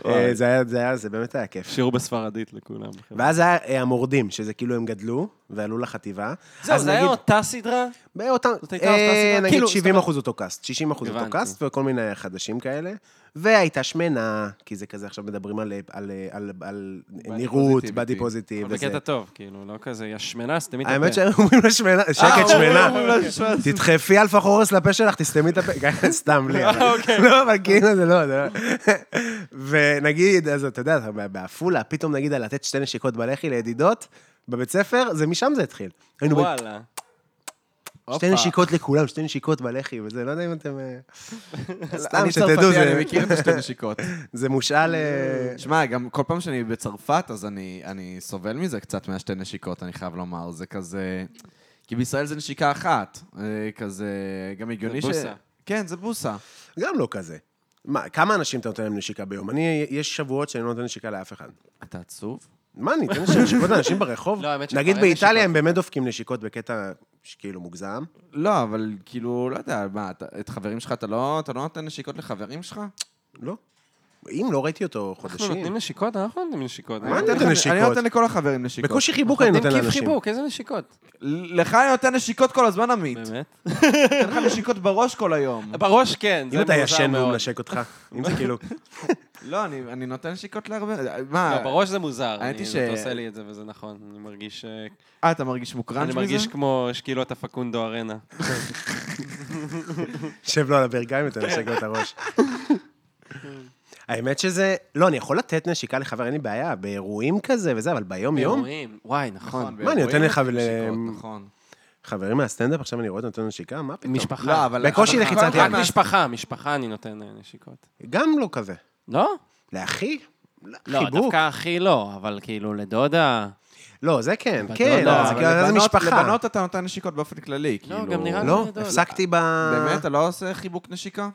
Speaker 4: אה, זה היה, זה היה, זה באמת היה כיף.
Speaker 3: שירו בספרדית לכולם.
Speaker 4: ואז היה אה, המורדים, שזה כאילו הם גדלו, ועלו לחטיבה.
Speaker 3: זהו,
Speaker 4: אז
Speaker 3: זה היה
Speaker 4: נגיד-
Speaker 3: אותה סדרה?
Speaker 4: באותם,
Speaker 3: זאת הייתה אותה
Speaker 4: אה,
Speaker 3: סדרה?
Speaker 4: נגיד
Speaker 3: כאילו,
Speaker 4: 70 אחוז אותו קאסט, 60 אחוז אותו
Speaker 3: הבנתי.
Speaker 4: קאסט וכל מיני חדשים כאלה. והייתה שמנה, כי זה כזה, עכשיו מדברים על- אה, על- על- על נראות,
Speaker 2: positivity.
Speaker 4: בדי פוזיטיב
Speaker 3: אבל
Speaker 4: וזה.
Speaker 3: לא בקטע טוב, כאילו, לא כזה, היא השמנה, סתמי את הפה.
Speaker 4: האמת שהיו אומרים לה שמנה,
Speaker 3: אה,
Speaker 4: שקט
Speaker 3: אוקיי.
Speaker 4: שמנה.
Speaker 2: אומרים לה שמנה.
Speaker 4: תדחפי על פחורס לפה שלך, תסתמי את הפה. סתם, בלי.
Speaker 2: אה,
Speaker 4: אבל-
Speaker 2: אוקיי.
Speaker 4: לא, אבל כאילו זה לא, זה לא. ונגיד, אז אתה יודע, אתה בעפולה, פתאום נגיד על לתת שתי נשיקות בלחי לידידות, בבית ספר, זה משם זה התחיל. היינו ב-
Speaker 3: וואלה.
Speaker 4: שתי נשיקות לכולם, שתי נשיקות בלחי וזה, לא יודע אם אתם... אה, סתם
Speaker 2: אני
Speaker 4: שתדעו,
Speaker 2: צרפתי,
Speaker 4: זה-
Speaker 2: אני מכיר את השתי נשיקות.
Speaker 4: זה מושאל... אה,
Speaker 2: שמע, גם כל פעם שאני בצרפת, אז אני, אני סובל מזה קצת מהשתי נשיקות, אני חייב לומר. זה כזה... כי בישראל זה נשיקה אחת. אה, כזה... גם הגיוני
Speaker 3: בוסה.
Speaker 2: כן, זה בוסה.
Speaker 4: גם לא כזה. מה, כמה אנשים אתה נותן להם נשיקה ביום? אני, יש שבועות שאני לא נותן נשיקה לאף אחד.
Speaker 2: אתה עצוב?
Speaker 4: מה, אני אתן נשיקות- נשיקות לאנשים ברחוב?
Speaker 3: לא, האמת שכבר
Speaker 4: נגיד
Speaker 3: אין
Speaker 4: באיטליה
Speaker 3: נשיקות.
Speaker 4: הם באמת דופקים נשיקות בקטע שכאילו מוגזם.
Speaker 2: לא, אבל כאילו, לא יודע, מה, אתה, את חברים שלך אתה לא, אתה לא נותן נשיקות לחברים שלך?
Speaker 4: לא. אם לא ראיתי אותו
Speaker 3: אנחנו
Speaker 4: חודשים.
Speaker 3: נותנים נשיקות? אנחנו נותנים נשיקות.
Speaker 4: מה
Speaker 3: אנחנו
Speaker 4: נותן נשיקות?
Speaker 2: אני נותן לכל החברים נשיקות.
Speaker 4: בקושי חיבוק אני נותן
Speaker 3: נותנים כיף
Speaker 4: לאנשים.
Speaker 3: חיבוק, איזה נשיקות?
Speaker 2: לך אני נותן נשיקות כל הזמן, עמית.
Speaker 3: באמת?
Speaker 2: נותן לך נשיקות בראש כל היום.
Speaker 3: בראש כן, זה
Speaker 4: אם אתה
Speaker 3: מוזר
Speaker 4: ישן והוא
Speaker 3: מאוד.
Speaker 4: מנשק אותך, אם זה כאילו...
Speaker 2: לא, אני, אני נותן נשיקות להרבה... מה?
Speaker 3: לא, בראש זה מוזר.
Speaker 2: האמת
Speaker 3: אני-
Speaker 2: היא ש-
Speaker 3: אתה עושה לי את זה וזה נכון. אני מרגיש... אה,
Speaker 2: אה, אתה מרגיש מוקרן
Speaker 3: אני
Speaker 2: מזה?
Speaker 3: מרגיש כמו שקילות הפקונדו ארנה.
Speaker 4: שב לו על הברכיים ותנשק לו את הראש. האמת שזה... לא, אני יכול לתת נשיקה לחבר, אין לי בעיה, באירועים כזה וזה, אבל ביום-יום...
Speaker 3: אירועים. וואי, נכון.
Speaker 2: נכון,
Speaker 4: מה, אני נותן
Speaker 2: באירועים
Speaker 4: לך ול-
Speaker 2: נותנים נשיקות, נכון.
Speaker 4: חברים מהסטנדאפ, עכשיו אני רואה אותם נותן נשיקה, מה פתאום?
Speaker 3: משפחה.
Speaker 2: לא, אבל...
Speaker 4: בקושי
Speaker 2: אבל-
Speaker 4: לחיצת
Speaker 2: אבל-
Speaker 3: רק משפחה, משפחה אני נותן אה, נשיקות.
Speaker 4: גם לא כזה.
Speaker 3: לא?
Speaker 4: לאחי?
Speaker 3: לא,
Speaker 4: חיבוק.
Speaker 3: דווקא אחי לא, אבל כאילו לדודה...
Speaker 4: לא, זה כן,
Speaker 3: בנות,
Speaker 4: כן,
Speaker 3: לא,
Speaker 2: לא,
Speaker 4: אבל זה
Speaker 2: אבל
Speaker 4: כאילו, זה
Speaker 2: לבנות-
Speaker 4: משפחה.
Speaker 2: לבנות אתה נותן נשיקות באופן כללי, כאילו...
Speaker 3: גם נראה לי-
Speaker 4: לא,
Speaker 3: לדוד.
Speaker 4: הפסקתי ב...
Speaker 2: באמת? אתה לא עושה חיבוק נשיקה?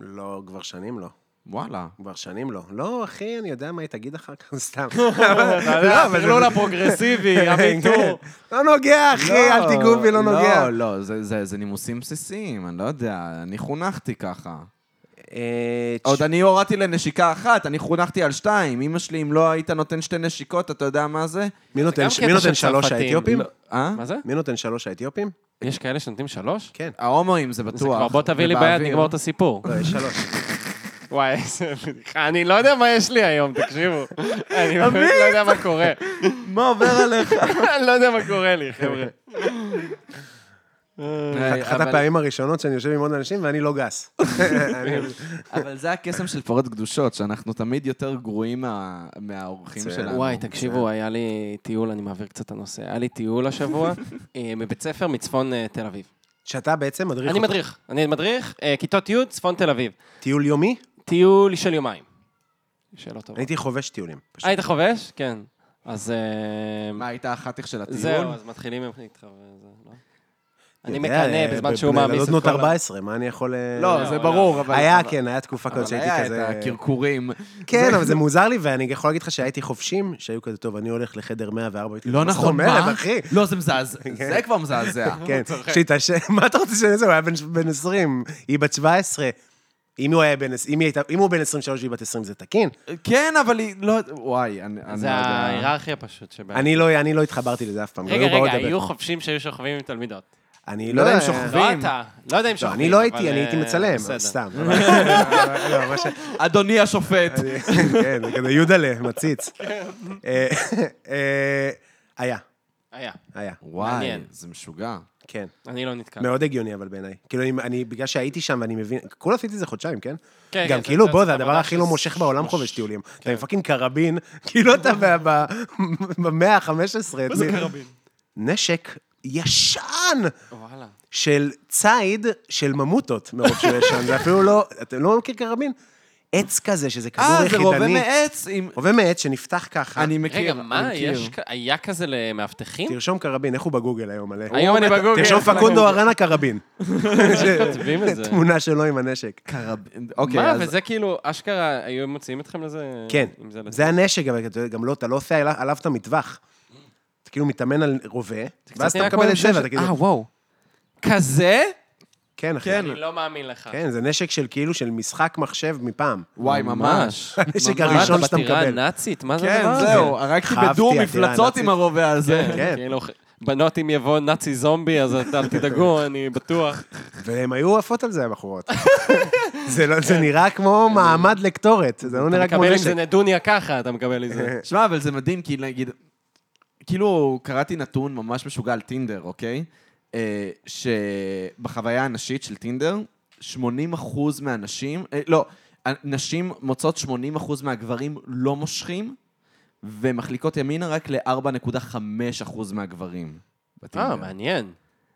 Speaker 4: לא, כבר שנים לא.
Speaker 2: וואלה.
Speaker 4: כבר שנים לא. לא, אחי, אני יודע מה היא תגיד אחר כך, סתם.
Speaker 3: לא,
Speaker 2: לא
Speaker 3: הטרלול הפרוגרסיבי, המיטור.
Speaker 4: לא נוגע, אחי,
Speaker 2: לא,
Speaker 4: אל תיגעו בי, לא נוגע.
Speaker 2: לא, לא, זה- זה זה נימוסים בסיסיים, אני לא יודע, אני חונכתי ככה.
Speaker 4: אה,
Speaker 2: עוד אני הורדתי לנשיקה אחת, אני חונכתי על שתיים. אמא שלי, אם לא היית נותן שתי נשיקות, אתה יודע מה זה?
Speaker 4: מי נותן-
Speaker 3: גם
Speaker 4: מי
Speaker 3: קטע
Speaker 4: נותן
Speaker 3: של
Speaker 4: שלוש
Speaker 3: צרפתים.
Speaker 4: האתיופים?
Speaker 3: לא.
Speaker 2: אה?
Speaker 3: מה זה?
Speaker 4: מי נותן שלוש האתיופים?
Speaker 3: יש כאלה שנותנים שלוש?
Speaker 4: כן.
Speaker 2: ההומואים זה בטוח.
Speaker 3: זה כבר בוא תביא לי ביד,
Speaker 2: ובאוויר.
Speaker 3: נגמור את הסיפור.
Speaker 4: לא, יש שלוש.
Speaker 3: וואי, איזה בדיחה. אני לא יודע מה יש לי היום, תקשיבו. אני באמת לא יודע מה קורה.
Speaker 2: מה עובר עליך?
Speaker 3: אני לא יודע מה קורה לי, חבר'ה.
Speaker 2: אה,
Speaker 4: אחת הפעמים הראשונות שאני יושב עם עוד אנשים ואני לא גס.
Speaker 2: אבל זה הקסם של פרות קדושות, שאנחנו תמיד יותר גרועים מה- מהאורחים
Speaker 4: בסדר.
Speaker 2: שלנו.
Speaker 3: וואי, תקשיבו, היה לי טיול, אני מעביר קצת את הנושא. היה לי טיול השבוע אה, מבית ספר מצפון אה, תל אביב.
Speaker 4: שאתה בעצם מדריך
Speaker 3: אני
Speaker 4: אותו.
Speaker 3: מדריך, אני מדריך, אה, כיתות י', צפון תל אביב.
Speaker 4: טיול יומי?
Speaker 3: טיול של יומיים. שאלה טובה.
Speaker 4: הייתי חובש טיולים. פשוט.
Speaker 3: היית חובש? כן. אז... אה,
Speaker 2: מה, היית החתיך של הטיול?
Speaker 3: זהו, אז מתחילים איתך וזה, לא? אני
Speaker 4: יודע,
Speaker 3: מקנא
Speaker 4: אה,
Speaker 3: בזמן שהוא
Speaker 4: בבני-
Speaker 3: מעמיס את
Speaker 4: בנות
Speaker 3: כל ה...
Speaker 4: 14, מה אני יכול... אה,
Speaker 2: לא,
Speaker 3: לא,
Speaker 2: זה
Speaker 3: לא.
Speaker 2: ברור, אבל...
Speaker 4: היה,
Speaker 2: אבל-
Speaker 4: כן, היה תקופה כזאת
Speaker 2: אבל
Speaker 4: שהייתי
Speaker 2: היה את
Speaker 4: כזה...
Speaker 2: הקרקורים.
Speaker 4: כן, אבל זה מוזר לי, ואני יכול להגיד לך שהייתי חובשים, שהיו כזה, טוב, אני הולך לחדר 104. הייתי כזה,
Speaker 2: לא נכון,
Speaker 4: מה? זאת אומרת,
Speaker 2: מה? אה,
Speaker 4: אחי?
Speaker 2: לא, זה מזעזע. זה כבר מזעזע.
Speaker 4: כן, שהתעשן, מה אתה רוצה שזה, הוא היה בן- בן 20, היא בת 17. אם הוא היה בן, עש- אם היא הייתה, אם הוא בן 23 והיא בת 20 זה תקין.
Speaker 2: כן, אבל היא... לא... וואי, אני אני לא
Speaker 3: זה
Speaker 2: יודע.
Speaker 3: ההיררכיה פשוט שבה...
Speaker 4: אני לא, אני לא התחברתי לזה אף פעם.
Speaker 3: רגע,
Speaker 4: היו באות
Speaker 3: רגע,
Speaker 4: לדבר.
Speaker 3: היו חובשים שהיו שוכבים עם תלמידות.
Speaker 4: אני לא יודע אם
Speaker 2: לא,
Speaker 4: שוכבים.
Speaker 3: לא אתה, לא יודע אם
Speaker 4: לא,
Speaker 3: שוכבים.
Speaker 4: אני לא
Speaker 3: אבל,
Speaker 4: הייתי, אני
Speaker 3: אה,
Speaker 4: הייתי מצלם,
Speaker 3: בסדר.
Speaker 4: סתם. אבל- לא, מה ש-
Speaker 2: אדוני השופט.
Speaker 4: כן, זה כזה יודלה, מציץ. אה, אה, היה,
Speaker 3: היה.
Speaker 4: היה,
Speaker 2: וואי,
Speaker 3: מעניין.
Speaker 2: זה משוגע.
Speaker 4: כן.
Speaker 3: אני לא נתקע.
Speaker 4: מאוד הגיוני אבל בעיניי. כאילו, אני- אני, בגלל שהייתי שם ואני מבין, כולה עשיתי את זה חודשיים, כן?
Speaker 3: כן,
Speaker 4: גם
Speaker 3: כן,
Speaker 4: כאילו,
Speaker 3: זה-
Speaker 4: בוא,
Speaker 3: זה
Speaker 4: זה הדבר
Speaker 3: עבודה
Speaker 4: הכי לא
Speaker 3: של
Speaker 4: מושך בעולם חובש טיולים. אתה עם
Speaker 3: כן.
Speaker 4: פאקינג קרבין, כאילו אתה ב- ב- במאה ה-15. מה זה קרבין? נשק ישן
Speaker 3: וואלה.
Speaker 4: של ציד של ממוטות, מרוב שהוא ישן. זה אפילו לא, אתם לא מכיר קרבין? עץ כזה, שזה כדור
Speaker 2: אה, זה רובה
Speaker 4: יחידני. אה,
Speaker 2: מעץ עם...
Speaker 4: רובה מעץ שנפתח ככה.
Speaker 2: אני מכיר.
Speaker 3: רגע,
Speaker 2: אני
Speaker 3: מה,
Speaker 2: מכיר.
Speaker 3: יש... כ- היה כזה למאבטחים?
Speaker 4: תרשום קרבין, איך הוא בגוגל היום מלא?
Speaker 3: היום אני בגוגל.
Speaker 4: תרשום פקונדו ארנה קרבין.
Speaker 3: כותבים את זה.
Speaker 4: תמונה שלו עם הנשק.
Speaker 2: קרבין. אוקיי,
Speaker 3: מה,
Speaker 2: אז...
Speaker 3: וזה כאילו, אשכרה, היו מוציאים אתכם לזה?
Speaker 4: כן,
Speaker 3: עם זה לזה?
Speaker 4: זה הנשק, אבל אתה יודע, גם לא, אתה לא עושה עליו- עליו את המטווח. אתה כאילו מתאמן על רובה, ואז אתה
Speaker 3: נראה כמו
Speaker 4: מקבל את זה,
Speaker 3: ממששת.
Speaker 4: ואתה כאילו,
Speaker 3: אה, וואו. כזה?
Speaker 4: כן, אחי.
Speaker 2: כן.
Speaker 3: אני לא מאמין לך.
Speaker 4: כן, זה נשק של כאילו, של משחק מחשב מפעם.
Speaker 2: וואי, ממש.
Speaker 3: ממש.
Speaker 4: הנשק
Speaker 2: ממש.
Speaker 4: הראשון
Speaker 3: מה,
Speaker 4: שאתה
Speaker 3: אתה
Speaker 4: מקבל.
Speaker 3: בטירה נאצית? מה זה
Speaker 2: כן,
Speaker 3: הדבר הזה?
Speaker 2: זהו, הרגתי
Speaker 4: חבתי
Speaker 2: בדור
Speaker 4: עתירה
Speaker 2: מפלצות
Speaker 4: נאצית.
Speaker 2: עם הרובה הזה.
Speaker 4: כן.
Speaker 3: כאילו, בנות אם יבוא נאצי זומבי, אז אל אל תדאגו, אני בטוח.
Speaker 4: והן היו עפות על זה, הבחורות. זה לא- זה נראה כמו מעמד לקטורת, זה
Speaker 3: כן.
Speaker 4: לא
Speaker 3: אתה
Speaker 4: נראה כמו
Speaker 3: מקבל עם זה
Speaker 4: נשק.
Speaker 3: נדוניה ככה, אתה מקבל עם זה.
Speaker 2: שמע, אבל זה מדהים, כי נגיד... כאילו, קראתי נתון ממש משוגע על טינדר, אוקיי? אה, שבחוויה הנשית של טינדר, 80 אחוז מהנשים... אה, לא, נשים מוצאות 80 אחוז מהגברים לא מושכים, ומחליקות ימינה רק ל-4.5 אחוז מהגברים.
Speaker 3: אה,
Speaker 2: בטינדר.
Speaker 3: מעניין.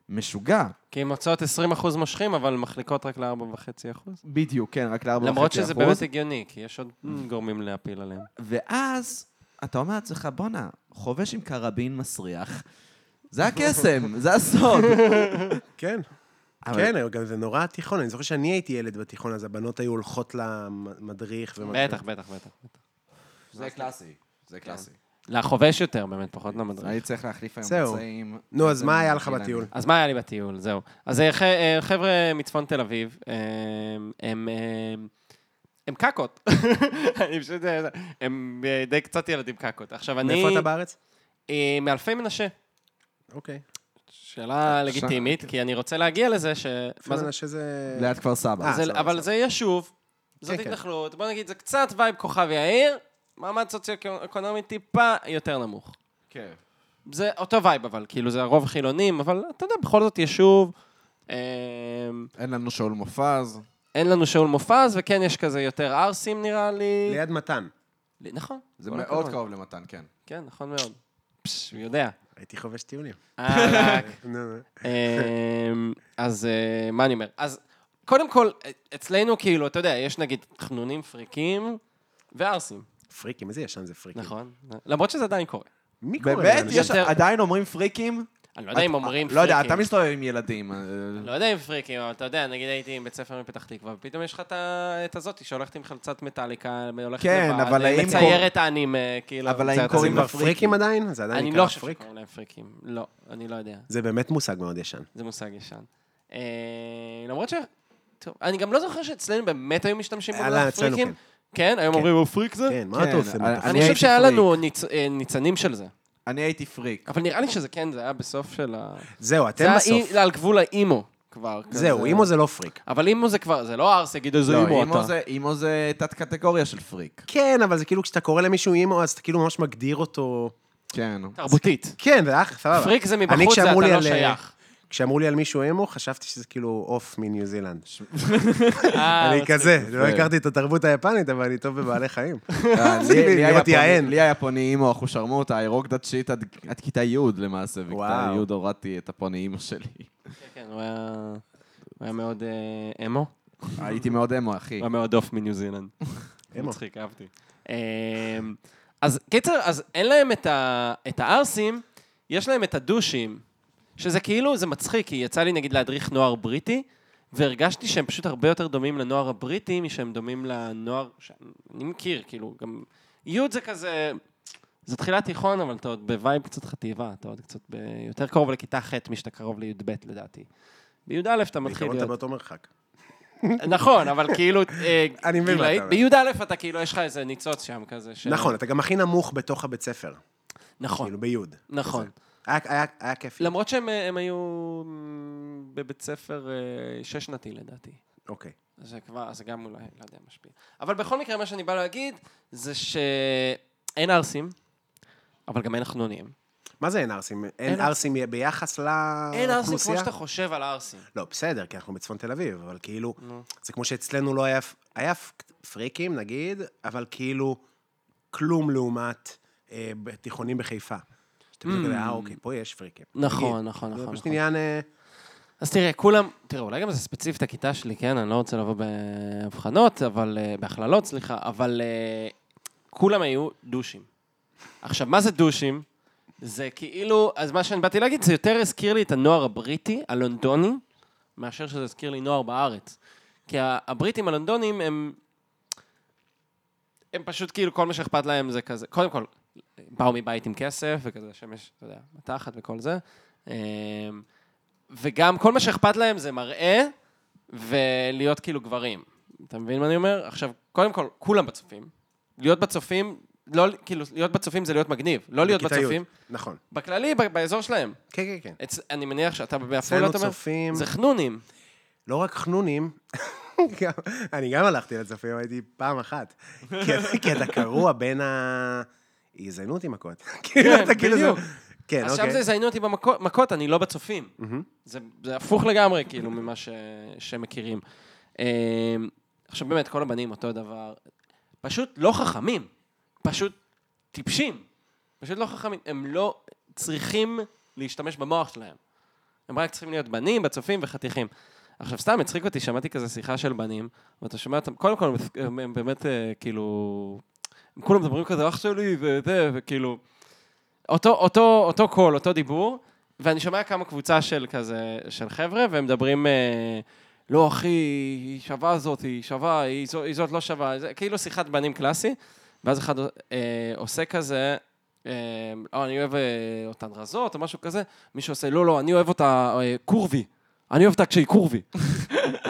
Speaker 2: משוגע.
Speaker 3: כי הן מוצאות 20% מושכים, אבל מחליקות רק ל-4.5%.
Speaker 2: בדיוק, כן, רק ל-4.5 אחוז.
Speaker 3: למרות שזה באמת הגיוני, כי יש עוד גורמים להפיל עליהם.
Speaker 2: ואז אתה אומר לעצמך, בואנה, חובש עם קרבין מסריח. זה הקסם, זה הסוד.
Speaker 4: כן,
Speaker 2: אבל-
Speaker 4: כן, גם זה נורא תיכון. אני זוכר שאני הייתי ילד בתיכון, אז הבנות היו הולכות למדריך. ומה-
Speaker 3: בטח, בטח, בטח. בטח.
Speaker 2: זה קלאסי, זה קלאסי.
Speaker 3: לחובש יותר, באמת, פחות למדריך.
Speaker 2: כן. אני צריך להחליף היום
Speaker 4: זהו.
Speaker 2: פצעים.
Speaker 4: נו, אז מה היה לך בטיול?
Speaker 3: אז מה היה לי בטיול? זהו. אז אה, ח- אה, חבר'ה מצפון תל אביב, אה, הם... אה, הם קקות. אני פשוט... אה, הם אה, די קצת ילדים קקות. עכשיו, אני...
Speaker 4: מאיפה אתה בארץ?
Speaker 3: אה, מאלפי מנשה.
Speaker 4: אוקיי.
Speaker 3: שאלה לגיטימית, כי אני רוצה להגיע לזה ש... מה
Speaker 4: מה
Speaker 3: זה?
Speaker 4: זה? שזה...
Speaker 2: ליד כפר סבא.
Speaker 4: אה,
Speaker 3: זה-
Speaker 4: סבבה,
Speaker 3: אבל
Speaker 4: סבבה.
Speaker 3: זה ישוב, זאת
Speaker 4: כן, כן.
Speaker 3: התנחלות, בוא נגיד, זה קצת וייב כוכב יאיר, מעמד סוציו-אקונומי טיפה יותר נמוך.
Speaker 2: כן.
Speaker 3: זה אותו וייב, אבל, כאילו, זה הרוב חילונים, אבל אתה יודע, בכל זאת יישוב. אה,
Speaker 2: אין לנו שאול מופז.
Speaker 3: אין לנו שאול מופז, וכן יש כזה יותר ערסים נראה לי.
Speaker 4: ליד מתן.
Speaker 3: ל- נכון.
Speaker 2: זה
Speaker 3: כל
Speaker 2: מאוד
Speaker 3: הכבוד.
Speaker 2: קרוב למתן, כן.
Speaker 3: כן, נכון מאוד. פש, הוא יודע.
Speaker 4: הייתי חובש טיולים.
Speaker 3: אה,
Speaker 4: נו, נו.
Speaker 3: אמ, אז אה, מה אני אומר? אז קודם כל, אה, אצלנו כאילו, אתה יודע, יש נגיד חנונים פריקים וערסים,
Speaker 4: פריקים, איזה ישן זה פריקים.
Speaker 3: נכון? למרות שזה עדיין קורה.
Speaker 4: מי קורא
Speaker 2: באמת?
Speaker 4: לזה?
Speaker 2: יש
Speaker 3: יותר-
Speaker 2: עדיין אומרים פריקים?
Speaker 3: אני לא יודע אם
Speaker 2: את-
Speaker 3: אומרים
Speaker 2: לא יודע,
Speaker 3: פריקים.
Speaker 2: אתה מסתובב עם ילדים. אה,
Speaker 3: לא יודע אם פריקים, אבל אתה יודע, נגיד הייתי עם בית ספר מפתח תקווה, ופתאום יש לך את ה- את הזאתי שהולכת עם חלצת מטאליקה, הולכת
Speaker 2: כן,
Speaker 3: לבד, אה,
Speaker 2: אבל האם קור-
Speaker 3: מציירת אנימה, כאילו.
Speaker 2: אבל האם
Speaker 3: מציירת
Speaker 2: קוראים
Speaker 3: אנימה.
Speaker 4: כבר פריקים עדיין? זה עדיין
Speaker 3: אני
Speaker 4: נקרא
Speaker 3: לא חושב
Speaker 4: פריק?
Speaker 3: שקוראים להם פריקים. לא, אני לא יודע.
Speaker 4: זה באמת מושג מאוד ישן.
Speaker 2: כן,
Speaker 3: זה מושג ישן. אה, למרות ש... טוב, אני גם לא זוכר שאצלנו באמת היו משתמשים
Speaker 4: אה,
Speaker 3: במונח
Speaker 4: לא, אצלנו
Speaker 3: פריקים.
Speaker 4: כן.
Speaker 3: כן, היום אומרים, הוא פריק זה?
Speaker 4: כן, מה אתה
Speaker 2: כן,
Speaker 4: עושה?
Speaker 2: אני-
Speaker 4: אתה
Speaker 3: אני
Speaker 2: הייתי
Speaker 3: חושב שהיה
Speaker 4: פריק.
Speaker 3: לנו ניצ- אה, ניצנים של זה.
Speaker 2: אני הייתי פריק.
Speaker 3: אבל נראה לי שזה כן, זה היה בסוף של ה...
Speaker 4: זהו, אתם
Speaker 3: זה לא, היה
Speaker 4: בסוף.
Speaker 3: אי- על גבול האימו כבר.
Speaker 4: זהו,
Speaker 3: כזה.
Speaker 4: אימו זה לא פריק.
Speaker 3: אבל אימו זה כבר, זה לא ארס, יגיד איזה
Speaker 2: לא,
Speaker 3: אימו
Speaker 2: אימו
Speaker 3: אתה.
Speaker 2: זה- אימו זה תת-קטגוריה של פריק.
Speaker 4: כן, אבל זה כאילו כשאתה קורא למישהו אימו, אז אתה כאילו ממש מגדיר אותו...
Speaker 2: כן.
Speaker 3: תרבותית.
Speaker 4: כן, זה אח, סבבה.
Speaker 3: פריק זה
Speaker 4: אני,
Speaker 3: מבחוץ, זה
Speaker 4: כשאמרו
Speaker 3: אתה
Speaker 4: לי
Speaker 3: לא
Speaker 4: על, אה,
Speaker 3: שייך.
Speaker 4: כשאמרו לי על מישהו אימו, חשבתי שזה כאילו עוף מניו זילנד.
Speaker 3: אה,
Speaker 4: אני כזה, לא
Speaker 2: יפה.
Speaker 4: הכרתי את התרבות היפנית, אבל אני טוב בבעלי חיים.
Speaker 2: אה, לי-
Speaker 4: זה
Speaker 2: לי היה
Speaker 4: להיות
Speaker 2: פה-
Speaker 4: יען.
Speaker 2: לי היה פוני אימו, אחושרמוטה, איירוק דת שיט עד עד כיתה י' למעשה, וכיתה
Speaker 4: וואו.
Speaker 2: י' הורדתי את הפוני אימו שלי.
Speaker 3: כן, כן, הוא היה... הוא היה מאוד אה, אמו.
Speaker 2: הייתי מאוד אמו, אחי.
Speaker 3: הוא היה מאוד עוף מניו זילנד.
Speaker 4: אמו.
Speaker 3: מצחיק, אהבתי. אמ, אז קיצר, אז אין להם את ה- את הערסים, יש להם את הדושים, שזה כאילו, זה מצחיק, כי יצא לי נגיד להדריך נוער בריטי, והרגשתי שהם פשוט הרבה יותר דומים לנוער הבריטי משהם דומים לנוער שאני מכיר, כאילו, גם... יוד זה כזה... זה תחילת תיכון, אבל אתה עוד בווייב קצת חטיבה, אתה עוד קצת ב... יותר קרוב לכיתה ח' משאתה קרוב לי"ב לדעתי. בי"א אתה מתחיל
Speaker 4: בעיקרון אתה
Speaker 3: להיות...
Speaker 4: באותו מרחק.
Speaker 3: נכון, אבל כאילו, אה,
Speaker 4: אני מבין מה
Speaker 3: גילאי-
Speaker 4: אתה אומר.
Speaker 3: בי"א אתה כאילו, יש לך איזה ניצוץ שם כזה. של-
Speaker 4: נכון, אתה גם הכי נמוך בתוך הבית ספר,
Speaker 3: נכון,
Speaker 4: כאילו ביוד.
Speaker 3: נכון.
Speaker 4: היה- היה היה כיף.
Speaker 3: למרות שהם אה, הם היו מ, בבית ספר אה, שש-שנתי לדעתי.
Speaker 4: אוקיי.
Speaker 3: אז זה כבר, אז זה גם אולי, לא יודע, משפיע. אבל בכל מקרה, מה שאני בא להגיד, זה שאין ערסים, אבל גם אין חנונים.
Speaker 4: מה זה אין ערסים? אין
Speaker 3: אין
Speaker 4: ערסים ביחס לאוכלוסייה?
Speaker 3: אין ערסים כמו שאתה חושב על ערסים.
Speaker 4: לא, בסדר, כי אנחנו בצפון תל אביב, אבל כאילו,
Speaker 3: נו.
Speaker 4: זה כמו שאצלנו לא היה, היה פ- פריקים נגיד, אבל כאילו, כלום לעומת אה, בתיכונים בחיפה. שאתה פתאום כזה, אה, אוקיי, פה יש פריקים.
Speaker 3: Hmm. נכון,
Speaker 4: נגיד.
Speaker 3: נכון,
Speaker 4: זה
Speaker 3: נכון.
Speaker 4: פשוט
Speaker 3: נכון.
Speaker 4: עניין, אה,
Speaker 3: אז תראה, כולם, תראה, אולי גם זה ספציפית הכיתה שלי, כן? אני לא רוצה לבוא בהבחנות, אבל, אה, בהכללות, סליחה, אבל אה, כולם היו דושים. עכשיו, מה זה דושים? זה כאילו, אז מה שאני באתי להגיד, זה יותר הזכיר לי את הנוער הבריטי, הלונדוני, מאשר שזה הזכיר לי נוער בארץ. כי ה- הבריטים הלונדונים הם... הם פשוט כאילו, כל מה שאכפת להם זה כזה, קודם כל, באו מבית עם כסף, וכזה שמש, אתה יודע, מתחת וכל זה. אמ, וגם כל מה שאכפת להם זה מראה ולהיות כאילו גברים. אתה מבין מה אני אומר? עכשיו, קודם כל, כולם בצופים. להיות בצופים, לא, כאילו, להיות בצופים זה להיות מגניב. לא להיות
Speaker 4: בכיתה י'.
Speaker 3: בצופים,
Speaker 4: נכון.
Speaker 3: בכללי, ב- באזור שלהם.
Speaker 4: כן, כן, כן.
Speaker 3: אצ... אני מניח שאתה בעפולה,
Speaker 4: אצלנו
Speaker 3: אתה אומר?
Speaker 4: צופים,
Speaker 3: זה חנונים.
Speaker 4: לא רק חנונים, גם- אני גם הלכתי לצופים, הייתי פעם אחת. כי אתה- כי אתה קרוע בין הגזענות עם מכות. כאילו, אתה כאילו... זה-
Speaker 3: בדיוק.
Speaker 4: כן,
Speaker 3: אז שם
Speaker 4: אוקיי.
Speaker 3: זה יזיינו אותי במכות, אני לא בצופים.
Speaker 4: מהמם.
Speaker 3: זה, זה הפוך לגמרי, כאילו, ממה ש, שמכירים. אה, עכשיו, באמת, כל הבנים אותו דבר. פשוט לא חכמים. פשוט טיפשים. פשוט לא חכמים. הם לא צריכים להשתמש במוח שלהם. הם רק צריכים להיות בנים, בצופים וחתיכים. עכשיו, סתם הצחיק אותי, שמעתי כזה שיחה של בנים, ואתה שומע אותם, קודם כל, הם, הם באמת, אה, כאילו... הם כולם מדברים כזה, אח שלי, וזה, וכאילו... אותו, אותו, אותו קול, אותו דיבור, ואני שומע כמה קבוצה של כזה, של חבר'ה, והם מדברים, אה, לא אחי, היא שווה זאת, היא שווה, היא, זו, היא זאת לא שווה, זה כאילו שיחת בנים קלאסי, ואז אחד אה, עושה כזה, אה, לא, אני אוהב אה, אותן רזות או משהו כזה, מישהו עושה, לא, לא, אני אוהב אותה אה, קורבי. אני אוהב אותה כשהיא קורבי.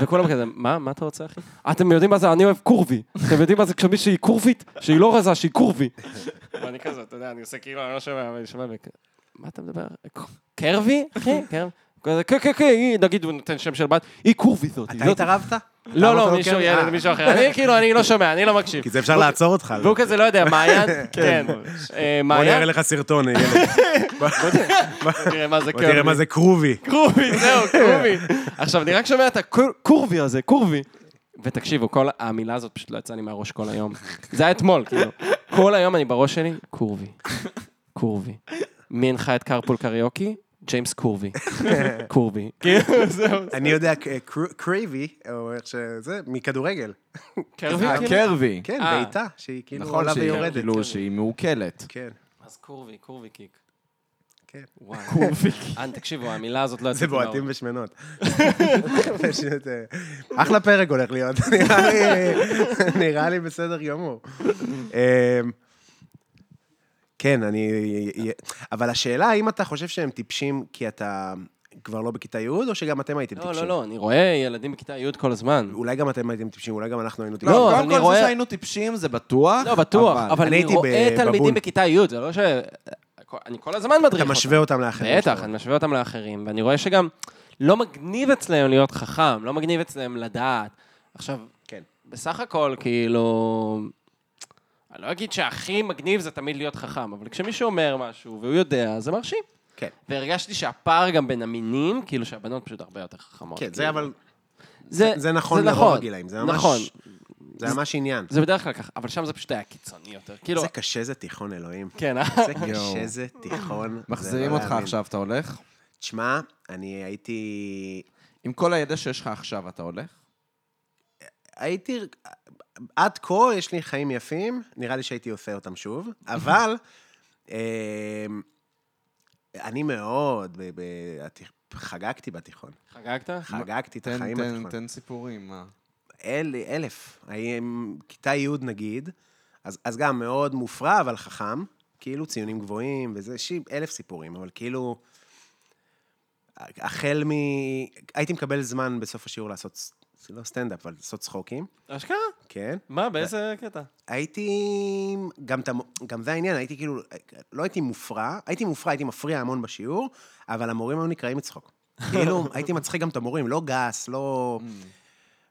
Speaker 3: וכולם כזה, מה, מה אתה רוצה, אחי? אתם יודעים מה זה, אני אוהב קורבי. אתם יודעים מה זה כשמישהי קורבית, שהיא לא רזה, שהיא קורבי. ואני כזה, אתה יודע, אני עושה כאילו, אני לא שומע, אבל אני שומע, וכ- מה אתה מדבר? קרבי? אחי, קרבי. כזה, כן, כן, כן, היא, נגיד, הוא נותן שם של בת, היא קורבי זאת. היא
Speaker 4: אתה
Speaker 3: זאת."
Speaker 4: התערבת? אתה
Speaker 3: לא,
Speaker 4: אמרת
Speaker 3: לא,
Speaker 4: לו,
Speaker 3: מישהו
Speaker 4: "כן?"
Speaker 3: ילד,
Speaker 4: אה.
Speaker 3: מישהו אחר. אני כאילו, אני לא שומע, אני לא מקשיב.
Speaker 4: כי זה אפשר לעצור אותך.
Speaker 3: והוא כזה לא יודע, מעיין? כן. אה,
Speaker 4: בוא אני אראה
Speaker 3: מעיין?
Speaker 4: לך סרטון, ילד. בוא-
Speaker 3: תראה מה זה
Speaker 4: בוא תראה
Speaker 3: קרבי.
Speaker 4: מה זה קרובי.
Speaker 3: קרובי, זהו, קרובי. עכשיו, אני רק שומע את הקורבי הזה, קורבי. ותקשיבו, כל המילה הזאת פשוט לא יצאה לי מהראש כל היום. זה היה אתמול, כאילו. כל היום אני בראש שלי, קורבי. קורבי. מי הנחה את קרפול קריוקי? ג'יימס קורבי. קורבי. כאילו, זהו.
Speaker 4: אני יודע, קר- קרייבי, או איך שזה, מכדורגל.
Speaker 3: קרבי?
Speaker 2: אה, קרבי.
Speaker 4: כן,
Speaker 3: אה.
Speaker 4: בעיטה, שהיא כאילו
Speaker 2: נכון
Speaker 4: עולה
Speaker 2: שהיא
Speaker 4: ויורדת.
Speaker 2: כאילו שהיא מעוקלת.
Speaker 4: כן,
Speaker 3: אז קורבי, קורבי קיק.
Speaker 4: כן.
Speaker 3: וואי. קורבי קיק. תקשיבו, המילה הזאת לא יוצאת
Speaker 4: זה
Speaker 3: לי מהראש.
Speaker 4: בועטים בשמנות. פשוט, אה, אחלה פרק הולך להיות, נראה לי- נראה לי בסדר גמור. אה, כן, אני... אבל השאלה, האם אתה חושב שהם טיפשים כי אתה כבר לא בכיתה י', או שגם אתם הייתם
Speaker 3: לא,
Speaker 4: טיפשים?
Speaker 3: לא, לא, אני רואה ילדים בכיתה י' כל הזמן.
Speaker 4: אולי גם אתם הייתם טיפשים, אולי גם אנחנו היינו טיפשים.
Speaker 3: לא, אבל
Speaker 2: קודם
Speaker 3: אני
Speaker 2: כל זה
Speaker 3: רואה-
Speaker 2: שהיינו טיפשים זה בטוח.
Speaker 3: לא, בטוח, אבל
Speaker 4: אני
Speaker 3: אני
Speaker 4: הייתי
Speaker 3: רואה
Speaker 4: ב- בבון.
Speaker 3: תלמידים בכיתה י', זה לא ש... אני כל הזמן מדריך
Speaker 4: אתה
Speaker 3: אותם.
Speaker 4: משווה אותם לאחרים.
Speaker 3: בטח,
Speaker 4: שלך.
Speaker 3: אני משווה אותם לאחרים, ואני רואה שגם לא מגניב אצלם להיות חכם, לא מגניב אצלם לדעת. עכשיו,
Speaker 4: כן.
Speaker 3: בסך הכל, כאילו... אני לא אגיד שהכי מגניב זה תמיד להיות חכם, אבל כשמישהו אומר משהו והוא יודע, זה מרשים.
Speaker 4: כן.
Speaker 3: והרגשתי שהפער גם בין המינים, כאילו שהבנות פשוט הרבה יותר חכמות.
Speaker 4: כן, זה
Speaker 3: כאילו.
Speaker 4: אבל... זה נכון לרוב הגילאים, זה ממש-
Speaker 3: נכון,
Speaker 4: זה ממש עניין.
Speaker 3: זה בדרך כלל ככה, אבל שם זה פשוט היה קיצוני יותר. כאילו,
Speaker 4: זה קשה, זה תיכון אלוהים.
Speaker 3: כן, אה?
Speaker 4: זה קשה, זה תיכון. זה
Speaker 2: מחזירים
Speaker 4: לא
Speaker 2: אותך
Speaker 4: להאמין.
Speaker 2: עכשיו, אתה הולך?
Speaker 4: תשמע, אני הייתי...
Speaker 2: עם כל הידע שיש לך עכשיו, אתה הולך?
Speaker 4: הייתי... עד כה יש לי חיים יפים, נראה לי שהייתי עושה אותם שוב, אבל אה, אני מאוד... ב- ב- התיכ- חגגתי בתיכון.
Speaker 3: חגגת?
Speaker 4: חגגתי את
Speaker 2: תן,
Speaker 4: החיים
Speaker 2: תן,
Speaker 4: בתיכון.
Speaker 2: תן סיפורים, מה?
Speaker 4: אל, אלף. האם- כיתה י' נגיד, אז, אז גם מאוד מופרע, אבל חכם. כאילו ציונים גבוהים וזה, ש... אלף סיפורים, אבל כאילו... החל מ... הייתי מקבל זמן בסוף השיעור לעשות, ס- לא סטנדאפ, אבל לעשות צחוקים,
Speaker 3: אשכרה?
Speaker 4: כן.
Speaker 3: מה, באיזה קטע?
Speaker 4: הייתי... גם, ת... גם זה העניין, הייתי כאילו... לא הייתי מופרע, הייתי מופרע, הייתי מפריע המון בשיעור, אבל המורים היו נקראים לצחוק. כאילו, הייתי מצחיק גם את המורים, לא גס, לא...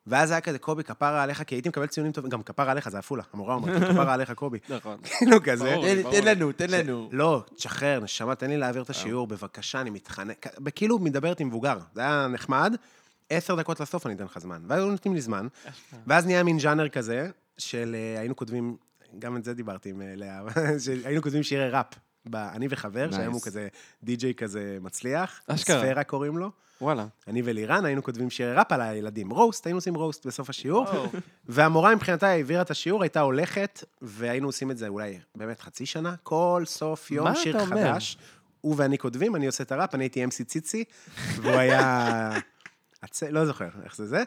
Speaker 4: ואז היה כזה, קובי, כפרה עליך, כי הייתי מקבל ציונים טובים, גם כפרה עליך, זה עפולה, המורה אומרת, לי, כפרה עליך, קובי.
Speaker 3: נכון.
Speaker 4: כאילו כזה.
Speaker 3: ברור. תן- תן
Speaker 2: לנו, תן
Speaker 4: לא, תשחרר, נשמה, תן לי להעביר את השיעור, בבקשה, אני מתחנן. כ- כאילו, מדברת עם מבוגר, זה היה נחמד. עשר דקות לסוף אני אתן לך זמן. ואז היו נותנים לי זמן, ואז נהיה מין ז'אנר כזה, של אה, היינו כותבים, גם את זה דיברתי עם אה, לאה, שהיינו כותבים שירי ראפ. ב- אני וחבר,
Speaker 2: Nice.
Speaker 4: שהיום הוא כזה די-ג'יי כזה מצליח,
Speaker 3: אשכרה.
Speaker 4: ספירה קוראים לו.
Speaker 3: וואלה.
Speaker 4: אני ולירן היינו כותבים שירי ראפ על הילדים. רוסט, היינו עושים רוסט בסוף השיעור, והמורה מבחינתה העבירה את השיעור, הייתה הולכת, והיינו עושים את זה אולי באמת חצי שנה, כל סוף יום
Speaker 3: מה
Speaker 4: שיר
Speaker 3: אתה אומר?
Speaker 4: חדש. הוא ואני כותבים, אני עושה את הראפ, אני הייתי MC ציצי, והוא היה... הצ- לא זוכר איך זה זה.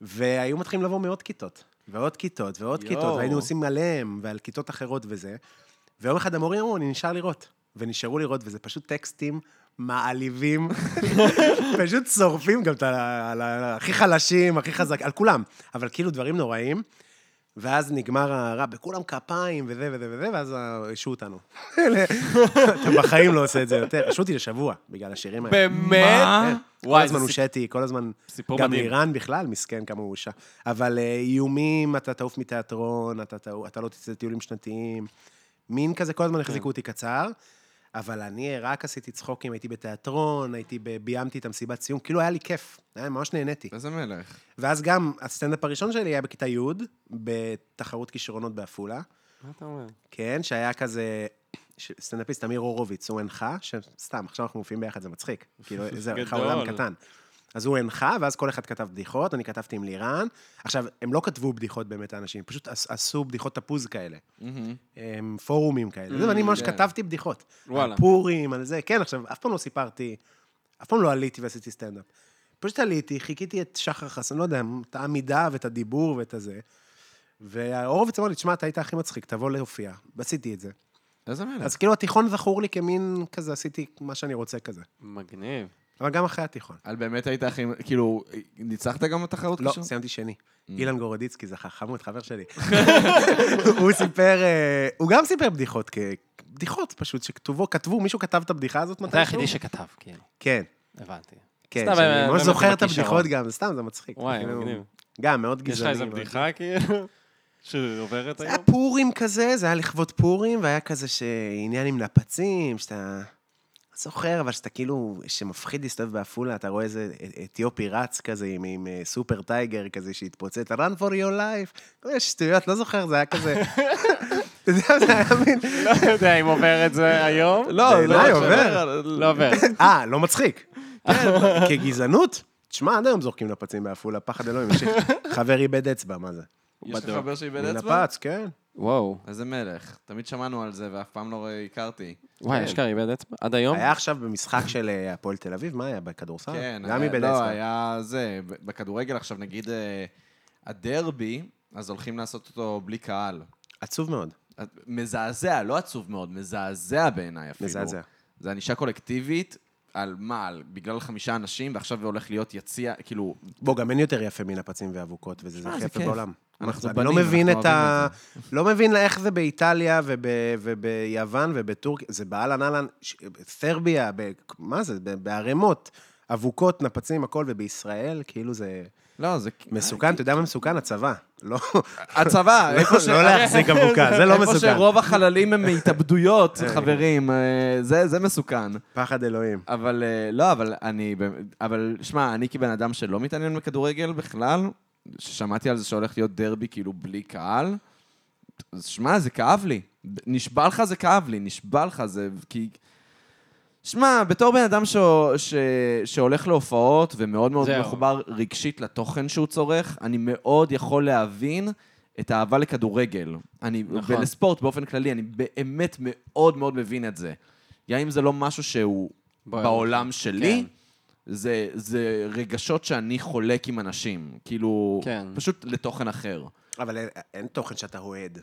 Speaker 4: והיו מתחילים לבוא מעוד כיתות, ועוד כיתות, ועוד
Speaker 3: יואו.
Speaker 4: כיתות, והיינו עושים עליהם ועל כיתות אחרות וזה. ויום אחד המורים אמרו, אני נשאר לראות. ונשארו לראות, וזה פשוט טקסטים מעליבים, פשוט שורפים גם את ה- על ה- הכי חלשים, הכי חזק, על כולם, אבל כאילו דברים נוראים. ואז נגמר הרע, בכולם כפיים וזה וזה וזה, ואז השעו אותנו. אתה בחיים לא עושה את זה יותר. השעו אותי לשבוע, בגלל השירים האלה.
Speaker 3: באמת?
Speaker 4: כן, כל
Speaker 3: וואי,
Speaker 4: הזמן
Speaker 3: זה
Speaker 4: הושעתי, כל הזמן...
Speaker 3: סיפור
Speaker 4: גם
Speaker 3: מדהים.
Speaker 4: איראן בכלל, מסכן כמה הוא הושע. אבל אה, איומים, אתה תעוף מתיאטרון, אתה תעו- אתה לא תצא לטיולים שנתיים. מין כזה, כל הזמן החזיקו אותי קצר. אבל אני רק עשיתי צחוקים, הייתי בתיאטרון, הייתי, ב- ביימתי את המסיבת סיום, כאילו היה לי כיף, היה ממש נהניתי.
Speaker 2: איזה מלך.
Speaker 4: ואז גם הסטנדאפ הראשון שלי היה בכיתה י', בתחרות כישרונות בעפולה,
Speaker 3: מה אתה אומר?
Speaker 4: כן, שהיה כזה... ש- סטנדאפיסט אמיר הורוביץ, הוא הנחה, שסתם, עכשיו אנחנו מופיעים ביחד, זה מצחיק. כאילו, זה איך
Speaker 3: גדול.
Speaker 4: העולם קטן. אז הוא הנחה, ואז כל אחד כתב בדיחות, אני כתבתי עם לירן. עכשיו, הם לא כתבו בדיחות באמת, האנשים, פשוט עש- עשו בדיחות תפוז כאלה. הם אמ, פורומים כאלה. זה, ואני ממש
Speaker 2: כן.
Speaker 4: כתבתי בדיחות.
Speaker 3: וואלה.
Speaker 4: על פורים, על זה. כן, עכשיו, אף פעם לא סיפרתי, אף פעם לא עליתי ועשיתי סטנדאפ. פשוט עליתי, חיכיתי את שחר חסון, לא יודע, את העמידה ואת הדיבור ואת הזה. והורוביץ אמר לי, תשמע, אתה היית הכי מצחיק, תבוא להופיע. ועשיתי את זה.
Speaker 2: איזה מלך.
Speaker 4: אז כאילו התיכון זכור לי כמין כזה, עשיתי מה שאני רוצה כזה.
Speaker 3: מגניב.
Speaker 4: אבל גם אחרי התיכון.
Speaker 2: אז באמת היית הכי... כאילו, ניצחת גם בתחרות
Speaker 4: לא,
Speaker 2: קישור?
Speaker 4: סיימתי שני.
Speaker 3: Mm.
Speaker 4: אילן גורודיצקי זכה, חמוד, חבר שלי. הוא סיפר, אה, הוא גם סיפר בדיחות, כ- בדיחות פשוט, שכתובו, כתבו, מישהו כתב את הבדיחה הזאת מתישהו?
Speaker 3: אתה היחידי שכתב, כאילו.
Speaker 4: כן,
Speaker 3: הבנתי.
Speaker 4: כן,
Speaker 3: סתם,
Speaker 4: שאני
Speaker 3: אה,
Speaker 4: ממש
Speaker 3: באמת עם
Speaker 4: זוכר את
Speaker 3: הכישרון.
Speaker 4: הבדיחות גם, סתם, זה מצחיק.
Speaker 3: וואי,
Speaker 4: כאילו,
Speaker 3: מגניב.
Speaker 4: גם, מאוד
Speaker 3: יש לך
Speaker 4: גזעני.
Speaker 3: איזה
Speaker 4: מאוד.
Speaker 3: בדיחה, כאילו, שעוברת
Speaker 4: זה היה
Speaker 3: היום?
Speaker 4: פורים כזה, זה היה לכבוד פורים, והיה כזה שעניין עם נפצים, שאתה... זוכר, אבל שאתה כאילו, שמפחיד להסתובב בעפולה, אתה רואה איזה אתיופי רץ כזה עם, עם אה, סופר טייגר כזה שהתפוצץ, run for your life, כל מיני שטויות, לא זוכר, זה היה כזה... אתה יודע, זה היה מין...
Speaker 3: לא יודע אם עובר את זה היום.
Speaker 2: לא,
Speaker 4: בעיניי עובר.
Speaker 3: לא עובר.
Speaker 4: אה, לא מצחיק. כן, כגזענות? תשמע, עד היום זורקים נפצים בעפולה, פחד אלוהים, יש לי חבר איבד אצבע, מה זה?
Speaker 2: יש לך חבר שאיבד אצבע?
Speaker 4: נפץ, כן.
Speaker 3: וואו.
Speaker 2: איזה מלך. תמיד שמענו על זה ואף פעם לא הכרתי.
Speaker 3: וואי, אשכרה איבד אצבע? עד
Speaker 2: לא.
Speaker 3: היום?
Speaker 4: היה עכשיו במשחק של אה, הפועל תל אביב, מה היה, בכדורסל?
Speaker 2: כן,
Speaker 4: אה, גם
Speaker 2: היה-
Speaker 4: איבד
Speaker 2: לא,
Speaker 4: אצבע.
Speaker 2: היה זה, ב- בכדורגל עכשיו, נגיד אה, הדרבי, אז הולכים לעשות אותו בלי קהל.
Speaker 4: עצוב מאוד,
Speaker 2: את- מזעזע, לא עצוב מאוד, מזעזע בעיניי אפילו.
Speaker 4: מזעזע.
Speaker 2: זה ענישה קולקטיבית, על מה? על- בגלל חמישה אנשים, ועכשיו הולך להיות יציע, כאילו,
Speaker 4: בוא, גם אין יותר יפה מנפצים ואבוקות, וזה זה
Speaker 2: אה,
Speaker 4: הכי
Speaker 2: זה
Speaker 4: יפה
Speaker 2: כיף.
Speaker 4: בעולם.
Speaker 2: אנחנו
Speaker 4: אני לא
Speaker 2: בנים,
Speaker 4: מבין
Speaker 2: אנחנו
Speaker 4: את ה... לא מבין איך זה באיטליה וב... וביוון ובטורקיה, זה באהלן אהלן, ש- סרביה, ב... מה זה? ב- בערימות, אבוקות, נפצים, הכל, ובישראל, כאילו זה
Speaker 2: לא, זה...
Speaker 4: מסוכן, אתה יודע מה מסוכן? הצבא. לא
Speaker 2: הצבא, אה, איפה ש...
Speaker 4: לא להחזיק אבוקה, זה לא
Speaker 2: איפה
Speaker 4: מסוכן.
Speaker 2: שרוב החללים הם מהתאבדויות, חברים, אה, זה זה מסוכן.
Speaker 4: פחד אלוהים.
Speaker 2: אבל אה, לא, אבל אני... באמת- אבל שמע, אני כבן אדם שלא מתעניין בכדורגל בכלל, ששמעתי על זה שהולך להיות דרבי כאילו בלי קהל, אז שמע, זה כאב לי. נשבע לך זה כאב לי, נשבע לך זה... כי... שמע, בתור בן אדם ש... ש... שהולך להופעות ומאוד מאוד
Speaker 3: זהו.
Speaker 2: מחובר רגשית לתוכן שהוא צורך, אני מאוד יכול להבין את האהבה לכדורגל. אני...
Speaker 3: נכון.
Speaker 2: נכון. ולספורט באופן כללי, אני באמת מאוד מאוד מבין את זה. גם אם זה לא משהו שהוא
Speaker 3: בוער.
Speaker 2: בעולם
Speaker 3: כן.
Speaker 2: שלי, זה, זה רגשות שאני חולק עם אנשים. כאילו,
Speaker 3: כן.
Speaker 2: פשוט לתוכן אחר.
Speaker 4: אבל אין- אין תוכן שאתה אוהד.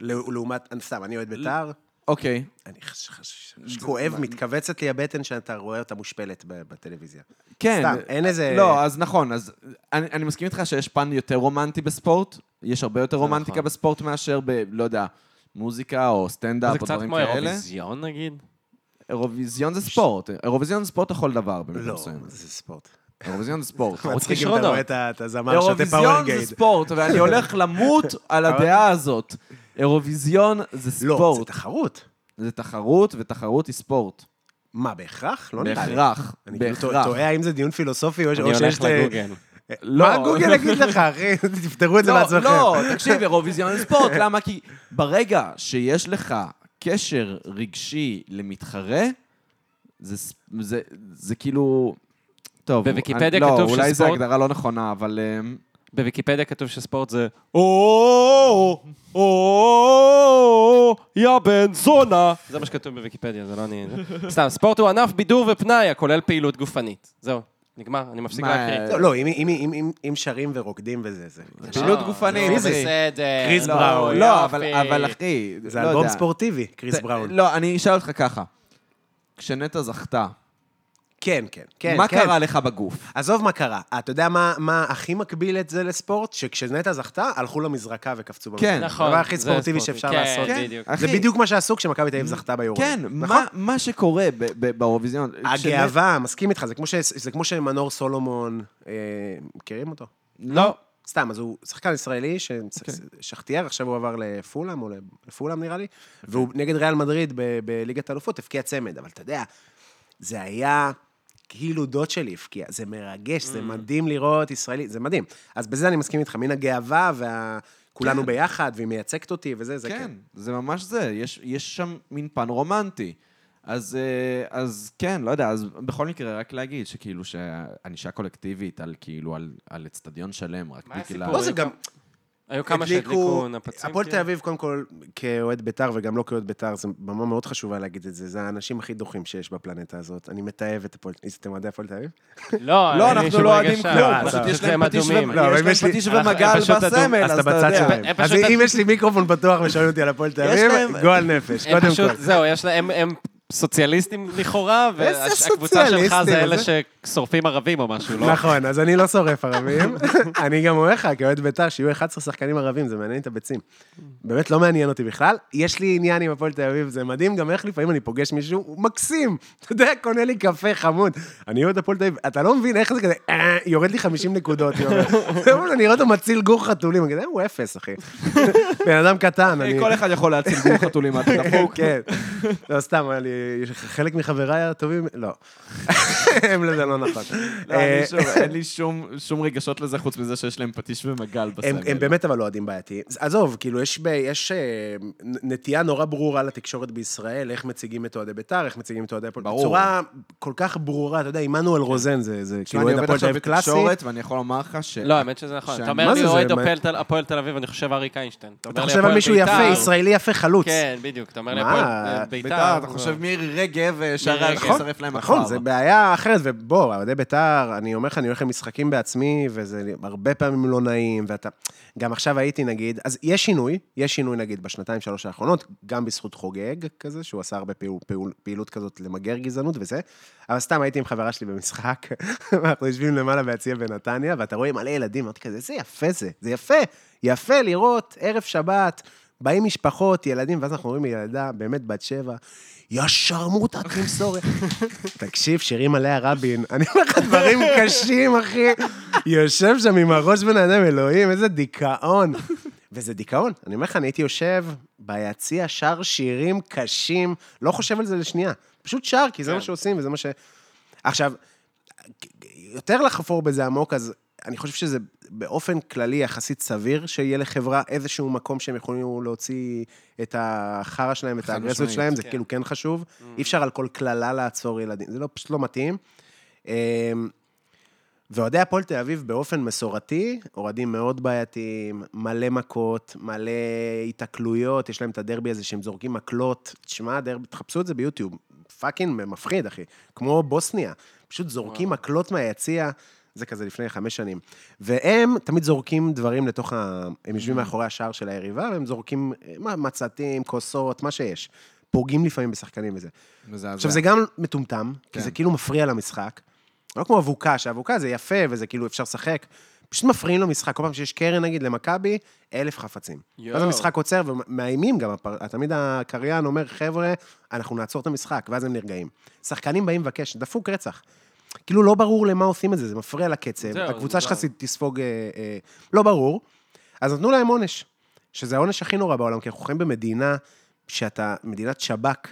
Speaker 4: ל- לעומת, אני סתם, אני אוהד בית"ר,
Speaker 2: אוקיי.
Speaker 4: אני חש- חש- חש- כואב, מתכווצת לי הבטן שאתה רואה אותה מושפלת ב- בטלוויזיה.
Speaker 2: כן.
Speaker 4: סתם, אין איזה...
Speaker 2: לא, אז נכון, אז אני, אני מסכים איתך שיש פן יותר רומנטי בספורט, יש הרבה יותר רומנטיקה
Speaker 3: נכון.
Speaker 2: בספורט מאשר ב... לא יודע. מוזיקה או
Speaker 3: זה
Speaker 2: סטנדאפ או
Speaker 3: קצת
Speaker 2: דברים
Speaker 3: כמו
Speaker 2: כאלה.
Speaker 3: אירוויזיון נגיד?
Speaker 2: אירוויזיון זה ספורט. אירוויזיון זה ספורט לכל דבר, במידה
Speaker 4: לא,
Speaker 2: מסוימת.
Speaker 4: זה ספורט.
Speaker 2: אירוויזיון זה ספורט.
Speaker 4: מצחיק אם אתה
Speaker 3: כישרונות.
Speaker 4: רואה את ה- את הזמר שותה
Speaker 2: אירוויזיון
Speaker 4: פאורגייד.
Speaker 2: זה ספורט, ואני הולך למות על הדעה הזאת. אירוויזיון זה
Speaker 4: לא, זה
Speaker 2: ספורט.
Speaker 4: תחרות.
Speaker 2: זה תחרות, ותחרות היא ספורט.
Speaker 4: מה, בהכרח? לא נראה לי.
Speaker 2: בהכרח,
Speaker 4: אני כאילו
Speaker 2: בהכרח.
Speaker 4: תוה- תוהה האם זה דיון פילוסופי או ש-
Speaker 3: אני
Speaker 4: או
Speaker 3: הולך
Speaker 4: שיש... ל-
Speaker 3: לגוגל.
Speaker 2: לא.
Speaker 4: מה גוגל יגיד לך, אחי? תפתרו את זה
Speaker 2: לא,
Speaker 4: בעצמכם.
Speaker 2: לא, תקשיב, אירוויזיון זה ספורט, למה? כי ברגע שיש לך קשר רגשי למתחרה, זה ס- זה- זה כאילו... טוב,
Speaker 3: בוויקיפדיה
Speaker 2: אני-
Speaker 3: כתוב
Speaker 2: לא, אולי זו
Speaker 3: שספורט-
Speaker 2: הגדרה לא נכונה, אבל... אמ,
Speaker 3: בוויקיפדיה כתוב שספורט זה...
Speaker 1: או, או,
Speaker 3: יא בן זונה! זה מה שכתוב בוויקיפדיה, זה לא אני... סתם, ספורט הוא ענף בידור ופנאי הכולל פעילות גופנית. זהו, נגמר, אני מפסיק
Speaker 2: מה,
Speaker 3: להקריא.
Speaker 4: לא, לא, אם- אם- אם- אם- אם שרים ורוקדים וזה, זה...
Speaker 2: פעילות
Speaker 3: אה,
Speaker 2: גופנית,
Speaker 3: לא,
Speaker 2: אחי.
Speaker 3: בסדר.
Speaker 4: קריס
Speaker 2: לא,
Speaker 4: בראו,
Speaker 2: לא,
Speaker 3: יופי.
Speaker 2: אבל אבל אחי,
Speaker 4: זה
Speaker 2: לא
Speaker 4: אלבום
Speaker 2: יודע.
Speaker 4: ספורטיבי, קריס
Speaker 2: ת-
Speaker 4: בראון.
Speaker 2: לא, אני אשאל אותך ככה. כשנטע זכתה,
Speaker 4: כן, כן, כן.
Speaker 2: מה
Speaker 4: כן.
Speaker 2: קרה לך בגוף?
Speaker 4: עזוב מה קרה, אתה יודע מה, מה הכי מקביל את זה לספורט? שכשנטע זכתה, הלכו למזרקה וקפצו במזרקה.
Speaker 2: כן.
Speaker 3: נכון,
Speaker 4: הדבר הכי
Speaker 3: זה
Speaker 4: ספורטיבי
Speaker 3: ספורטיבי.
Speaker 4: שאפשר
Speaker 3: כן,
Speaker 4: לעשות.
Speaker 3: כן.
Speaker 2: בדיוק.
Speaker 4: זה
Speaker 2: אחי.
Speaker 4: בדיוק מה שעשו כשמכבי תל אביב זכתה ביורו.
Speaker 2: כן, מה-
Speaker 4: נכון?
Speaker 2: מה שקורה ב- ב- באירוויזיון... כשנטע-
Speaker 4: הגאווה, מסכים איתך, זה כמו, ש... זה כמו שמנור סולומון, אה, מכירים אותו?
Speaker 2: לא.
Speaker 4: סתם, אז הוא שחקן ישראלי, ש... שחטיאר, עכשיו הוא עבר לפולאם, או לפולאם נראה לי, והוא נגד ריאל מדריד ב... בליגת האלופות, הבקיע צמד, אבל אתה יודע, זה היה כאילו דוד שלי הבקיע, זה מרגש, זה מדהים לראות ישראלי, זה מדהים. אז בזה אני מסכים איתך, מן הגאווה וה... כולנו ביחד, והיא מייצגת אותי, וזה, זה
Speaker 2: כן,
Speaker 4: כן.
Speaker 2: זה ממש זה, יש, יש שם מין פן רומנטי. אז, אה, אז כן, לא יודע, אז בכל מקרה, רק להגיד שכאילו שענישה קולקטיבית על כאילו, על- על אצטדיון שלם, רק
Speaker 3: מה
Speaker 2: בגלל...
Speaker 3: הסיפור?
Speaker 4: לא, זה גם,
Speaker 3: היו כמה שהדליקו נפצים.
Speaker 4: הפועל תל
Speaker 3: כאילו.
Speaker 4: אביב, קודם כל, כאוהד בית"ר וגם לא כאוהד בית"ר, זו במה מאוד חשובה להגיד את זה. זה האנשים הכי דוחים שיש בפלנטה הזאת. אני מתעב את הפועל... איזה, אתם אוהדי הפועל תל אביב?
Speaker 3: לא,
Speaker 2: לא,
Speaker 3: אין לי
Speaker 2: אנחנו
Speaker 3: שום
Speaker 2: לא אוהדים
Speaker 3: רגשה.
Speaker 2: כלום,
Speaker 4: אה,
Speaker 2: פשוט
Speaker 4: טוב.
Speaker 2: יש להם
Speaker 3: הם
Speaker 2: פטיש
Speaker 3: אדומים.
Speaker 2: ו-
Speaker 4: לא,
Speaker 2: יש
Speaker 4: אבל אם
Speaker 2: להם
Speaker 4: יש לי-
Speaker 2: פטיש
Speaker 3: אנחנו-
Speaker 2: ומגל
Speaker 3: הם פשוט אדום-
Speaker 2: בסמל, אז אתה
Speaker 4: בצד
Speaker 2: יודע.
Speaker 4: שלהם.
Speaker 3: הם
Speaker 4: אז
Speaker 3: פשוט-
Speaker 4: אם יש לי מיקרופון פתוח ושואלים אותי על הפועל תל אביב,
Speaker 2: להם-
Speaker 4: גועל נפש,
Speaker 3: הם
Speaker 4: קודם כל.
Speaker 3: פשוט, זהו, יש להם, הם- הם סוציאליסטים לכאורה,
Speaker 4: איזה
Speaker 3: והקבוצה שלך
Speaker 4: סוציאליסטים,
Speaker 3: זה אלה
Speaker 4: זה-
Speaker 3: ששורפים ערבים או משהו, לא?
Speaker 4: נכון, אז אני לא שורף ערבים. אני גם אומר לך, כאוהד בית"ר, שיהיו 11 שחקנים ערבים, זה מעניין את הביצים. באמת לא מעניין אותי בכלל. יש לי עניין עם הפועל תל אביב, זה מדהים גם איך לפעמים אני פוגש מישהו, הוא מקסים. אתה יודע, קונה לי קפה חמוד. אני אוהד הפועל תל אביב, אתה לא מבין איך זה כזה, "אה, יורד לי 50 נקודות, יורד. אני רואה אותו מציל גור חתולים, אני כזה, "אה, הוא אפס, אחי. בן אדם קטן,
Speaker 2: אה,
Speaker 4: אני...
Speaker 2: כל אחד יכול להציל גור חתולים עד דפוק.
Speaker 4: כן. לא, סתם, היה לי יש חלק מחבריי הטובים, לא. הם לזה לא נכון.
Speaker 2: לא, אין לי שום- אין לי שום- שום רגשות לזה, חוץ מזה שיש להם פטיש ומגל
Speaker 4: הם,
Speaker 2: בסמל.
Speaker 4: הם באמת אבל אוהדים בעייתיים. אז עזוב, כאילו, יש, ב- יש אה, נטייה נורא ברורה לתקשורת בישראל, איך מציגים את אוהדי בית"ר, איך מציגים את אוהדי הפועל.
Speaker 2: ברור.
Speaker 4: בצורה כל כך ברורה, אתה יודע, עמנואל
Speaker 3: כן.
Speaker 4: רוזן זה, זה
Speaker 2: תשמע,
Speaker 4: כאילו אוהד הפועל תל אביב קלאסי.
Speaker 2: ואני יכול לומר לך ש...
Speaker 3: לא, האמת שזה נכון.
Speaker 2: שאני-
Speaker 3: אתה אומר
Speaker 4: מה
Speaker 3: לי
Speaker 4: זה זה?
Speaker 3: אוהד
Speaker 4: מה-
Speaker 3: הפועל תל- הפועל תל אביב, אני חושב אריק איינשטיין.
Speaker 4: אתה
Speaker 3: אומר לי
Speaker 4: חושב על
Speaker 3: הפועל
Speaker 4: מישהו
Speaker 3: בית"ר,
Speaker 4: יפה, ישראלי יפה, חלוץ.
Speaker 3: כן, בדיוק. אתה אומר לי
Speaker 4: מה?
Speaker 3: הפועל אה, בית"ר.
Speaker 2: ביתר, אתה
Speaker 3: זה-
Speaker 2: חושב מירי רגב, אה, שערה
Speaker 3: רגב.
Speaker 2: שיצרף להם
Speaker 4: נכון,
Speaker 2: אחריו.
Speaker 4: זו בעיה אחרת, ובוא, אוהדי בית"ר, אני אומר לך, אני הולך למשחקים בעצמי, וזה הרבה פעמים לא נעים, ואתה... גם עכשיו הייתי, נגיד, אז יש שינוי, יש שינוי, נגיד, בשנתיים, שלוש האחרונות, גם בזכות חוגג כזה, שהוא עשה הרבה פעול, פעול, פעילות כזאת למגר גזענות וזה, אבל סתם הייתי עם חברה שלי במשחק, ואנחנו יושבים למעלה ביציע בנתניה, ואתה רואה מלא ילדים, אמרתי כזה, זה יפה זה, זה יפה, יפה לראות, ערב שבת, באים משפחות, ילדים, ואז אנחנו רואים ילדה באמת בת שבע, יא שרמוטה, תמסור. תקשיב, שירים עליה רבין, אני אומר לך דברים קשים, אחי. יושב שם עם הראש בין הידיים, אלוהים, איזה דיכאון. וזה דיכאון. אני אומר לך, אני הייתי יושב ביציע, שר שירים קשים, לא חושב על זה לשנייה. פשוט שר, כי זה
Speaker 3: כן.
Speaker 4: מה שעושים, וזה מה ש... עכשיו, יותר לחפור בזה עמוק, אז אני חושב שזה באופן כללי יחסית סביר שיהיה לחברה איזשהו מקום שהם יכולים להוציא את החרא שלהם, את
Speaker 2: חד
Speaker 4: האגרסיות
Speaker 2: משמעית,
Speaker 4: שלהם, זה
Speaker 3: כן.
Speaker 4: כאילו כן חשוב. אי אפשר על כל קללה לעצור ילדים, זה לא, פשוט לא מתאים. אמ, ואוהדי הפועל תל אביב באופן מסורתי, אוהדים מאוד בעייתיים, מלא מכות, מלא התקלויות, יש להם את הדרבי הזה שהם זורקים מקלות. תשמע, דרבי, תחפשו את זה ביוטיוב, פאקינג מפחיד, אחי. כמו בוסניה, פשוט זורקים מקלות מהיציע, זה כזה לפני חמש שנים. והם תמיד זורקים דברים לתוך ה... הם יושבים מאחורי השער של היריבה, והם זורקים אה, מה, מצתים, כוסות, מה שיש. פוגעים לפעמים בשחקנים וזה.
Speaker 2: מזעזע.
Speaker 4: עכשיו, זה גם מטומטם, כי
Speaker 2: כן.
Speaker 4: זה כאילו מפריע למשחק. לא כמו אבוקה, שאבוקה זה יפה וזה כאילו אפשר לשחק. פשוט מפריעים למשחק. כל פעם שיש קרן, נגיד, למכבי, אלף חפצים.
Speaker 3: יואו.
Speaker 4: ואז המשחק עוצר, ומאיימים גם, הפר- תמיד הקריין אומר, חבר'ה, אנחנו נעצור את המשחק, ואז הם נרגעים. שחקנים באים לבקש, דפוק רצח. כאילו, לא ברור למה עושים את זה, זה מפריע לקצב.
Speaker 3: זהו,
Speaker 4: הקבוצה שלך
Speaker 3: מוזר.
Speaker 4: תספוג... אה, אה, לא ברור. אז נתנו להם עונש, שזה העונש הכי נורא בעולם, כי אנחנו חיים במדינה שאתה, מדינת שב"כ,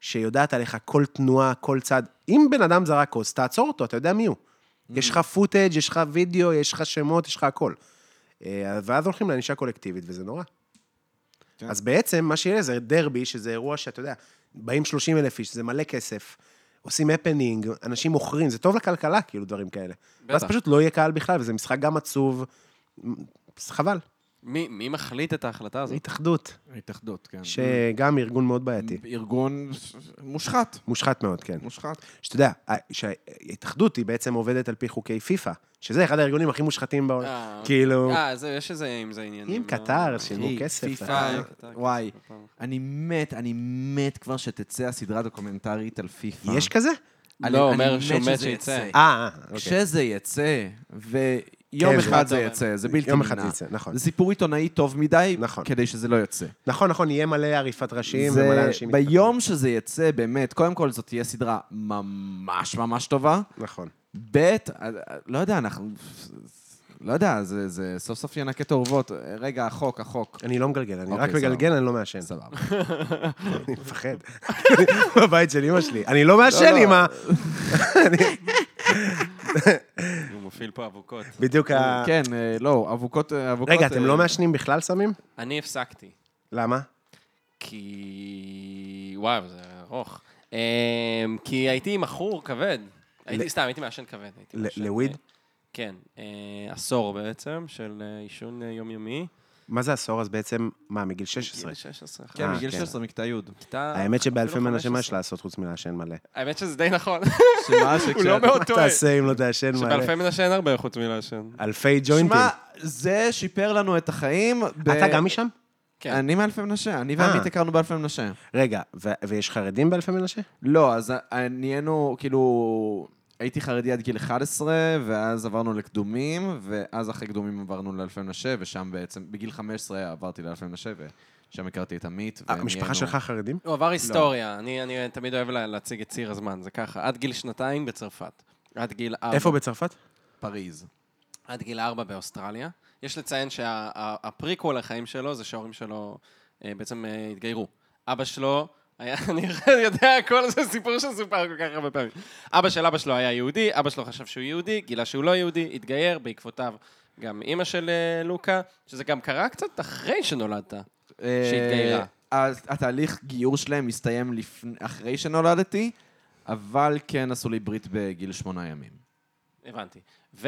Speaker 4: שיודעת עליך כל תנועה, כל צעד. אם בן אדם זרק כוס, תעצור אותו, אתה יודע מי הוא.
Speaker 3: Mm.
Speaker 4: יש לך פוטאג', יש לך וידאו, יש לך שמות, יש לך הכל. אה, ואז הולכים לענישה קולקטיבית, וזה נורא.
Speaker 2: כן.
Speaker 4: אז בעצם, מה שיהיה זה דרבי, שזה אירוע שאתה יודע, באים 30 אלף איש, זה מלא כסף, עושים הפנינג, אנשים מוכרים, זה טוב לכלכלה, כאילו, דברים כאלה. ואז פשוט לא יהיה קהל בכלל, וזה משחק גם עצוב. אז חבל.
Speaker 3: מי מי מחליט את ההחלטה הזאת?
Speaker 4: התאחדות,
Speaker 2: התאחדות, כן.
Speaker 4: שגם ארגון מאוד בעייתי.
Speaker 2: ארגון ש- מושחת,
Speaker 4: מושחת מאוד, כן.
Speaker 2: מושחת.
Speaker 4: שאתה יודע, ה- שההתאחדות היא בעצם עובדת על פי חוקי פיפ"א, שזה אחד הארגונים הכי מושחתים בעולם.
Speaker 3: אה,
Speaker 4: כאילו,
Speaker 3: אה, זה- יש איזה עם זה עניינים.
Speaker 4: עם
Speaker 3: לא?
Speaker 4: קטר, שילמו
Speaker 2: אחי,
Speaker 4: כסף.
Speaker 2: פיפ"א.
Speaker 4: אתה-
Speaker 3: אה, קטר,
Speaker 2: וואי.
Speaker 3: קטר.
Speaker 2: אני מת, אני מת כבר שתצא הסדרה הדוקומנטרית על פיפ"א.
Speaker 4: יש כזה?
Speaker 2: אני-
Speaker 3: לא,
Speaker 2: אני
Speaker 3: אומר
Speaker 2: מת
Speaker 3: שהוא מת
Speaker 2: שזה
Speaker 3: שיצא.
Speaker 2: יצא.
Speaker 4: אה, אה, אוקיי.
Speaker 2: כשזה יצא, ויום
Speaker 4: כן,
Speaker 2: אחד זה
Speaker 3: זה-
Speaker 2: יצא, זה בלתי נמנע.
Speaker 4: יום אחד זה יצא, נכון.
Speaker 2: זה סיפור עיתונאי טוב מדי,
Speaker 4: נכון.
Speaker 2: כדי שזה לא יצא.
Speaker 4: נכון, נכון, יהיה מלא עריפת ראשים
Speaker 2: זה-
Speaker 4: ומלא אנשים... מתפטרים.
Speaker 2: ביום שזה יצא, באמת, קודם כל זאת תהיה סדרה ממש ממש טובה.
Speaker 4: נכון.
Speaker 2: ב', לא יודע, אנחנו... לא יודע, זה, זה סוף סוף ינקה את האורוות. רגע, החוק, החוק.
Speaker 4: אני לא מגלגל, אני
Speaker 2: אוקיי,
Speaker 4: רק מגלגל, אני לא מעשן.
Speaker 2: סבבה.
Speaker 4: אני מפחד. בבית של אמא שלי. אני לא מעשן,
Speaker 2: לא.
Speaker 4: אמא.
Speaker 3: הוא מפעיל פה אבוקות.
Speaker 4: בדיוק ה...
Speaker 2: כן, אה, לא, אבוקות... אה, אבוקות
Speaker 4: רגע,
Speaker 2: אה,
Speaker 4: אתם לא מעשנים בכלל סמים?
Speaker 3: אני הפסקתי.
Speaker 4: למה?
Speaker 3: כי... וואו, זה ארוך. אמ, כי הייתי מכור כבד. הייתי, סתם, הייתי מעשן כבד. הייתי
Speaker 4: ל-
Speaker 3: מעשן,
Speaker 4: לוויד?
Speaker 3: אה, כן. אה, עשור בעצם, של אה, עישון אה, יומיומי.
Speaker 4: מה זה עשור אז בעצם? מה, מגיל 16?
Speaker 3: גיל 16.
Speaker 2: כן,
Speaker 4: אה,
Speaker 2: מגיל אה,
Speaker 4: כן.
Speaker 2: 16, מכיתה י'.
Speaker 3: כיתה-
Speaker 4: האמת שבאלפי
Speaker 3: אפילו
Speaker 4: מנשים
Speaker 3: 15.
Speaker 4: מה יש לעשות חוץ מלעשן מלא?
Speaker 3: האמת שזה די נכון.
Speaker 2: שמה
Speaker 3: הוא לא מאוד
Speaker 4: מה
Speaker 3: טועה.
Speaker 4: תעשה אם לא תעשן מלא?
Speaker 3: שבאלפי מנשן הרבה חוץ מלעשן.
Speaker 4: אלפי ג'וינטים.
Speaker 2: שמע, זה שיפר לנו את החיים. ב-
Speaker 4: אתה גם משם?
Speaker 3: כן.
Speaker 2: אני מאלפי מנשה, אני
Speaker 4: אה.
Speaker 2: ועמית הכרנו באלפי מנשה.
Speaker 4: רגע, ו- ויש חרדים באלפי מנשה?
Speaker 2: לא, אז אה, נהיינו, כאילו, הייתי חרדי עד גיל 11, ואז עברנו לקדומים, ואז אחרי קדומים עברנו לאלפי מנשה, ושם בעצם, בגיל 15 עברתי לאלפי מנשה, ושם הכרתי את עמית.
Speaker 4: אה, המשפחה
Speaker 2: ונהיינו-
Speaker 4: שלך חרדים?
Speaker 3: לא, הוא עבר היסטוריה. אני אני תמיד אוהב לה- להציג את ציר הזמן, זה ככה. עד גיל שנתיים בצרפת. עד גיל ארבע.
Speaker 4: איפה בצרפת?
Speaker 2: פריז.
Speaker 3: עד גיל ארבע באוסטרליה. יש לציין שהפריקוול לחיים שלו זה שההורים שלו אה, בעצם אה, התגיירו. אבא שלו היה- אני יודע, כל זה סיפור שסופר כל כך הרבה פעמים. אבא של אבא שלו היה יהודי, אבא שלו חשב שהוא יהודי, גילה שהוא לא יהודי, התגייר, בעקבותיו גם אימא של אה, לוקה, שזה גם קרה קצת אחרי שנולדת. שהתגיירה.
Speaker 2: אה, התהליך גיור שלהם הסתיים לפני- אחרי שנולדתי, אבל כן עשו לי ברית בגיל שמונה ימים.
Speaker 3: הבנתי.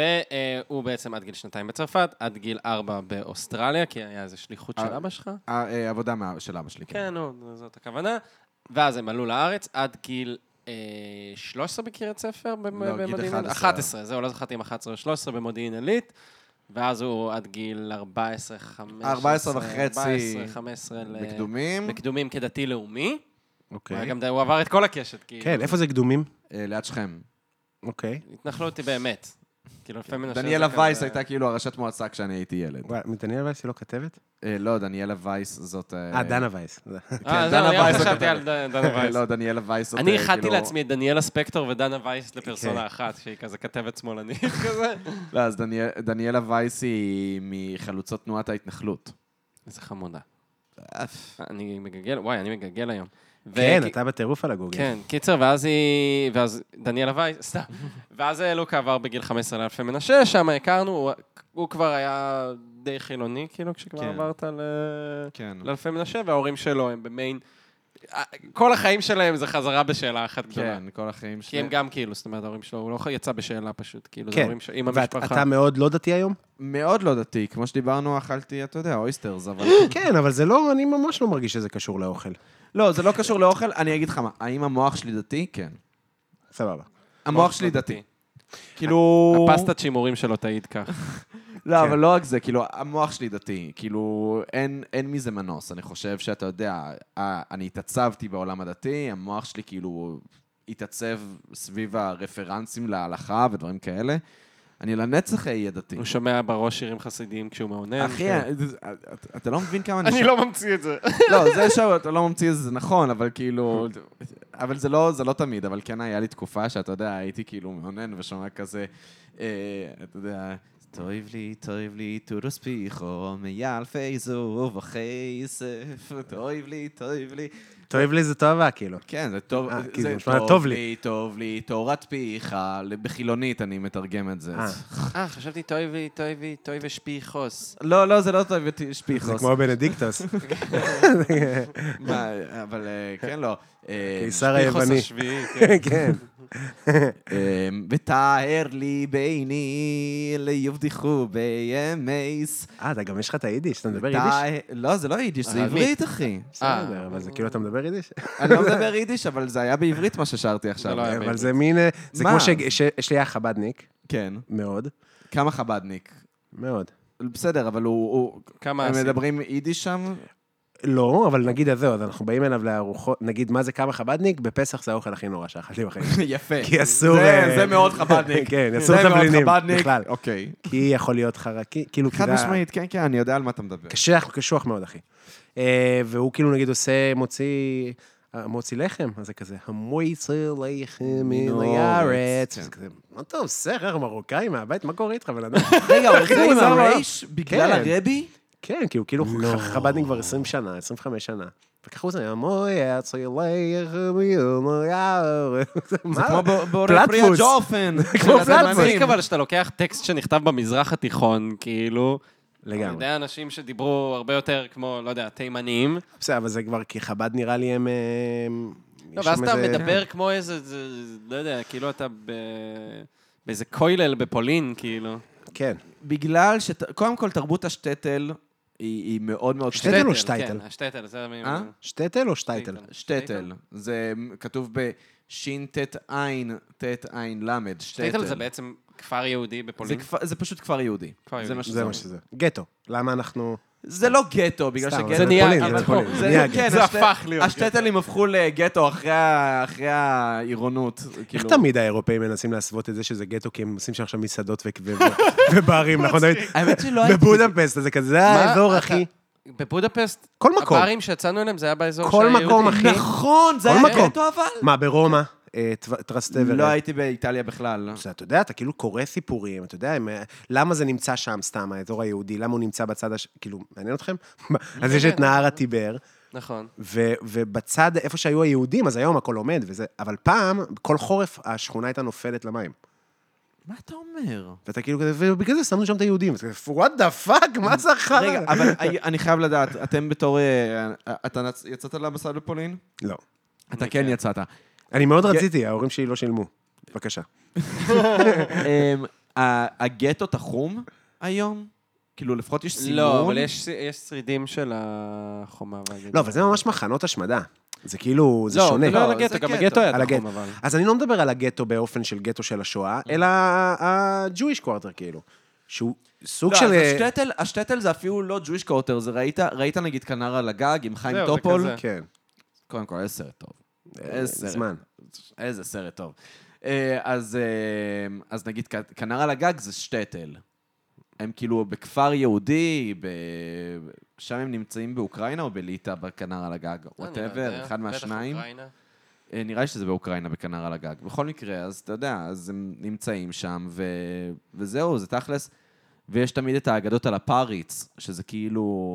Speaker 3: והוא בעצם עד גיל שנתיים בצרפת, עד גיל ארבע באוסטרליה, כי היה איזו שליחות של
Speaker 2: אה,
Speaker 3: אבא שלך.
Speaker 2: אה, אה, עבודה מה- של אבא שלי, כן.
Speaker 3: כן, נו, זאת הכוונה. ואז הם עלו לארץ עד גיל אה, 13 בקריית ספר במ-
Speaker 2: לא, גיל
Speaker 3: במודיעין
Speaker 2: 11.
Speaker 3: עילית. 11, זהו, לא זכרתי אם 11 או 13 במודיעין עילית. ואז הוא עד גיל 14, 15,
Speaker 2: 14 וחצי
Speaker 3: 14, 15 כן, ל-
Speaker 2: בקדומים,
Speaker 3: בקדומים כדתי-לאומי. הוא היה
Speaker 4: אוקיי.
Speaker 3: גם די- הוא עבר את כל הקשת, כאילו.
Speaker 4: כן, איפה זה קדומים?
Speaker 2: אה, ליד שכם.
Speaker 4: אוקיי.
Speaker 3: התנחלות היא באמת. כאילו, לפעמים מנשה...
Speaker 2: דניאלה
Speaker 3: זה
Speaker 2: וייס
Speaker 3: כזה-
Speaker 2: הייתה כאילו הראשת מועצה כשאני הייתי ילד.
Speaker 4: וואי, מדניאל וייס היא לא כתבת?
Speaker 2: אה, לא, דניאלה וייס זאת...
Speaker 4: אה, דנה וייס.
Speaker 3: אה,
Speaker 2: דנה
Speaker 3: זהו, אני
Speaker 2: וייס
Speaker 3: חשבתי
Speaker 2: הכתבת.
Speaker 3: על ד- דנה וייס.
Speaker 2: לא, דניאלה וייס זאת...
Speaker 3: אני
Speaker 2: אה,
Speaker 3: איחדתי
Speaker 2: כאילו-
Speaker 3: לעצמי את דניאלה ספקטור ודנה וייס לפרסונה
Speaker 4: כן.
Speaker 3: אחת, שהיא כזה כתבת שמאלנית כזה.
Speaker 2: לא, אז דניאל- דניאלה וייס היא מחלוצות תנועת ההתנחלות.
Speaker 3: איזה חמודה. אני מגגל, וואי, אני מגגל היום. ו-
Speaker 4: כן,
Speaker 3: כי-
Speaker 4: אתה בטירוף על הגוגל.
Speaker 3: כן, קיצר, ואז היא... ואז דניאלה וייס, סתם. ואז אה, לוקה עבר בגיל 15 לאלפי מנשה, שם הכרנו, הוא- הוא כבר היה די חילוני, כאילו, כשכבר
Speaker 2: כן.
Speaker 3: עברת ל...
Speaker 2: כן.
Speaker 3: לאלפי מנשה, וההורים שלו הם במיין... אה, כל החיים שלהם זה חזרה בשאלה אחת גדולה.
Speaker 2: כן, כל החיים שלי.
Speaker 3: לא. כי הם גם כאילו, זאת אומרת, ההורים שלו, הוא לא יצא בשאלה פשוט, כאילו, זה
Speaker 4: כן.
Speaker 3: הורים שלו, עם המשפחה.
Speaker 4: ואתה מאוד לא דתי היום?
Speaker 2: מאוד לא דתי, כמו שדיברנו, אכלתי, אתה יודע, אויסטרס, אבל...
Speaker 4: כן, אבל זה לא, אני ממש לא מרגיש שזה קשור לאוכל.
Speaker 2: לא, זה לא קשור לאוכל, אני אגיד לך מה, האם המוח שלי דתי? כן.
Speaker 4: סבבה.
Speaker 2: המוח שלי
Speaker 3: לא
Speaker 2: דתי. כאילו...
Speaker 3: הפסטת שימורים שלו תעיד כך.
Speaker 2: לא,
Speaker 4: כן.
Speaker 2: אבל לא רק זה, כאילו, המוח שלי דתי. כאילו, אין- אין מזה מנוס. אני חושב שאתה יודע, אה, אני התעצבתי בעולם הדתי, המוח שלי כאילו התעצב סביב הרפרנסים להלכה ודברים כאלה. אני לנצח אהיה דתי.
Speaker 3: הוא שומע בראש שירים חסידיים כשהוא מעונן. כן.
Speaker 2: אחי, אתה- אתה לא מבין כמה
Speaker 3: אני לא ממציא את זה.
Speaker 2: לא, זה שאתה לא ממציא את זה, זה נכון, אבל כאילו... אבל זה לא, זה לא תמיד, אבל כן היה לי תקופה שאתה יודע, הייתי כאילו מאונן ושומע כזה, אה, אתה יודע, תאהב לי, תאהב לי, תורוס פיחו, מאלפי זוב, וכסף, תאהב לי, תאהב לי.
Speaker 4: תאהב לי זה תאווה, כאילו.
Speaker 2: כן, זה טוב,
Speaker 4: אה,
Speaker 2: זה
Speaker 4: כאילו, נשמע טוב לי.
Speaker 2: טוב לי, תאורת פיך, בחילונית אני מתרגם את זה.
Speaker 4: אה.
Speaker 3: אה, חשבתי טויבי, טויבי, טויבי שפיחוס.
Speaker 2: לא, לא, זה לא טוב,
Speaker 4: זה
Speaker 2: שפיחוס.
Speaker 4: כמו בנדיקטוס,
Speaker 2: מה, אבל אה, כן, לא. אה,
Speaker 4: קיסר היווני.
Speaker 3: השביעי, כן.
Speaker 4: כן.
Speaker 2: אמ, ותאר לי ביני ליובדיחו בימייס.
Speaker 4: אה, אתה גם יש לך את היידיש, אתה מדבר יידיש?
Speaker 2: תא- לא, זה לא יידיש, זה
Speaker 3: ערבית.
Speaker 2: עברית, אחי.
Speaker 4: בסדר, אבל זה כאילו אתה מדבר יידיש?
Speaker 2: אני לא מדבר יידיש, אבל זה היה בעברית מה ששרתי עכשיו.
Speaker 3: לא היה.
Speaker 4: אבל זה מין... אה, זה
Speaker 2: מה?
Speaker 4: כמו ש- שיש לי היה חבדניק,
Speaker 2: כן.
Speaker 4: מאוד,
Speaker 2: כמה חבדניק.
Speaker 4: מאוד.
Speaker 2: בסדר, אבל הוא... הוא-
Speaker 3: כמה
Speaker 2: הם
Speaker 3: עשית?
Speaker 2: מדברים יידיש שם?
Speaker 4: לא, אבל נגיד אז זהו, אז אנחנו באים אליו לארוחות, נגיד מה זה כמה חבדניק, בפסח זה האוכל הכי נורא שאכלתי בחיים.
Speaker 2: יפה.
Speaker 4: כי אסור,
Speaker 2: כן. זה-
Speaker 4: אה,
Speaker 2: זה מאוד חבדניק.
Speaker 4: כן, אסור
Speaker 2: זה מאוד
Speaker 4: תבלינים,
Speaker 2: חבדניק.
Speaker 4: בכלל.
Speaker 2: אוקיי.
Speaker 4: כי יכול להיות חרקי, כאילו...
Speaker 2: חד
Speaker 4: כדאי-
Speaker 2: משמעית, כן, כן, אני יודע על מה אתה מדבר.
Speaker 4: קשוח, קשוח מאוד, אחי. אה, והוא כאילו נגיד עושה, מוציא, אה, מוציא לחם, אז זה כזה, המויצר לחם מן
Speaker 2: מן הארץ,
Speaker 4: הארץ.
Speaker 2: כן.
Speaker 4: וזה כזה, מה אתה עושה, איך מרוקאי מהבית? מה קורה איתך, בן אדם?
Speaker 2: רגע, הוא
Speaker 4: הכי
Speaker 2: החל עם
Speaker 4: מוזר בעולם.
Speaker 2: הרייש בגלל
Speaker 4: כן.
Speaker 2: הרבי?
Speaker 4: כן, כי הוא כאילו
Speaker 2: לא.
Speaker 4: ח- חבדניק כבר 20 שנה, 25 שנה. וככה הוא זה, המויצר לחם מן הארץ.
Speaker 2: זה
Speaker 4: מה?
Speaker 2: כמו ב- באורי פרי
Speaker 4: פלטפוס.
Speaker 2: הג'ורפן.
Speaker 4: כמו
Speaker 2: של
Speaker 4: פלטפוס.
Speaker 2: התימנים.
Speaker 3: לא, מצחיק אבל שאתה לוקח טקסט שנכתב במזרח התיכון, כאילו, על
Speaker 4: לגמרי.
Speaker 3: ידי אנשים שדיברו הרבה יותר כמו, לא יודע, תימנים,
Speaker 4: בסדר, אבל זה כבר, כי חב"ד נראה לי הם... הם-
Speaker 3: לא,
Speaker 4: יש
Speaker 3: ואז
Speaker 4: שם
Speaker 3: אתה
Speaker 4: איזה-
Speaker 3: מדבר כמו איזה, זה- לא יודע, כאילו אתה ב... באיזה כולל בפולין, כאילו.
Speaker 4: כן.
Speaker 2: בגלל ש... קודם כל, תרבות השטטל היא, היא מאוד מאוד...
Speaker 4: שטטל או שטייטל?
Speaker 3: כן, השטייטל, זה... מי-
Speaker 2: אה?
Speaker 4: שטטל או שטייטל?
Speaker 2: שטטל. זה כתוב בשטט עין, טט עין למד, שטטל.
Speaker 3: שטייטל זה בעצם כפר יהודי
Speaker 2: זה,
Speaker 3: בפולין.
Speaker 2: כפ... זה פשוט כפר יהודי.
Speaker 3: כפר
Speaker 2: זה
Speaker 3: יהודי.
Speaker 2: מה שזה.
Speaker 4: זה
Speaker 2: אומר.
Speaker 4: מה שזה. גטו. למה אנחנו...
Speaker 2: זה לא גטו, בגלל
Speaker 4: סתם,
Speaker 2: שגטו...
Speaker 4: זה
Speaker 3: נהיה-
Speaker 4: פולין,
Speaker 3: אבל
Speaker 4: זה
Speaker 3: פה,
Speaker 4: פולין.
Speaker 2: זה-
Speaker 4: נהיה
Speaker 2: כן,
Speaker 4: גטו.
Speaker 3: זה
Speaker 2: השט-
Speaker 3: הפך להיות
Speaker 2: השטטלים הפכו לגטו אחרי ה- אחרי העירונות.
Speaker 4: איך
Speaker 2: כאילו.
Speaker 4: תמיד האירופאים מנסים להסוות את זה שזה גטו, כי הם עושים שם עכשיו מסעדות ו- ו- ו- וברים, נכון? תמיד?
Speaker 2: האמת שלא הייתי...
Speaker 4: בבודפסט, אז זה כזה, זה
Speaker 3: מה?
Speaker 4: האזור,
Speaker 3: אתה-
Speaker 4: אחי.
Speaker 3: בבודפסט,
Speaker 4: כל מקום.
Speaker 3: הברים שיצאנו אליהם זה היה באזור
Speaker 4: כל
Speaker 3: של היהודים.
Speaker 4: מקום, אחי.
Speaker 2: נכון, זה
Speaker 4: כל
Speaker 2: היה
Speaker 4: מקום.
Speaker 2: גטו אבל?
Speaker 4: מה, ברומא? אה, טו- טרסטבר.
Speaker 2: לא הייתי באיטליה בכלל.
Speaker 4: אז אתה יודע, אתה כאילו קורא סיפורים, אתה יודע, הם, אה, למה זה נמצא שם סתם, האזור היהודי, למה הוא נמצא בצד הש... כאילו, מעניין אתכם? אז יש את נהר הטיבר,
Speaker 3: נכון.
Speaker 4: ו, ובצד, איפה שהיו היהודים, אז היום הכל עומד וזה, אבל פעם, כל חורף, השכונה הייתה נופלת למים.
Speaker 2: מה אתה אומר?
Speaker 4: ואתה כאילו כזה, ובגלל זה שמנו שם את היהודים. אז כזה, what the fuck, מה זה החרא?
Speaker 2: רגע, אבל אני- אני חייב לדעת, אתם בתור... אה, אתה נצ- יצאת למסע לפולין?
Speaker 4: לא.
Speaker 2: אתה כן יצאת.
Speaker 4: אני מאוד רציתי, ההורים שלי לא שילמו. בבקשה.
Speaker 2: אמ, ה- הגטו תחום היום? כאילו, לפחות יש סימון?
Speaker 3: לא, אבל יש יש שרידים של החומה והגדר.
Speaker 4: לא, אבל זה ממש מחנות השמדה. זה כאילו, זה
Speaker 3: לא,
Speaker 4: שונה.
Speaker 3: לא, על
Speaker 2: לא,
Speaker 3: הגטו,
Speaker 2: זה
Speaker 3: גם
Speaker 2: גטו.
Speaker 3: בגטו
Speaker 4: על
Speaker 3: היה
Speaker 4: הגט-
Speaker 3: תחום, אבל.
Speaker 4: אז אני לא מדבר על הגטו באופן של גטו של השואה, אלא ה-Jewish quarter, כאילו. שהוא סוג
Speaker 2: לא,
Speaker 4: של... אה,
Speaker 2: אז השטטל, השטטל זה אפילו לא ג'ויש קורטר, זה ראית, ראית נגיד כנר על הגג עם חיים
Speaker 3: זהו, זה
Speaker 2: טופול?
Speaker 3: כזה.
Speaker 4: כן,
Speaker 2: קודם כל, איזה סרט טוב.
Speaker 4: אה,
Speaker 2: איזה סרט.
Speaker 4: זמן.
Speaker 2: איזה סרט טוב. אה, אז, אה, אז נגיד, כ- כנר על הגג זה שטטל. הם כאילו בכפר יהודי, ב... שם הם נמצאים באוקראינה או בליטא, בכנר על הגג,
Speaker 3: לא
Speaker 2: וואטאבר, אחד מהשניים. אה, נראה לי שזה באוקראינה, בכנר על הגג. בכל מקרה, אז אתה יודע, אז הם נמצאים שם, ו... וזהו, זה תכלס. ויש תמיד את האגדות על הפריץ, שזה כאילו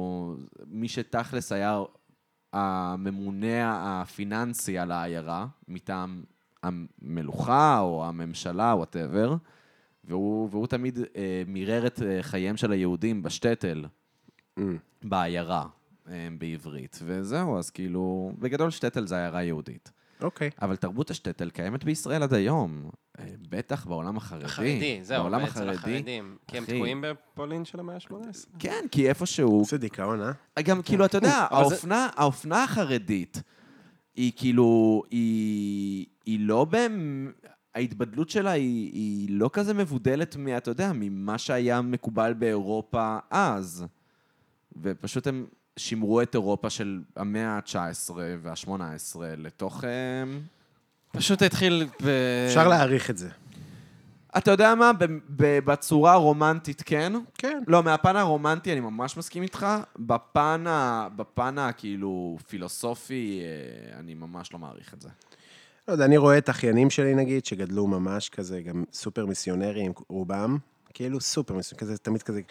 Speaker 2: מי שתכלס היה הממונה הפיננסי על העיירה, מטעם המלוכה או הממשלה, וואטאבר, והוא, והוא תמיד אה, מירר את אה, חייהם של היהודים בשטטל,
Speaker 4: Mm.
Speaker 2: בעיירה, אה, בעברית. וזהו, אז כאילו, בגדול שטטל זה עיירה יהודית.
Speaker 4: אוקיי.
Speaker 2: אבל תרבות השטטל קיימת בישראל עד היום. אה, בטח בעולם החרדי.
Speaker 3: חרדי, זהו,
Speaker 2: בעולם
Speaker 3: אצל
Speaker 2: החרדי.
Speaker 3: החרדים. כי הם
Speaker 2: אחי.
Speaker 3: תקועים בפולין של המאה ה-18.
Speaker 2: כן, כי איפשהו...
Speaker 4: איזה דיכאון, אה?
Speaker 2: גם כאילו, אתה יודע,
Speaker 3: אבל זה-
Speaker 2: האופנה, האופנה החרדית היא כאילו... היא, היא לא באמת... ההתבדלות שלה היא, היא לא כזה מבודלת, מה- אתה יודע, ממה שהיה מקובל באירופה אז. ופשוט הם שימרו את אירופה של המאה ה-19 וה-18 לתוך... אה,
Speaker 3: פשוט התחיל ב...
Speaker 4: אפשר להעריך את זה.
Speaker 2: אתה יודע מה? ב- ב- בצורה הרומנטית כן.
Speaker 4: כן.
Speaker 2: לא, מהפן הרומנטי אני ממש מסכים איתך. בפן, ה- בפן הכאילו פילוסופי, אה, אני ממש לא מעריך את זה.
Speaker 4: לא יודע, אני רואה את אחיינים שלי, נגיד, שגדלו ממש כזה, גם סופר מיסיונרים, רובם, כאילו סופר מיסיונרים, כזה, תמיד כזה...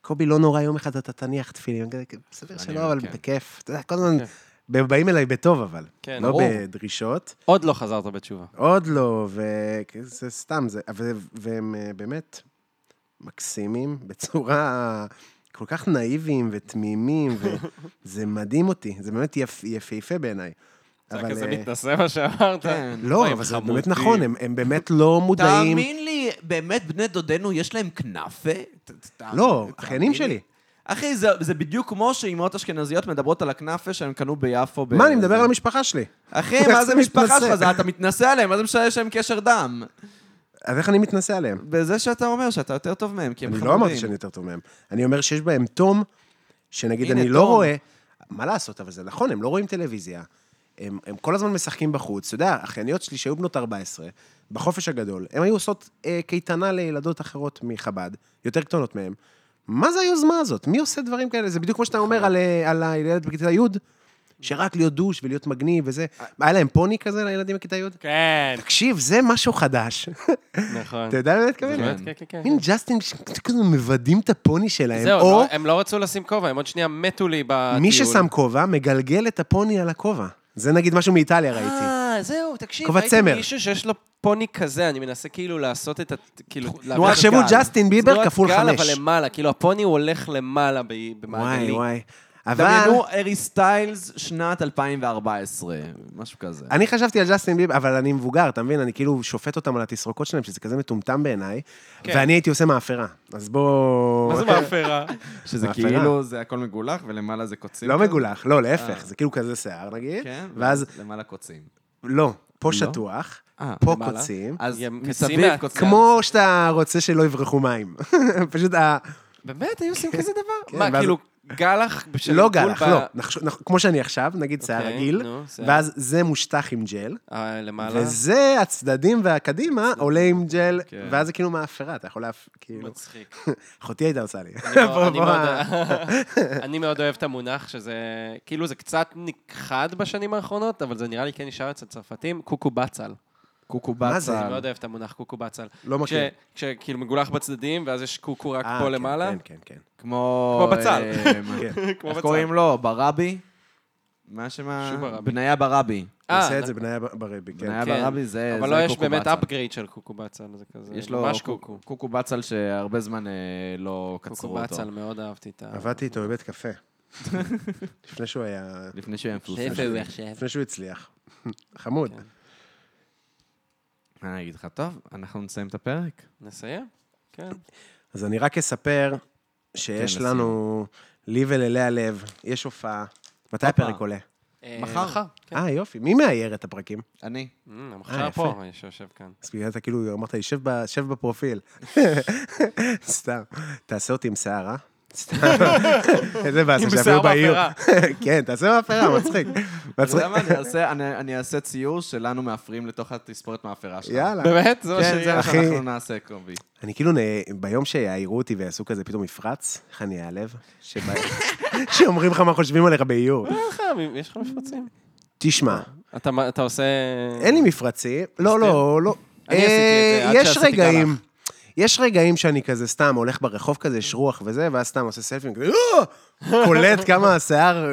Speaker 4: קובי, לא נורא, יום אחד אתה תניח תפילין, כזה, סביר
Speaker 2: אני
Speaker 4: שלא,
Speaker 2: אומר,
Speaker 4: אבל
Speaker 2: כן.
Speaker 4: בכיף. אתה יודע, כל הזמן,
Speaker 3: כן.
Speaker 4: ב- באים אליי בטוב, אבל.
Speaker 3: כן,
Speaker 4: לא
Speaker 3: ברור.
Speaker 4: בדרישות.
Speaker 3: עוד לא חזרת בתשובה.
Speaker 4: עוד לא, וזה סתם, זה, ו- והם אה, באמת מקסימים בצורה כל כך נאיביים ותמימים, וזה מדהים אותי, זה באמת יפ, יפהפה בעיניי.
Speaker 3: זה
Speaker 4: אבל,
Speaker 3: כזה
Speaker 4: אה,
Speaker 3: מתנשא מה שאמרת.
Speaker 2: כן.
Speaker 4: לא,
Speaker 3: אוי,
Speaker 4: אבל זה
Speaker 3: חמודי.
Speaker 4: באמת נכון, הם, הם באמת לא מודעים.
Speaker 2: תאמין לי, באמת בני דודינו יש להם כנאפה? ת- ת- תאמין-
Speaker 4: לא,
Speaker 2: תאמין
Speaker 4: אחיינים
Speaker 2: לי.
Speaker 4: שלי.
Speaker 2: אחי, זה, זה בדיוק כמו שאימהות אשכנזיות מדברות על הכנאפה שהם קנו ביפו. ב-
Speaker 4: מה, אני מדבר על המשפחה שלי.
Speaker 2: אחי,
Speaker 4: איך
Speaker 2: מה
Speaker 4: זה
Speaker 2: זה משפחה
Speaker 4: מתנשא?
Speaker 2: שלך? זה אתה מתנשא עליהם, מה זה משנה שיש להם קשר דם?
Speaker 4: אז איך אני מתנשא עליהם?
Speaker 2: בזה שאתה אומר שאתה יותר טוב מהם, כי הם
Speaker 4: אני
Speaker 2: חמודים.
Speaker 4: לא אמרתי שאני יותר טוב מהם. אני אומר שיש בהם תום, שנגיד
Speaker 2: הנה,
Speaker 4: אני לא
Speaker 2: תום.
Speaker 4: רואה... מה לעשות, אבל זה נכון, הם לא רואים טלוויזיה. הם, הם כל הזמן משחקים בחוץ. אתה יודע, האחייניות שלי שהיו בנות 14, בחופש הגדול, הן היו עושות אה, קייטנה לילדות אחרות מחב"ד, יותר קטנות מהן. מה זה היוזמה הזאת? מי עושה דברים כאלה? זה בדיוק כמו שאתה
Speaker 2: נכון.
Speaker 4: אומר על, אה, על הילד בכיתה י', שרק להיות דוש ולהיות מגניב וזה.
Speaker 2: אה.
Speaker 4: היה להם פוני כזה לילדים בכיתה י'?
Speaker 3: כן,
Speaker 4: תקשיב, זה משהו
Speaker 2: אה.
Speaker 4: חדש.
Speaker 3: נכון.
Speaker 4: אתה יודע מה אני מתכוון?
Speaker 3: באמת, כן, כן, כן.
Speaker 4: מין ג'סטין, ש- כזה מוודאים את הפוני שלהם,
Speaker 3: זהו,
Speaker 4: או
Speaker 3: לא- הם לא רצו לשים כובע, הם עוד שנייה מתו לי בטיול.
Speaker 4: מי ששם כובע מגלגל את הפוני על הכובע. זה נגיד משהו מאיטליה ראיתי.
Speaker 3: אה, זהו, תקשיב,
Speaker 4: כובע
Speaker 3: ראיתי
Speaker 4: צמר.
Speaker 3: מישהו שיש לו פוני כזה, אני מנסה כאילו לעשות את ה... כאילו... להבין-
Speaker 2: תנועת
Speaker 4: תחשבו
Speaker 2: גל.
Speaker 4: ג'סטין ביבר
Speaker 3: תנועת
Speaker 4: כפול
Speaker 3: גל, אבל
Speaker 4: חמש.
Speaker 3: למעלה, כאילו הפוני הוא הולך למעלה ב-
Speaker 4: וואי
Speaker 3: במעגלי.
Speaker 4: וואי. אבל
Speaker 2: דמיינו ארי סטיילס שנת 2014, משהו כזה.
Speaker 4: אני חשבתי על ג'סטין ביבר, אבל אני מבוגר, אתה מבין? אני כאילו שופט אותם על התסרוקות שלהם, שזה כזה מטומטם בעיניי,
Speaker 3: כן.
Speaker 4: ואני הייתי עושה מאפרה. אז בוא... לא
Speaker 3: מה זה מאפרה?
Speaker 2: שזה
Speaker 4: מאפרה.
Speaker 2: כאילו, זה הכל מגולח ולמעלה זה קוצים.
Speaker 4: לא
Speaker 2: כזה.
Speaker 4: מגולח, לא,
Speaker 2: אה.
Speaker 4: להפך, זה כאילו כזה שיער נגיד,
Speaker 2: כן,
Speaker 4: ואז
Speaker 3: אה.
Speaker 2: ואז למעלה קוצים.
Speaker 4: לא, פה
Speaker 2: לא?
Speaker 4: שטוח,
Speaker 2: אה,
Speaker 4: פה
Speaker 3: למעלה.
Speaker 4: קוצים,
Speaker 2: אז
Speaker 3: גם
Speaker 2: מסביב
Speaker 3: קצים
Speaker 2: קוצים.
Speaker 4: כמו שאתה רוצה שלא יברחו מים. פשוט ה...
Speaker 3: באמת, היו עושים כזה דבר?
Speaker 4: כן,
Speaker 3: מה,
Speaker 4: ואז-
Speaker 3: כאילו גלח בשביל...
Speaker 4: לא
Speaker 3: גול
Speaker 4: גלח,
Speaker 3: ב-
Speaker 4: לא. נחש- נח- כמו שאני עכשיו, נגיד שיער
Speaker 3: אוקיי,
Speaker 4: רגיל,
Speaker 3: נו, שיער.
Speaker 4: ואז זה מושטח עם ג'ל,
Speaker 3: אה, למעלה.
Speaker 4: וזה הצדדים והקדימה עולה עם ג'ל,
Speaker 2: כן.
Speaker 3: אוקיי.
Speaker 4: ואז זה כאילו מאפרה, אתה יכול להפ... כאילו...
Speaker 3: מצחיק.
Speaker 4: אחותי הייתה עושה לי.
Speaker 3: אני מאוד-
Speaker 4: בוא,
Speaker 3: אני
Speaker 4: בוא,
Speaker 3: מאוד- אני מאוד אוהב את המונח שזה, כאילו זה קצת נכחד בשנים האחרונות, אבל זה נראה לי כן נשאר אצל צרפתים, קוקו בצל.
Speaker 2: קוקו
Speaker 4: מה
Speaker 2: בצל.
Speaker 4: זה?
Speaker 3: אני לא מאוד אוהב את המונח קוקו בצל.
Speaker 4: לא מכיר.
Speaker 3: כש- כשכאילו מגולח בצדדים, ואז יש קוקו רק
Speaker 4: אה,
Speaker 3: פה
Speaker 4: כן,
Speaker 3: למעלה.
Speaker 4: כן, כן, כן.
Speaker 2: כמו...
Speaker 3: כמו בצל.
Speaker 2: אמ,
Speaker 4: כן.
Speaker 3: כמו
Speaker 2: איך
Speaker 3: בצל.
Speaker 2: קוראים לו? ברבי? מה שמה?
Speaker 3: שוב הרבי.
Speaker 2: בניה ברבי.
Speaker 4: הוא
Speaker 3: אה,
Speaker 4: עושה את
Speaker 3: נ-
Speaker 4: זה בניה ב- ברבי, כן.
Speaker 2: בניה
Speaker 3: כן.
Speaker 2: ברבי זה
Speaker 3: אבל
Speaker 2: זה
Speaker 3: לא, יש
Speaker 2: קוקו
Speaker 3: באמת
Speaker 2: בצל.
Speaker 3: upgrade של קוקו בצל, זה כזה,
Speaker 2: יש לו
Speaker 3: ממש
Speaker 2: קוק-
Speaker 3: קוקו.
Speaker 2: קוקו בצל שהרבה זמן אה, לא
Speaker 3: קוקו
Speaker 2: קצרו אותו.
Speaker 3: בצל, מאוד אהבתי את ה...
Speaker 4: עבדתי איתו בבית קפה. לפני שהוא היה...
Speaker 2: לפני שהוא היה מפורסם.
Speaker 3: איפה הוא עכשיו?
Speaker 4: לפני שהוא הצליח. חמוד.
Speaker 3: כן.
Speaker 2: אני אגיד לך, טוב, אנחנו נסיים את הפרק.
Speaker 3: נסיים? כן.
Speaker 4: אז אני רק אספר שיש
Speaker 2: כן, לסיום.
Speaker 4: לנו, לי וללאה לב, יש הופעה. מתי
Speaker 2: הופה.
Speaker 4: הפרק עולה?
Speaker 3: אה,
Speaker 2: מחר.
Speaker 3: כן.
Speaker 4: אה, יופי. מי מאייר את הפרקים?
Speaker 2: אני.
Speaker 3: אמ,
Speaker 4: אה,
Speaker 3: המחשב
Speaker 4: יפה.
Speaker 3: פה, שיושב כאן.
Speaker 4: אז בגלל זה כאילו אמרת לי, "שב ב- שב בפרופיל. סתם. תעשה אותי עם שיער, אה? סתם. איזה באסה
Speaker 3: עם
Speaker 4: שאפילו
Speaker 3: שיער
Speaker 4: בעיר.
Speaker 3: באפרה.
Speaker 4: כן, תעשה מאפרה, מצחיק.
Speaker 2: אתה
Speaker 4: מצחיק.
Speaker 2: יודע מה, אני אעשה- אני- אני אעשה ציור שלנו מאפרים לתוך התספורת מאפרה שלנו.
Speaker 4: יאללה.
Speaker 3: באמת? זה מה
Speaker 2: כן, זה
Speaker 3: שיהיה.
Speaker 2: מה
Speaker 4: אחי.
Speaker 2: שאנחנו נעשה, קובי.
Speaker 4: אני כאילו, נ- ביום שיעירו אותי ויעשו כזה פתאום מפרץ, איך אני אעלב? שב- שאומרים לך מה חושבים עליך באיור.
Speaker 3: יש לך מפרצים?
Speaker 4: תשמע,
Speaker 3: אתה מה- אתה עושה...
Speaker 4: אין לי מפרצים. לא, לא, לא.
Speaker 3: אני עשיתי את זה,
Speaker 4: אה,
Speaker 3: עד
Speaker 4: יש
Speaker 3: שעשיתי
Speaker 4: רגעים, יש רגעים שאני כזה סתם הולך ברחוב כזה, יש רוח וזה, ואז סתם עושה סלפים, כזה, "אה!" קולט כמה השיער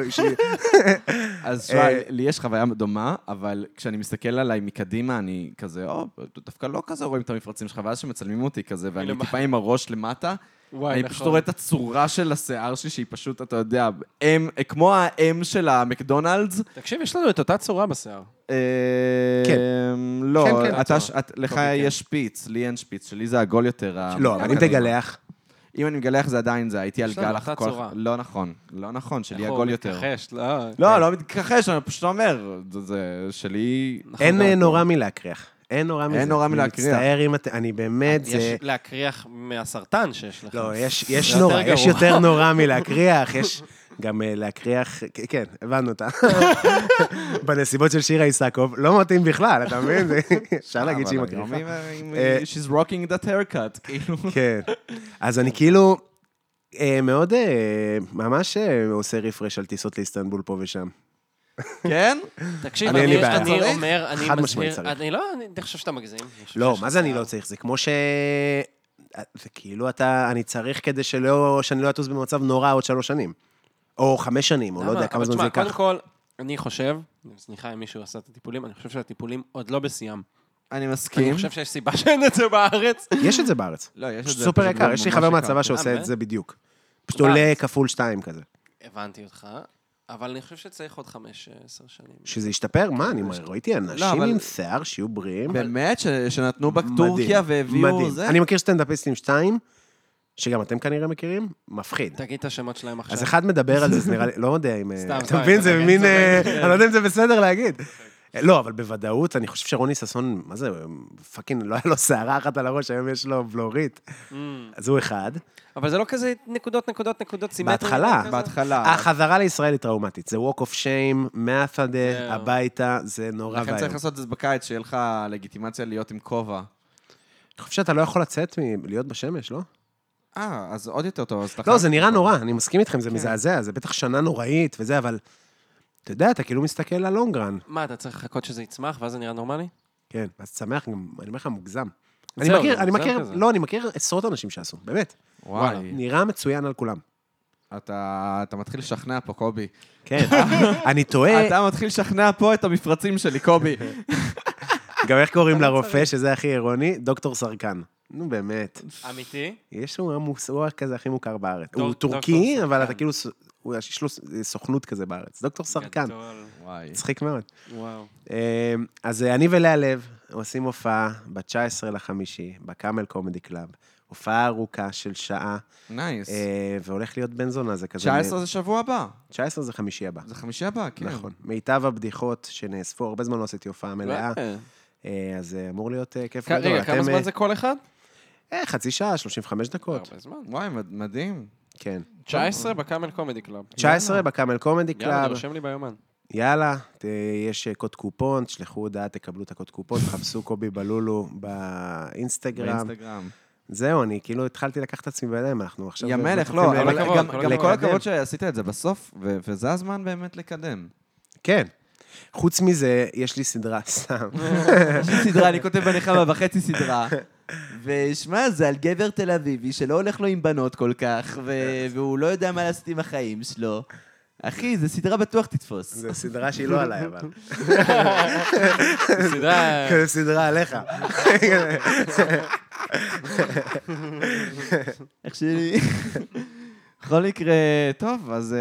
Speaker 4: שלי.
Speaker 2: אז תשמע,
Speaker 4: אה,
Speaker 2: לי יש חוויה דומה, אבל כשאני מסתכל עליי מקדימה, אני כזה, או, דווקא לא כזה רואים את המפרצים שלך, ואז כשמצלמים אותי כזה, ואני
Speaker 3: מלמעלה.
Speaker 2: טיפה עם הראש למטה,
Speaker 3: וואי,
Speaker 2: אני
Speaker 3: נכון.
Speaker 2: פשוט רואה את הצורה של השיער שלי, שהיא פשוט, אתה יודע, אם, כמו האם של המקדונלדס.
Speaker 3: תקשיב, יש לנו את אותה צורה בשיער.
Speaker 4: כן.
Speaker 2: אמ, לא,
Speaker 4: כן, כן.
Speaker 2: אתה ש- את- לך
Speaker 3: אוקיי, כן.
Speaker 2: יש שפיץ, לי אין שפיץ, שלי זה עגול יותר. ה-
Speaker 4: לא, אבל אם
Speaker 2: הקדימה.
Speaker 4: תגלח,
Speaker 2: אם אני מגלח זה עדיין זה, הייתי על
Speaker 3: יש לנו
Speaker 2: גל
Speaker 3: אותה
Speaker 2: הכל-
Speaker 3: צורה.
Speaker 2: לא נכון, לא נכון, שלי
Speaker 3: איך הוא
Speaker 2: עגול יותר.
Speaker 3: מתכחש, לא.
Speaker 2: לא, לא מתכחש, אני פשוט אומר, זה- זה שלי...
Speaker 3: כן. נכון,
Speaker 4: אין אה, נורא מלהקריח. אין נורא מזה.
Speaker 2: נורא מלהקריח.
Speaker 4: אני מצטער אם אתם, אני באמת, זה...
Speaker 3: אה, יש להקריח מהסרטן שיש לך.
Speaker 4: לא, יש-
Speaker 3: זה
Speaker 4: יש
Speaker 3: יותר
Speaker 4: נורא, יש
Speaker 3: גרוע.
Speaker 4: יותר נורא מלהקריח, יש גם אה, להקריח, כ- כן, הבנו אותה. בנסיבות של שירה איסקוב, לא מתאים בכלל, אתה מבין? זה- אפשר להגיד
Speaker 3: לא
Speaker 4: שהיא
Speaker 2: אבל היום
Speaker 4: מקריחה.
Speaker 2: היא-
Speaker 4: אה,
Speaker 2: היא- She's rocking that haircut, כאילו.
Speaker 4: כן. אז אני כאילו אה, מאוד, אה, ממש אה, עושה רפרש על טיסות לאיסטנבול פה ושם.
Speaker 2: כן?
Speaker 3: תקשיב,
Speaker 4: אני, אין לי
Speaker 3: אני
Speaker 4: בעיה.
Speaker 3: אני
Speaker 2: צריך?
Speaker 3: אומר, אני
Speaker 4: חד משמעית
Speaker 3: מזהיר,
Speaker 4: צריך.
Speaker 3: אני לא, אני אני חושב שאתה מגזים. אני חושב
Speaker 4: לא,
Speaker 3: שיש
Speaker 4: מה
Speaker 3: לך
Speaker 4: זה אני
Speaker 3: שיער.
Speaker 4: לא צריך? זה כמו ש... זה כאילו אתה, אני צריך כדי שלא, שאני לא אטוס במצב נורא עוד שלוש שנים. או חמש שנים, או לא
Speaker 3: למה?
Speaker 4: יודע כמה
Speaker 3: אבל
Speaker 4: זמן זה
Speaker 3: תשמע, קודם
Speaker 4: ייקח.
Speaker 3: כל, אני חושב, סליחה אם מישהו עשה את הטיפולים, אני חושב שהטיפולים עוד לא בשיאם.
Speaker 2: אני
Speaker 3: אני
Speaker 4: כן?
Speaker 2: מסכים.
Speaker 3: חושב שיש סיבה שאין את זה בארץ.
Speaker 4: יש את זה בארץ.
Speaker 2: לא, יש את
Speaker 4: פשוט
Speaker 2: זה.
Speaker 4: סופר
Speaker 2: פשוט
Speaker 4: יקר,
Speaker 2: לא
Speaker 4: יש לי
Speaker 2: ממש
Speaker 4: חבר
Speaker 2: יקר.
Speaker 4: מהצבא שעושה
Speaker 3: באמת?
Speaker 4: את זה בדיוק. פשוט
Speaker 3: בארץ.
Speaker 4: עולה כפול שתיים כזה.
Speaker 3: הבנתי אותך, אבל אני חושב שצריך עוד חמש, אה, עשר שנים.
Speaker 4: שזה ישתפר? מה, אני ראיתי אנשים
Speaker 2: לא, אבל-
Speaker 4: עם שיער שיהיו בריאים.
Speaker 2: באמת? ש- שנתנו
Speaker 4: מדהים,
Speaker 2: בטורקיה והביאו
Speaker 4: מדהים.
Speaker 2: זה?
Speaker 4: אני מכיר סטנדאפיסטים שתיים, שגם אתם כנראה מכירים, מפחיד.
Speaker 3: תגיד את השמות שלהם עכשיו.
Speaker 4: אז אחד מדבר על זה, זה נראה לי, לא יודע אם... אה,
Speaker 3: סתם,
Speaker 4: אתה
Speaker 3: סתם,
Speaker 4: מבין,
Speaker 3: אתה
Speaker 4: זה
Speaker 3: מבין,
Speaker 4: מין...
Speaker 3: צודק.
Speaker 4: אה, אני לא יודע אם זה בסדר להגיד. אה, לא, אבל בוודאות, אני חושב שרוני ששון, מה זה, פאקינג, לא היה לו שערה אחת על הראש, היום יש לו בלורית.
Speaker 3: Mm.
Speaker 4: אז הוא אחד.
Speaker 3: אבל זה לא כזה נקודות, נקודות, נקודות סימטריות.
Speaker 4: בהתחלה,
Speaker 3: כזה?
Speaker 2: בהתחלה.
Speaker 4: החזרה לישראל היא טראומטית, זה walk of shame, מהשדה,
Speaker 3: זהו.
Speaker 4: הביתה, זה נורא
Speaker 2: לכן
Speaker 4: ואיום.
Speaker 2: צריך לעשות את זה בקיץ, שיהיה לך לגיטימציה להיות עם כובע.
Speaker 4: אני חושב שאתה לא יכול לצאת מלהיות בשמש, לא?
Speaker 2: אה, אז עוד יותר טוב, אז
Speaker 3: אוקיי.
Speaker 2: אתה
Speaker 4: לא,
Speaker 2: חייב-
Speaker 4: זה נראה נורא, אני מסכים איתכם,
Speaker 3: כן.
Speaker 4: זה מזעזע, זה בטח שנה נוראית וזה, אבל... אתה יודע, אתה כאילו מסתכל על לונגרן.
Speaker 3: מה, אתה צריך לחכות שזה יצמח, ואז זה נראה נורמלי?
Speaker 4: כן, אז שמח גם, אני אומר לך, מוגזם. אני
Speaker 3: זהו,
Speaker 4: מכיר,
Speaker 3: זה
Speaker 4: אני
Speaker 3: מוגזם
Speaker 4: מכיר,
Speaker 3: כזה.
Speaker 4: לא, אני מכיר עשרות אנשים שעשו, באמת.
Speaker 2: וואי,
Speaker 4: נראה מצוין על כולם.
Speaker 2: אתה אתה מתחיל לשכנע פה, קובי.
Speaker 4: כן.
Speaker 3: אה?
Speaker 4: אני תוהה,
Speaker 2: אתה מתחיל לשכנע פה את המפרצים שלי, קובי.
Speaker 4: גם איך קוראים לרופא, שזה הכי אירוני? דוקטור סרקן. נו, באמת.
Speaker 3: אמיתי?
Speaker 4: יש לו עמוס, הוא כזה הכי מוכר בארץ.
Speaker 3: דוק-
Speaker 4: הוא
Speaker 3: דוקטור
Speaker 4: טורקי, אבל אתה
Speaker 3: סרקן. כן,
Speaker 4: כאילו, ס- הוא- יש לו ס- סוכנות כזה בארץ. דוקטור סרקן.
Speaker 3: גדול.
Speaker 2: וואי.
Speaker 4: מצחיק מאוד.
Speaker 3: וואו.
Speaker 4: אה, אז אה, אני ולאה לב עושים הופעה ב-19 לחמישי, בקאמל קומדי קלאב. הופעה ארוכה של שעה,
Speaker 2: נייס.
Speaker 4: אה, והולך להיות בן זונה, זה כזה...
Speaker 2: 19 זה שבוע הבא.
Speaker 4: 19 זה חמישי הבא.
Speaker 2: זה חמישי הבא, כן.
Speaker 4: נכון. מיטב הבדיחות שנאספו, הרבה זמן לא עשיתי הופעה מלאה,
Speaker 3: אה.
Speaker 4: אה, אז אה, אמור להיות אה, כיף
Speaker 3: כ- רגע,
Speaker 4: אתם,
Speaker 3: כמה
Speaker 4: אה,
Speaker 3: זמן זה כל אחד?
Speaker 4: אה, חצי שעה, 35 דקות.
Speaker 3: הרבה זמן.
Speaker 2: וואי, מד- מדהים.
Speaker 4: כן.
Speaker 3: 19 בקאמל קומדי קלאב.
Speaker 4: 19 בקאמל קומדי
Speaker 3: יאללה,
Speaker 4: קלאב.
Speaker 3: זה רושם לי ביומן.
Speaker 4: כן. יאללה, ת- יש אה, קוד קופון, תשלחו הודעה, תקבלו את הקוד קופון, חפשו קובי בלולו באינסטגרם.
Speaker 2: באינסטגרם.
Speaker 4: זהו, אני כאילו התחלתי לקחת את עצמי בידיים, אנחנו עכשיו...
Speaker 2: יא מלך,
Speaker 4: דוחפים
Speaker 2: לא,
Speaker 4: ל-
Speaker 2: אבל
Speaker 3: כל הכבוד,
Speaker 2: גם-
Speaker 3: כל
Speaker 2: גם כל
Speaker 3: הכבוד.
Speaker 2: הכבוד שעשית את זה בסוף, ו- וזה הזמן באמת לקדם.
Speaker 4: כן. חוץ מזה, יש לי סדרה, סתם.
Speaker 2: יש לי סדרה, אני כותב בנחמה וחצי סדרה. ושמע, זה על גבר תל אביבי שלא הולך לו עם בנות כל כך, ו- והוא לא יודע מה לעשות עם החיים שלו. אחי, זו סדרה בטוח תתפוס.
Speaker 4: זו סדרה שהיא לא עליי, אבל.
Speaker 3: סדרה...
Speaker 4: זו סדרה עליך.
Speaker 2: איך שלי. בכל מקרה, טוב, אז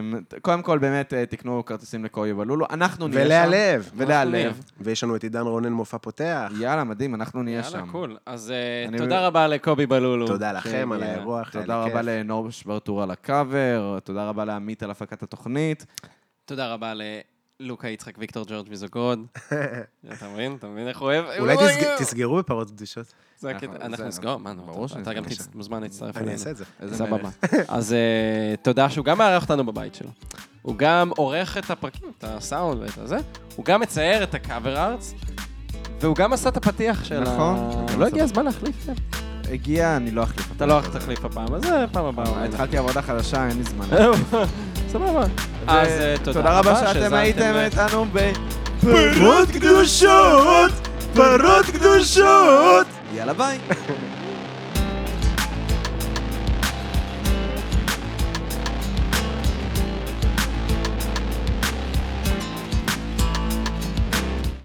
Speaker 2: אמ, ת- קודם כל באמת אה, תקנו כרטיסים לקויו בלולו, אנחנו נהיה שם.
Speaker 4: ולאה לב.
Speaker 2: ולאה
Speaker 3: אנחנו נהיה.
Speaker 2: לב.
Speaker 4: ויש לנו את עידן רונן מופע פותח.
Speaker 2: יאללה, מדהים, אנחנו נהיה שם.
Speaker 3: יאללה, קול. אז אה,
Speaker 2: אני-
Speaker 3: תודה רבה לקובי בלולו.
Speaker 4: תודה לכם על
Speaker 3: שהגיע.
Speaker 4: האירוח, היה לי
Speaker 2: תודה רבה
Speaker 4: כיף.
Speaker 2: לנור שברטור על הקאבר, תודה רבה לעמית על הפקת התוכנית.
Speaker 3: תודה רבה ללוקה יצחק ויקטור ג'ורג' מזוגרוד. אתה מבין? אתה מבין איך הוא אוהב?
Speaker 4: אולי
Speaker 3: הוא
Speaker 4: תסג- אה,
Speaker 3: אוהב.
Speaker 4: תסגרו בפרות קדושות.
Speaker 3: זה הקטע.
Speaker 2: אנחנו-
Speaker 3: אנחנו
Speaker 2: זה-
Speaker 3: נסגור, מה, נו,
Speaker 2: ברור
Speaker 3: אתה- אתה
Speaker 2: שנסגור.
Speaker 3: גם תצ- מוזמן להצטרף
Speaker 4: אני
Speaker 3: אלינו.
Speaker 4: אעשה את זה.
Speaker 2: איזה
Speaker 3: סבבה.
Speaker 2: מלך.
Speaker 3: אז אה, תודה שהוא גם מארח אותנו בבית שלו. הוא גם עורך את הפרקים, את הסאונד ואת הזה. הוא גם מצייר את הקאבר ארץ. והוא גם עשה את הפתיח של
Speaker 2: נכון.
Speaker 3: ה... לא הגיע הזמן להחליף? כן.
Speaker 2: הגיע, אני לא אחליף.
Speaker 3: אתה לא תחליף הפעם, אז אה, פעם הבאה. אולי.
Speaker 2: התחלתי עבודה חדשה, אין לי זמן.
Speaker 3: סבבה. אז אה,
Speaker 2: תודה רבה שאתם
Speaker 3: שהאזנתם
Speaker 2: הייתם
Speaker 3: ל-
Speaker 2: איתנו ב...
Speaker 1: פרות קדושות! פרות קדושות!
Speaker 2: יאללה ביי.